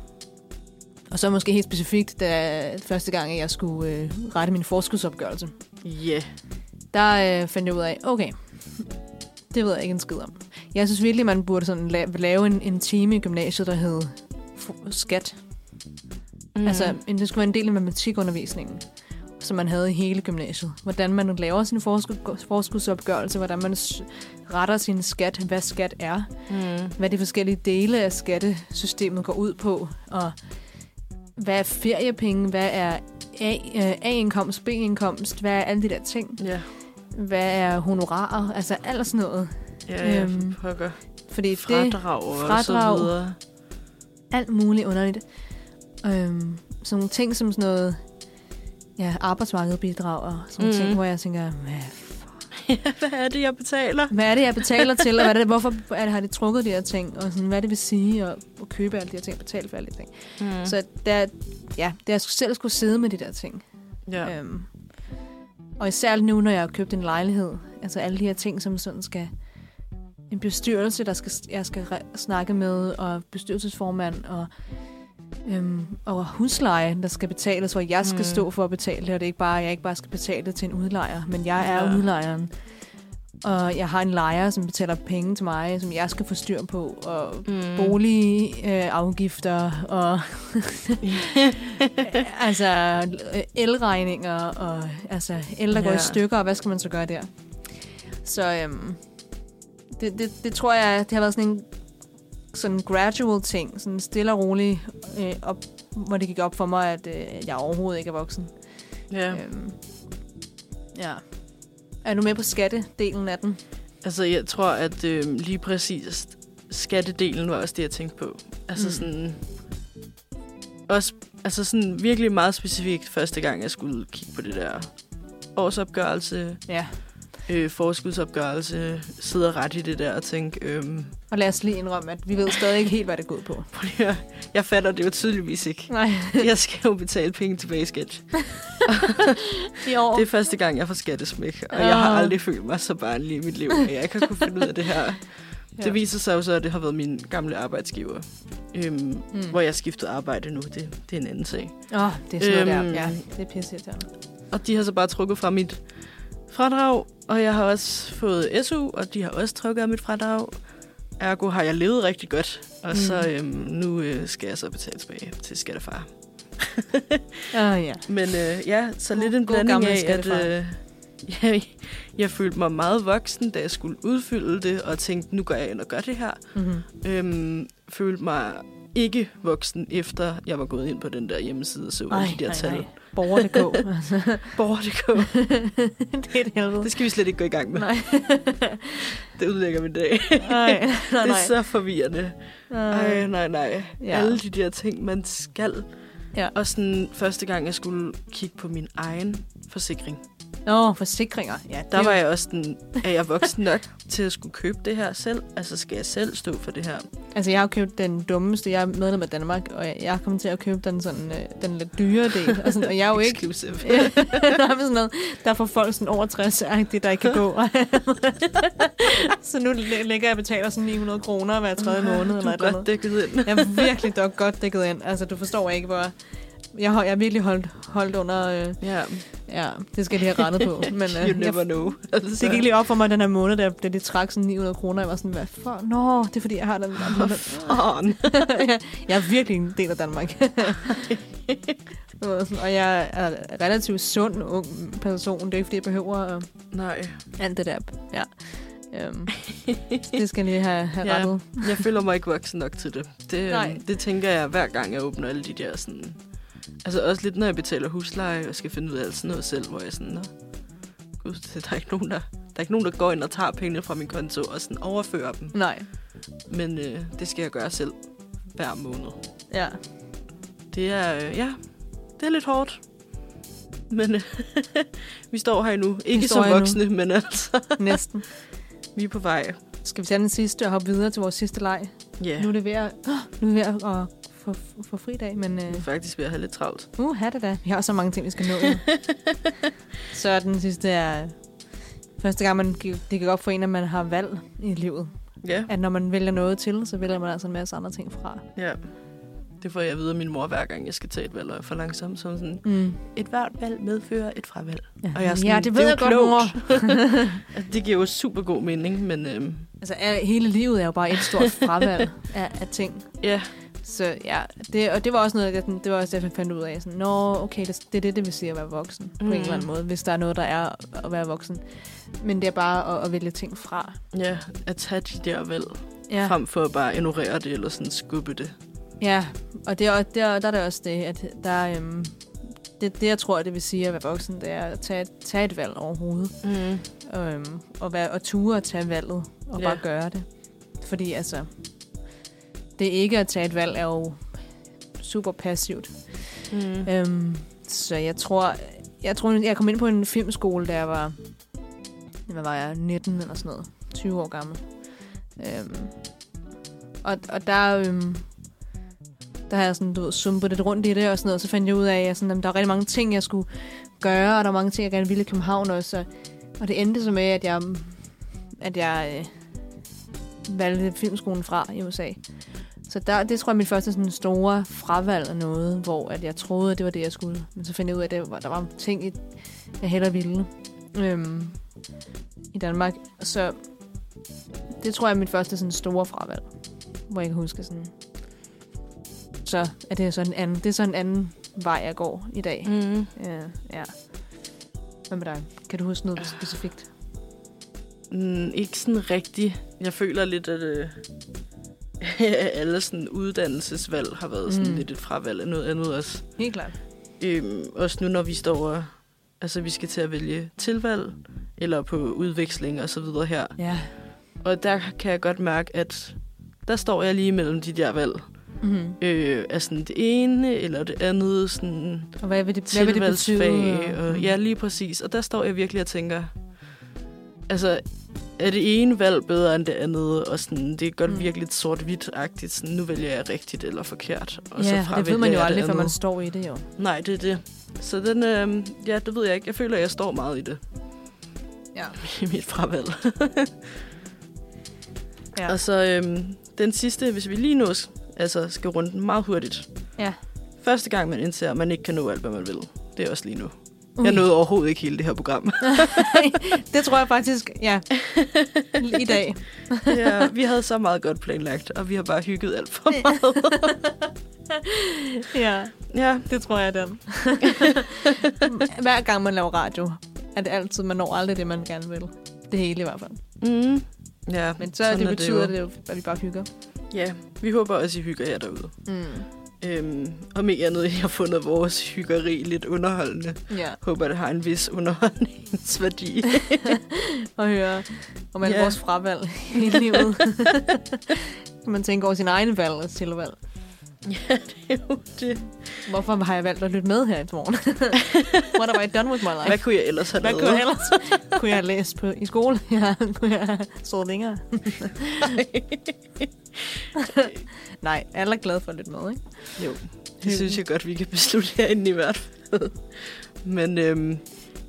Og så måske helt specifikt, da første gang, at jeg skulle øh, rette min forskudsopgørelse,
Ja.
der øh, fandt jeg ud af, okay, <laughs> det ved jeg ikke en skid om. Jeg synes virkelig, man burde sådan la- lave en, en time i gymnasiet, der hed f- skat. Mm. Altså, en- det skulle være en del af matematikundervisningen, som man havde i hele gymnasiet. Hvordan man laver sin forskud, forskudsopgørelse, hvordan man s- retter sin skat, hvad skat er,
mm.
hvad de forskellige dele af skattesystemet går ud på, og hvad er feriepenge, hvad er A- øh, A-indkomst, B-indkomst, hvad er alle de der ting,
Ja,
hvad er honorarer, altså alt sådan noget.
ja, ja
Øhm,
for pokker.
Fordi det
Fradrag og
fradrag.
så videre. <laughs>
er alt muligt underligt. Øhm, sådan nogle ting som sådan noget ja, arbejdsmarkedsbidrag og sådan mm.
Mhm.
ting, hvor jeg tænker, hvad,
Hvad er det, jeg betaler?
hvad er det, jeg betaler til, og hvad er det, hvorfor er det, har de trukket de her ting, og sådan, hvad det vil sige at, at købe alle de her ting, betale for alle de her ting.
Mm.
Så der, ja, det jeg selv skulle sidde med de der ting.
ja.
Ja. Øhm, og især nu, når jeg har købt en lejlighed. Altså alle de her ting, som sådan skal... En bestyrelse, der skal, jeg skal re- snakke med, og bestyrelsesformand, og, øhm, og husleje, der skal betales, hvor jeg skal
Mm.
mm. stå for at betale det, og det er ikke bare, jeg ikke bare skal betale det til en udlejer, men jeg er
Ja.
ja. udlejeren. Og jeg har en lejer, som betaler penge til mig, som jeg skal få styr på, og
Mm.
boligafgifter øh, afgifter
<laughs>
og altså øh, elregninger og altså el der går
Ja.
i stykker og hvad skal man så gøre der? Så øhm, det, det, det tror jeg det har været sådan en sådan gradual ting, sådan stille og rolig øh, op, hvor det gik op for mig at øh, jeg overhovedet ikke er voksen.
Ja.
Øhm, ja. Er du med på skattedelen af den?
Altså, jeg tror, at øh, lige præcis skattedelen var også det, jeg tænkte på. Altså
Mm.
mm. sådan... Også, altså sådan virkelig meget specifikt første gang, jeg skulle kigge på det der årsopgørelse,
Ja.
øh, forskudsopgørelse, sidde og ret i det der og tænke, øhm,
Og lad os lige indrømme, at vi ved stadig ikke helt, hvad det går ud på.
prøv lige at høre, jeg fatter det jo tydeligvis ikke.
Nej,
Jeg skal jo betale penge tilbage i skat.
i år.
Det er første gang, jeg får skattesmæk, og jeg har
Åh.
aldrig følt mig så barnlig i mit liv, at jeg ikke har kunne finde ud af det her.
<laughs> Ja.
Det viser sig jo så, at det har været min gamle arbejdsgiver. Øhm,
Mm.
Hvor jeg skiftede arbejde nu, det, det er en anden sag.
Åh, oh, det er sådan noget
Øhm.
der. Ja, det er pisse irriterende.
Og de har så bare trukket fra mit fradrag, og jeg har også fået SU, og de har også trukket af mit fradrag. Ergo har jeg levet rigtig godt, og
Mm.
mm. så øhm, nu øh, skal jeg så betale tilbage til skattefar. <laughs>
Åh, oh, ja.
Men øh, ja, så
God-
lidt en
god
blanding
gammel
af, at
skattefar.
<laughs> øh, jeg, jeg følte mig meget voksen, da jeg skulle udfylde det, og tænkte, nu går jeg ind og gør det her.
Mm-hmm.
øhm, følte mig ikke voksen, efter jeg var gået ind på den der hjemmeside og så alle de der tal.
Borger.dk.
<laughs> Borger.dk.
<laughs> det er et helvede.
Det skal vi slet ikke gå i gang med.
Nej.
<laughs> Det udlægger min dag.
nej, nej,
<laughs> Det
nej.
er så forvirrende.
Øh,
Ej, nej, nej.
Ja.
Ja. Alle de der ting, man skal.
Ja.
Og sådan første gang, jeg skulle kigge på min egen forsikring,
Nå, forsikringer. Ja, det
der
er
var
jo-
jeg også den, er jeg voksen nok til at skulle købe det her selv? Altså, skal jeg selv stå for det her?
Altså, jeg har jo købt den dummeste. Jeg er medlem af Danmark, og jeg- jeg er kommet til at købe den, sådan, øh, den lidt dyre del. Og, sådan, og jeg er jo ikke...
Exclusive.
<laughs> Ja, der, er sådan noget, der får folk sådan over 60 det der ikke kan gå. <laughs> så nu læ- ligger jeg og betaler sådan 900 kroner hver tredje måned.
<laughs> Du
eller
er
et eller andet.
godt dækket ind.
Jeg er virkelig dog godt dækket ind. Altså, du forstår ikke, hvor... Jeg har jeg er virkelig holdt, holdt under... Øh,
Ja,
ja, det skal jeg lige have rettet
<laughs>
på. Men
you
øh, jeg,
never know. Altså.
det gik lige op for mig den her måned, da, da de trak sådan 900 kroner. Jeg var sådan, hvad for? Nå, det er fordi, jeg har den. der
Hvor <laughs>
måned.
Altså, fanden?
jeg er virkelig en del af
<laughs>
Danmark. Og sådan- og jeg er en relativt sund ung person. Det er ikke, fordi jeg behøver øh,
Nej.
alt det der. Ja.
<laughs>
Øhm, det skal jeg lige have, have
Ja.
rettet.
Jeg føler mig ikke voksen nok til det. Det,
Nej.
Nej. det tænker jeg hver gang, jeg åbner alle de der sådan... Altså også lidt, når jeg betaler husleje og skal finde ud af alt sådan noget selv, hvor jeg sådan... Nå, gud, der er, ikke nogen, der, der er ikke nogen, der går ind og tager pengene fra min konto og sådan overfører dem.
Nej.
Men øh, det skal jeg gøre selv hver måned.
Ja.
Det er, øh, ja, det er lidt hårdt. Men øh, <laughs> vi står her endnu. Ikke
står
som
her endnu.
voksne, men altså,
Næsten.
vi er på vej.
Skal vi tage den sidste og hoppe videre til vores sidste leg?
Ja,
Ja. Nu er det ved at, åh, nu er det ved at, at få, få fridag, men
vi er
øh,
faktisk ved at have lidt travlt.
uh, have det da. Vi har så mange ting, vi skal
<laughs>
nå. nu. så den sidste er, øh, første gang man gik, det gik op for en, at man har valg i livet.
Ja,
At når man vælger noget til, så vælger man altså en masse andre ting fra.
ja. Det får jeg at vide af min mor, hver gang jeg skal tage et valg, og jeg er for langsom. Som sådan,
Mm.
et hvert valg medfører et fravalg.
Ja.
Og jeg er sådan,
ja, det ved
det er
jeg
jo
godt, mor.
klogt. <laughs> Altså, det giver jo super god mening, men øhm,
Altså, al- hele livet er jo bare et
<laughs>
stort fravalg af, af ting.
ja,
Så ja, det, og det var også noget, jeg, sådan- det var også det, jeg fandt ud af. Sådan, Nå, okay, det, det er det, det vil sige at være voksen, mm. på
Mm.
en eller anden måde, hvis der er noget, der er at være voksen. Men det er bare at, at vælge ting fra.
ja, at tage de der valg,
Ja,
ja. frem for at bare ignorere det, eller sådan skubbe det.
ja. og det er, også- der, der er det også det, at der, øhm, det, det, jeg tror, det vil sige at være voksen, det er at tage, et- tage et valg overhovedet.
Mm.
Og, øhm, og, være, og ture at tage valget, og
Ja.
bare gøre det. Fordi altså, det ikke at tage et valg er jo super passivt.
Mm.
Øhm, så jeg tror, jeg tror, jeg kom ind på en filmskole, da jeg var, hvad var jeg, 19 eller sådan noget, 20 år gammel. Øhm, og, og der, øhm, der har jeg sådan, du ved, sumpet lidt rundt i det og sådan noget, og så fandt jeg ud af, at sådan, jamen, der var rigtig mange ting, jeg skulle gøre, og der var mange ting, jeg gerne ville i København også. Og, og det endte så med, at jeg, at jeg øh, valgte filmskolen fra i USA. Så der, det tror jeg er mit første sådan store fravalg af noget, hvor at jeg troede, at det var det, jeg skulle. Men så fandt jeg ud af, at det var, der var ting, i- jeg hellere ville øhm, i Danmark. Så det tror jeg er mit første sådan store fravalg, hvor jeg kan huske sådan... Så er det sådan en anden, det er sådan en anden vej, jeg går i dag.
Mm.
Ja, ja. Hvad med dig? Kan du huske noget specifikt?
Mm, ikke sådan rigtig. Jeg føler lidt, at øh, <laughs> alle sådan uddannelsesvalg har været sådan
Mm.
mm. lidt et fravalg af noget andet også.
Helt klart.
Øhm, også nu, når vi står og altså, vi skal til at vælge tilvalg, eller på udveksling og så videre her.
Ja.
Og der kan jeg godt mærke, at der står jeg lige mellem de der valg.
Mm-hmm.
Øh, er sådan det ene eller det andet sådan
Og hvad vil det, hvad vil det betyde? Mm.
tilvalgsfag. Og, ja, lige præcis. Og der står jeg virkelig og tænker, altså, er det ene valg bedre end det andet? Og sådan, det er godt
Mm.
mm. virkelig sort-hvidt-agtigt. Sådan, nu vælger jeg rigtigt eller forkert. Og så
ja, det ved
fravælger
man jo
jeg
aldrig,
det
før man
andet.
står i det jo.
Nej, det er det. Så den, øh, ja, det ved jeg ikke. Jeg føler, at jeg står meget i det.
Ja.
<laughs> I mit fravalg.
Ja.
Og så øhm, den sidste, hvis vi lige nås, altså skal runde den meget hurtigt.
Ja.
Første gang, man indser, at man ikke kan nå alt, hvad man vil. Det er også lige nu.
Ui.
Jeg nåede overhovedet ikke hele det her program.
<laughs> det tror jeg faktisk, ja. I dag.
ja, vi havde så meget godt planlagt, og vi har bare hygget alt for meget.
Ja,
<laughs> ja,
det tror jeg den. <laughs> Hver gang man laver radio, er det altid, man når aldrig det, man gerne vil. Det hele i hvert fald.
mm. ja
Men så det betyder
jo.
det, jo, at vi bare hygger.
Ja, vi håber også, I hygger jer derude.
Mm.
Øhm, om ikke andet, I har fundet vores hyggeri lidt underholdende.
Ja,
Håber, det har en vis underholdningsværdi.
og høre om alle
Ja.
vores fravalg i livet. Så <laughs> man tænker over sin egen valg og tilvalg.
ja, det er jo det.
Hvorfor har jeg valgt at lytte med her i <laughs> morgen? What have I done with my life?
Hvad kunne jeg ellers have
Hvad
lavet?
kunne jeg ellers? <laughs> kunne jeg have læst på, i skole? <laughs> Ja, kunne jeg have sovet <laughs> længere? Nej, alle er glade for at lytte med, ikke?
Jo, det synes jeg godt, vi kan beslutte herinde i hvert fald. Men øhm,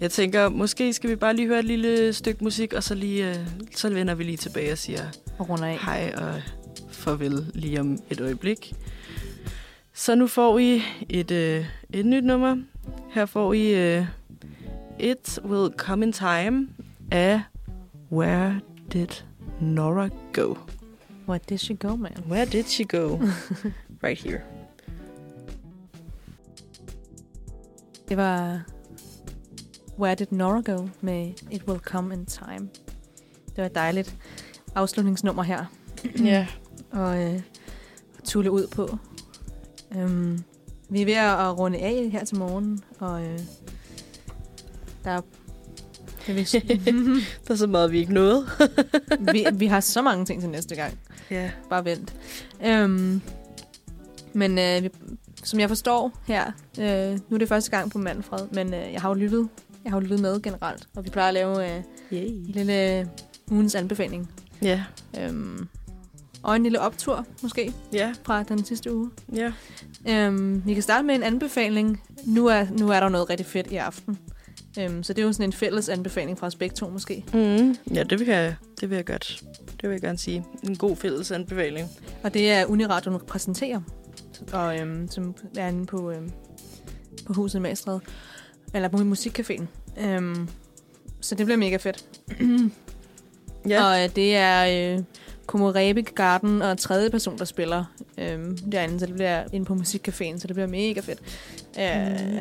jeg tænker, måske skal vi bare lige høre et lille stykke musik, og så, lige, øh, så vender vi lige tilbage og siger
Og runder af.
hej og farvel lige om et øjeblik. Så nu får I et, øh, et nyt nummer. Her får I øh, It Will Come In Time af Where Did Nora Go?
What did she go, man?
Where did she go? <laughs> right here.
Det var Where Did Nora Go med It Will Come In Time. Det var et dejligt afslutningsnummer her.
Ja.
<clears throat> og øh, at tulle ud på. Øhm, vi er ved at at runde af her til morgen, og øh, der er, det er vist,
Der er så meget, vi ikke nåede.
<laughs> vi, vi har så mange ting til næste gang.
Ja.
Bare vent. Øhm, men øh, vi, som jeg forstår her, øh, nu er det første gang på Manfred, men øh, jeg har jo lyttet. Jeg har jo lyttet med generelt, og vi plejer at lave øh, en
Yay.
lille øh, ugens anbefaling.
Ja.
Øhm, og en lille optur, måske,
Ja,
fra den sidste uge.
ja.
Øhm, vi kan starte med en anbefaling. Nu er, nu er der jo noget rigtig fedt i aften. Øhm, så det er jo sådan en fælles anbefaling fra os begge to, måske.
Mm. Ja, det vil, jeg, det vil jeg godt. Det vil jeg gerne sige. En god fælles anbefaling.
Og det er Uniradion præsenterer. og, øhm, som er inde på, øhm, på huset med Estred. Eller på musikcaféen. Øhm, så det bliver mega fedt. Ja. Og øh, det er øh, Komorebe Garden og tredje person, der spiller øh, derinde, så det bliver inde på Musikcaféen, så det bliver mega fedt. Øh,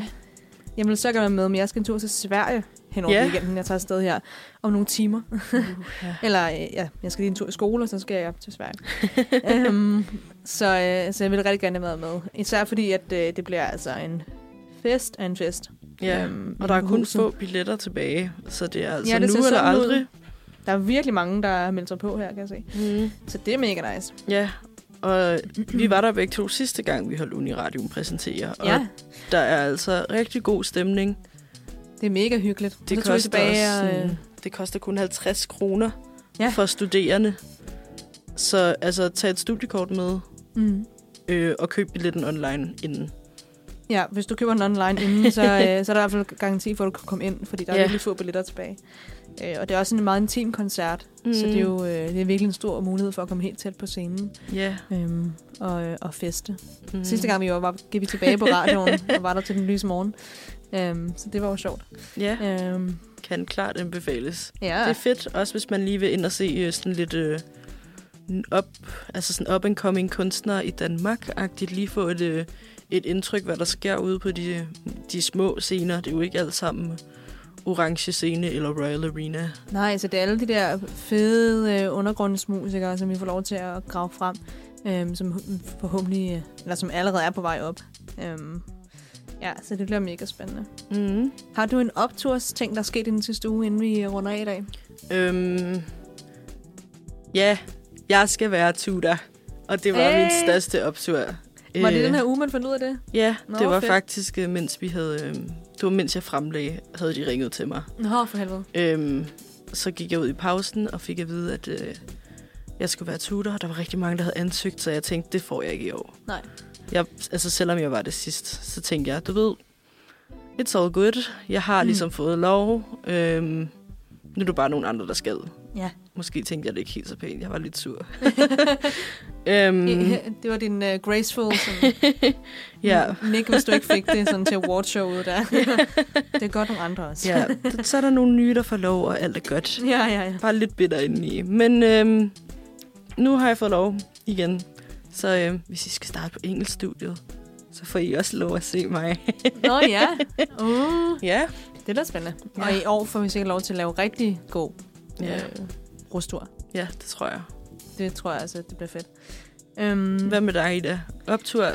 Mm.
Jeg vil så gerne være med, men jeg skal en tur til Sverige hen over
Ja. Uh,
yeah. weekenden. Jeg tager afsted her om nogle timer. <laughs>
ja.
Eller øh, ja, jeg skal lige en tur i skole, og så skal jeg op til Sverige. øhm, så, øh, så jeg vil rigtig gerne være med. Især fordi, at øh, det bliver altså en fest af en fest.
ja.
Øhm,
Og der er kun
huset.
få billetter tilbage, så det er altså
Ja, det ser
nu eller
sådan ud.
aldrig.
Der er virkelig mange, der har meldt sig på her, kan jeg se.
Mm.
Så det er mega nice.
Ja, og vi var der begge to sidste gang, vi holdt Uniradion præsentere. Og
Ja,
der er altså rigtig god stemning.
det er mega hyggeligt. Og
Det,
tog vi
koster,
tilbage,
også,
og, øh,
sådan- det koster kun 50 kroner
Ja.
ja. for studerende. Så altså, tag et studiekort med
Mm.
øh, og køb billetten online inden.
Ja, hvis du køber den online inden, så, øh, så er der i hvert fald garanti for, at du kan komme ind, fordi der er
Ja.
virkelig få billetter tilbage. Øh, og det er også en meget intim koncert, mm. så det er jo øh, det er virkelig en stor mulighed for at komme helt tæt på scenen
Ja.
øhm, og, øh, og feste. Mm.
Mm.
Sidste gang vi var, var, gik vi tilbage på radioen og var der til den lyse morgen, øhm, så det var jo sjovt.
Ja,
Øhm,
kan klart anbefales.
ja,
Det er fedt, også hvis man lige vil ind og se øh, sådan lidt øh, en op, altså sådan up and coming kunstnere i Danmark-agtigt. Lige få et, øh, et indtryk, hvad der sker ude på de, de små scener. Det er jo ikke alt sammen Orange Scene eller Royal Arena.
nej, så det er alle de der fede øh, undergrundsmusikere, som vi får lov til at grave frem, øhm, som forhåbentlig, øh, eller som allerede er på vej op. Øhm, ja, så det bliver mega spændende.
Mm.
Har du en optursting, der er sket i den sidste uge, inden vi runder af i dag?
Øhm, ja, jeg skal være tutor. Og det var hey. min
Hey.
største optur.
Var det
Øh,
den her uge, man fandt ud af det?
Ja,
Nå,
Nå, det var
fedt.
fedt. faktisk, øh, mens vi havde... Øh, det var mens jeg fremlagde, havde de ringet til mig.
Nå, for helvede.
Øhm, så gik jeg ud i pausen og fik at vide, at øh, jeg skulle være tutor. og Der var rigtig mange, der havde ansøgt, så jeg tænkte, det får jeg ikke i år.
Nej.
Jeg, altså selvom jeg var det sidst, så tænkte jeg, du ved, it's all good. Jeg har
Mm.
mm. ligesom fået lov. Øhm, nu er det bare nogle andre, der skal.
Ja.
Måske tænkte jeg det ikke helt så pænt. Jeg var lidt sur.
<laughs>
øhm,
Mm. Det var din uh, graceful sådan,
<laughs> ja,
nik, hvis du ikke fik det sådan, til
<laughs>
awardshowet der. det er godt nogle andre også.
ja. Så er der nogle nye, der får lov, og alt er godt.
<laughs> ja, ja. ja.
Bare lidt bitter indeni. Men øhm, nu har jeg fået lov igen. Så øhm, hvis I skal starte på engelskstudiet, så får I også lov at se mig.
Nå ja. Uh,
<laughs> Ja.
det er da spændende. Ja.
Ja.
Og i år får vi sikkert lov til at lave rigtig god
Ja,
øh, rustur.
ja det tror jeg.
Det tror jeg altså, det bliver fedt. Øhm,
Hvad med dig, Ida? Optur?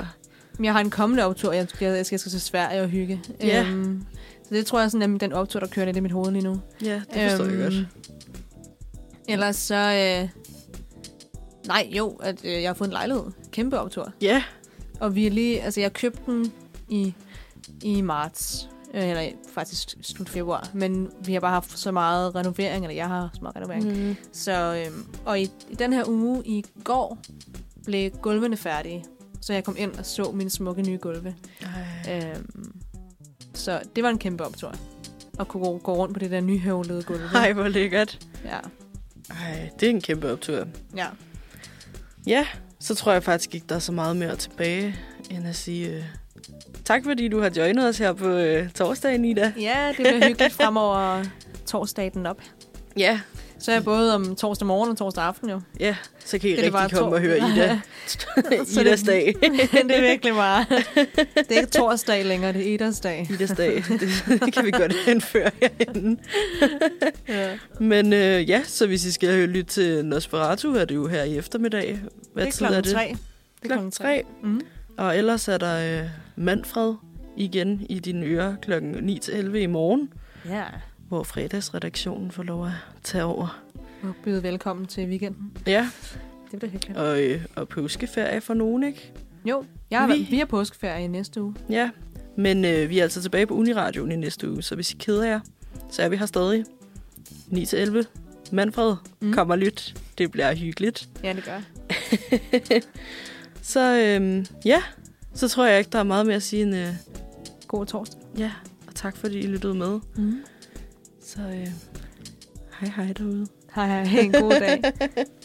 Jeg har en kommende optur, jeg skal, jeg skal, jeg skal til Sverige og hygge.
Ja.
Øhm, så det tror jeg sådan, er den optur, der kører lidt i mit hoved lige nu.
Ja, det forstår øhm. jeg godt.
Ellers så... Øh, nej, jo, at øh, jeg har fået en lejlighed. Kæmpe optur.
Ja,
Og vi er lige... Altså, jeg købte den i, i marts. Øh, eller faktisk slut februar. Men vi har bare haft så meget renovering, eller jeg har haft så meget renovering. Mm.
mm.
Så, øh, og i, i den her uge i går blev gulvene færdige. Så jeg kom ind og så mine smukke nye gulve.
Ej.
Øhm, så det var en kæmpe optur. At kunne gå, gå rundt på det der nyhøvlede gulv.
Ej, hvor lækkert.
Ja.
Ej, det er en kæmpe optur.
ja.
Ja, så tror jeg faktisk ikke, der er så meget mere tilbage, end at sige øh, tak, fordi du har joinet os her på øh, torsdagen, Ida.
Ja, det bliver hyggeligt fremover torsdagen op.
Ja,
Så er jeg både om torsdag morgen og torsdag aften jo.
ja. Så kan I
Det er det bare
rigtig komme
to-
og høre <laughs> Ida.
Så
<laughs>
det-
Idas dag.
<laughs> det er virkelig meget. Det er ikke torsdag længere, det er edersdag.
Idas dag. <laughs> Det, det kan vi godt indføre herinde.
Ja.
Men øh, ja, så hvis I skal lytte til Nosferatu, er det jo her i eftermiddag. Hvad
det er
tid
klokken
er det?
tre. Det er
Klokken tre.
Mm.
Og ellers er der øh, Manfred igen i dine ører klokken 9-11 i morgen,
Ja.
hvor fredagsredaktionen får lov at tage over.
Og byde velkommen til weekenden.
Ja,
Det bliver hyggeligt.
og, øh, og påskeferie for nogen, ikke?
Jo, jeg vi...
Vi-
vi har påskeferie i næste uge.
Ja, men øh, vi er altså tilbage på Uniradioen i næste uge, så hvis I keder jer, så er vi her stadig 9-11. Manfred,
Mm.
mm. kom og lyt. Det bliver hyggeligt.
Ja, det gør jeg.
Så øhm, ja, så tror jeg ikke, der er meget mere at sige end øh,
God torsdag.
ja, og tak fordi I lyttede med.
Mm.
Så øh, hej hej derude.
Hej, hej. En god dag.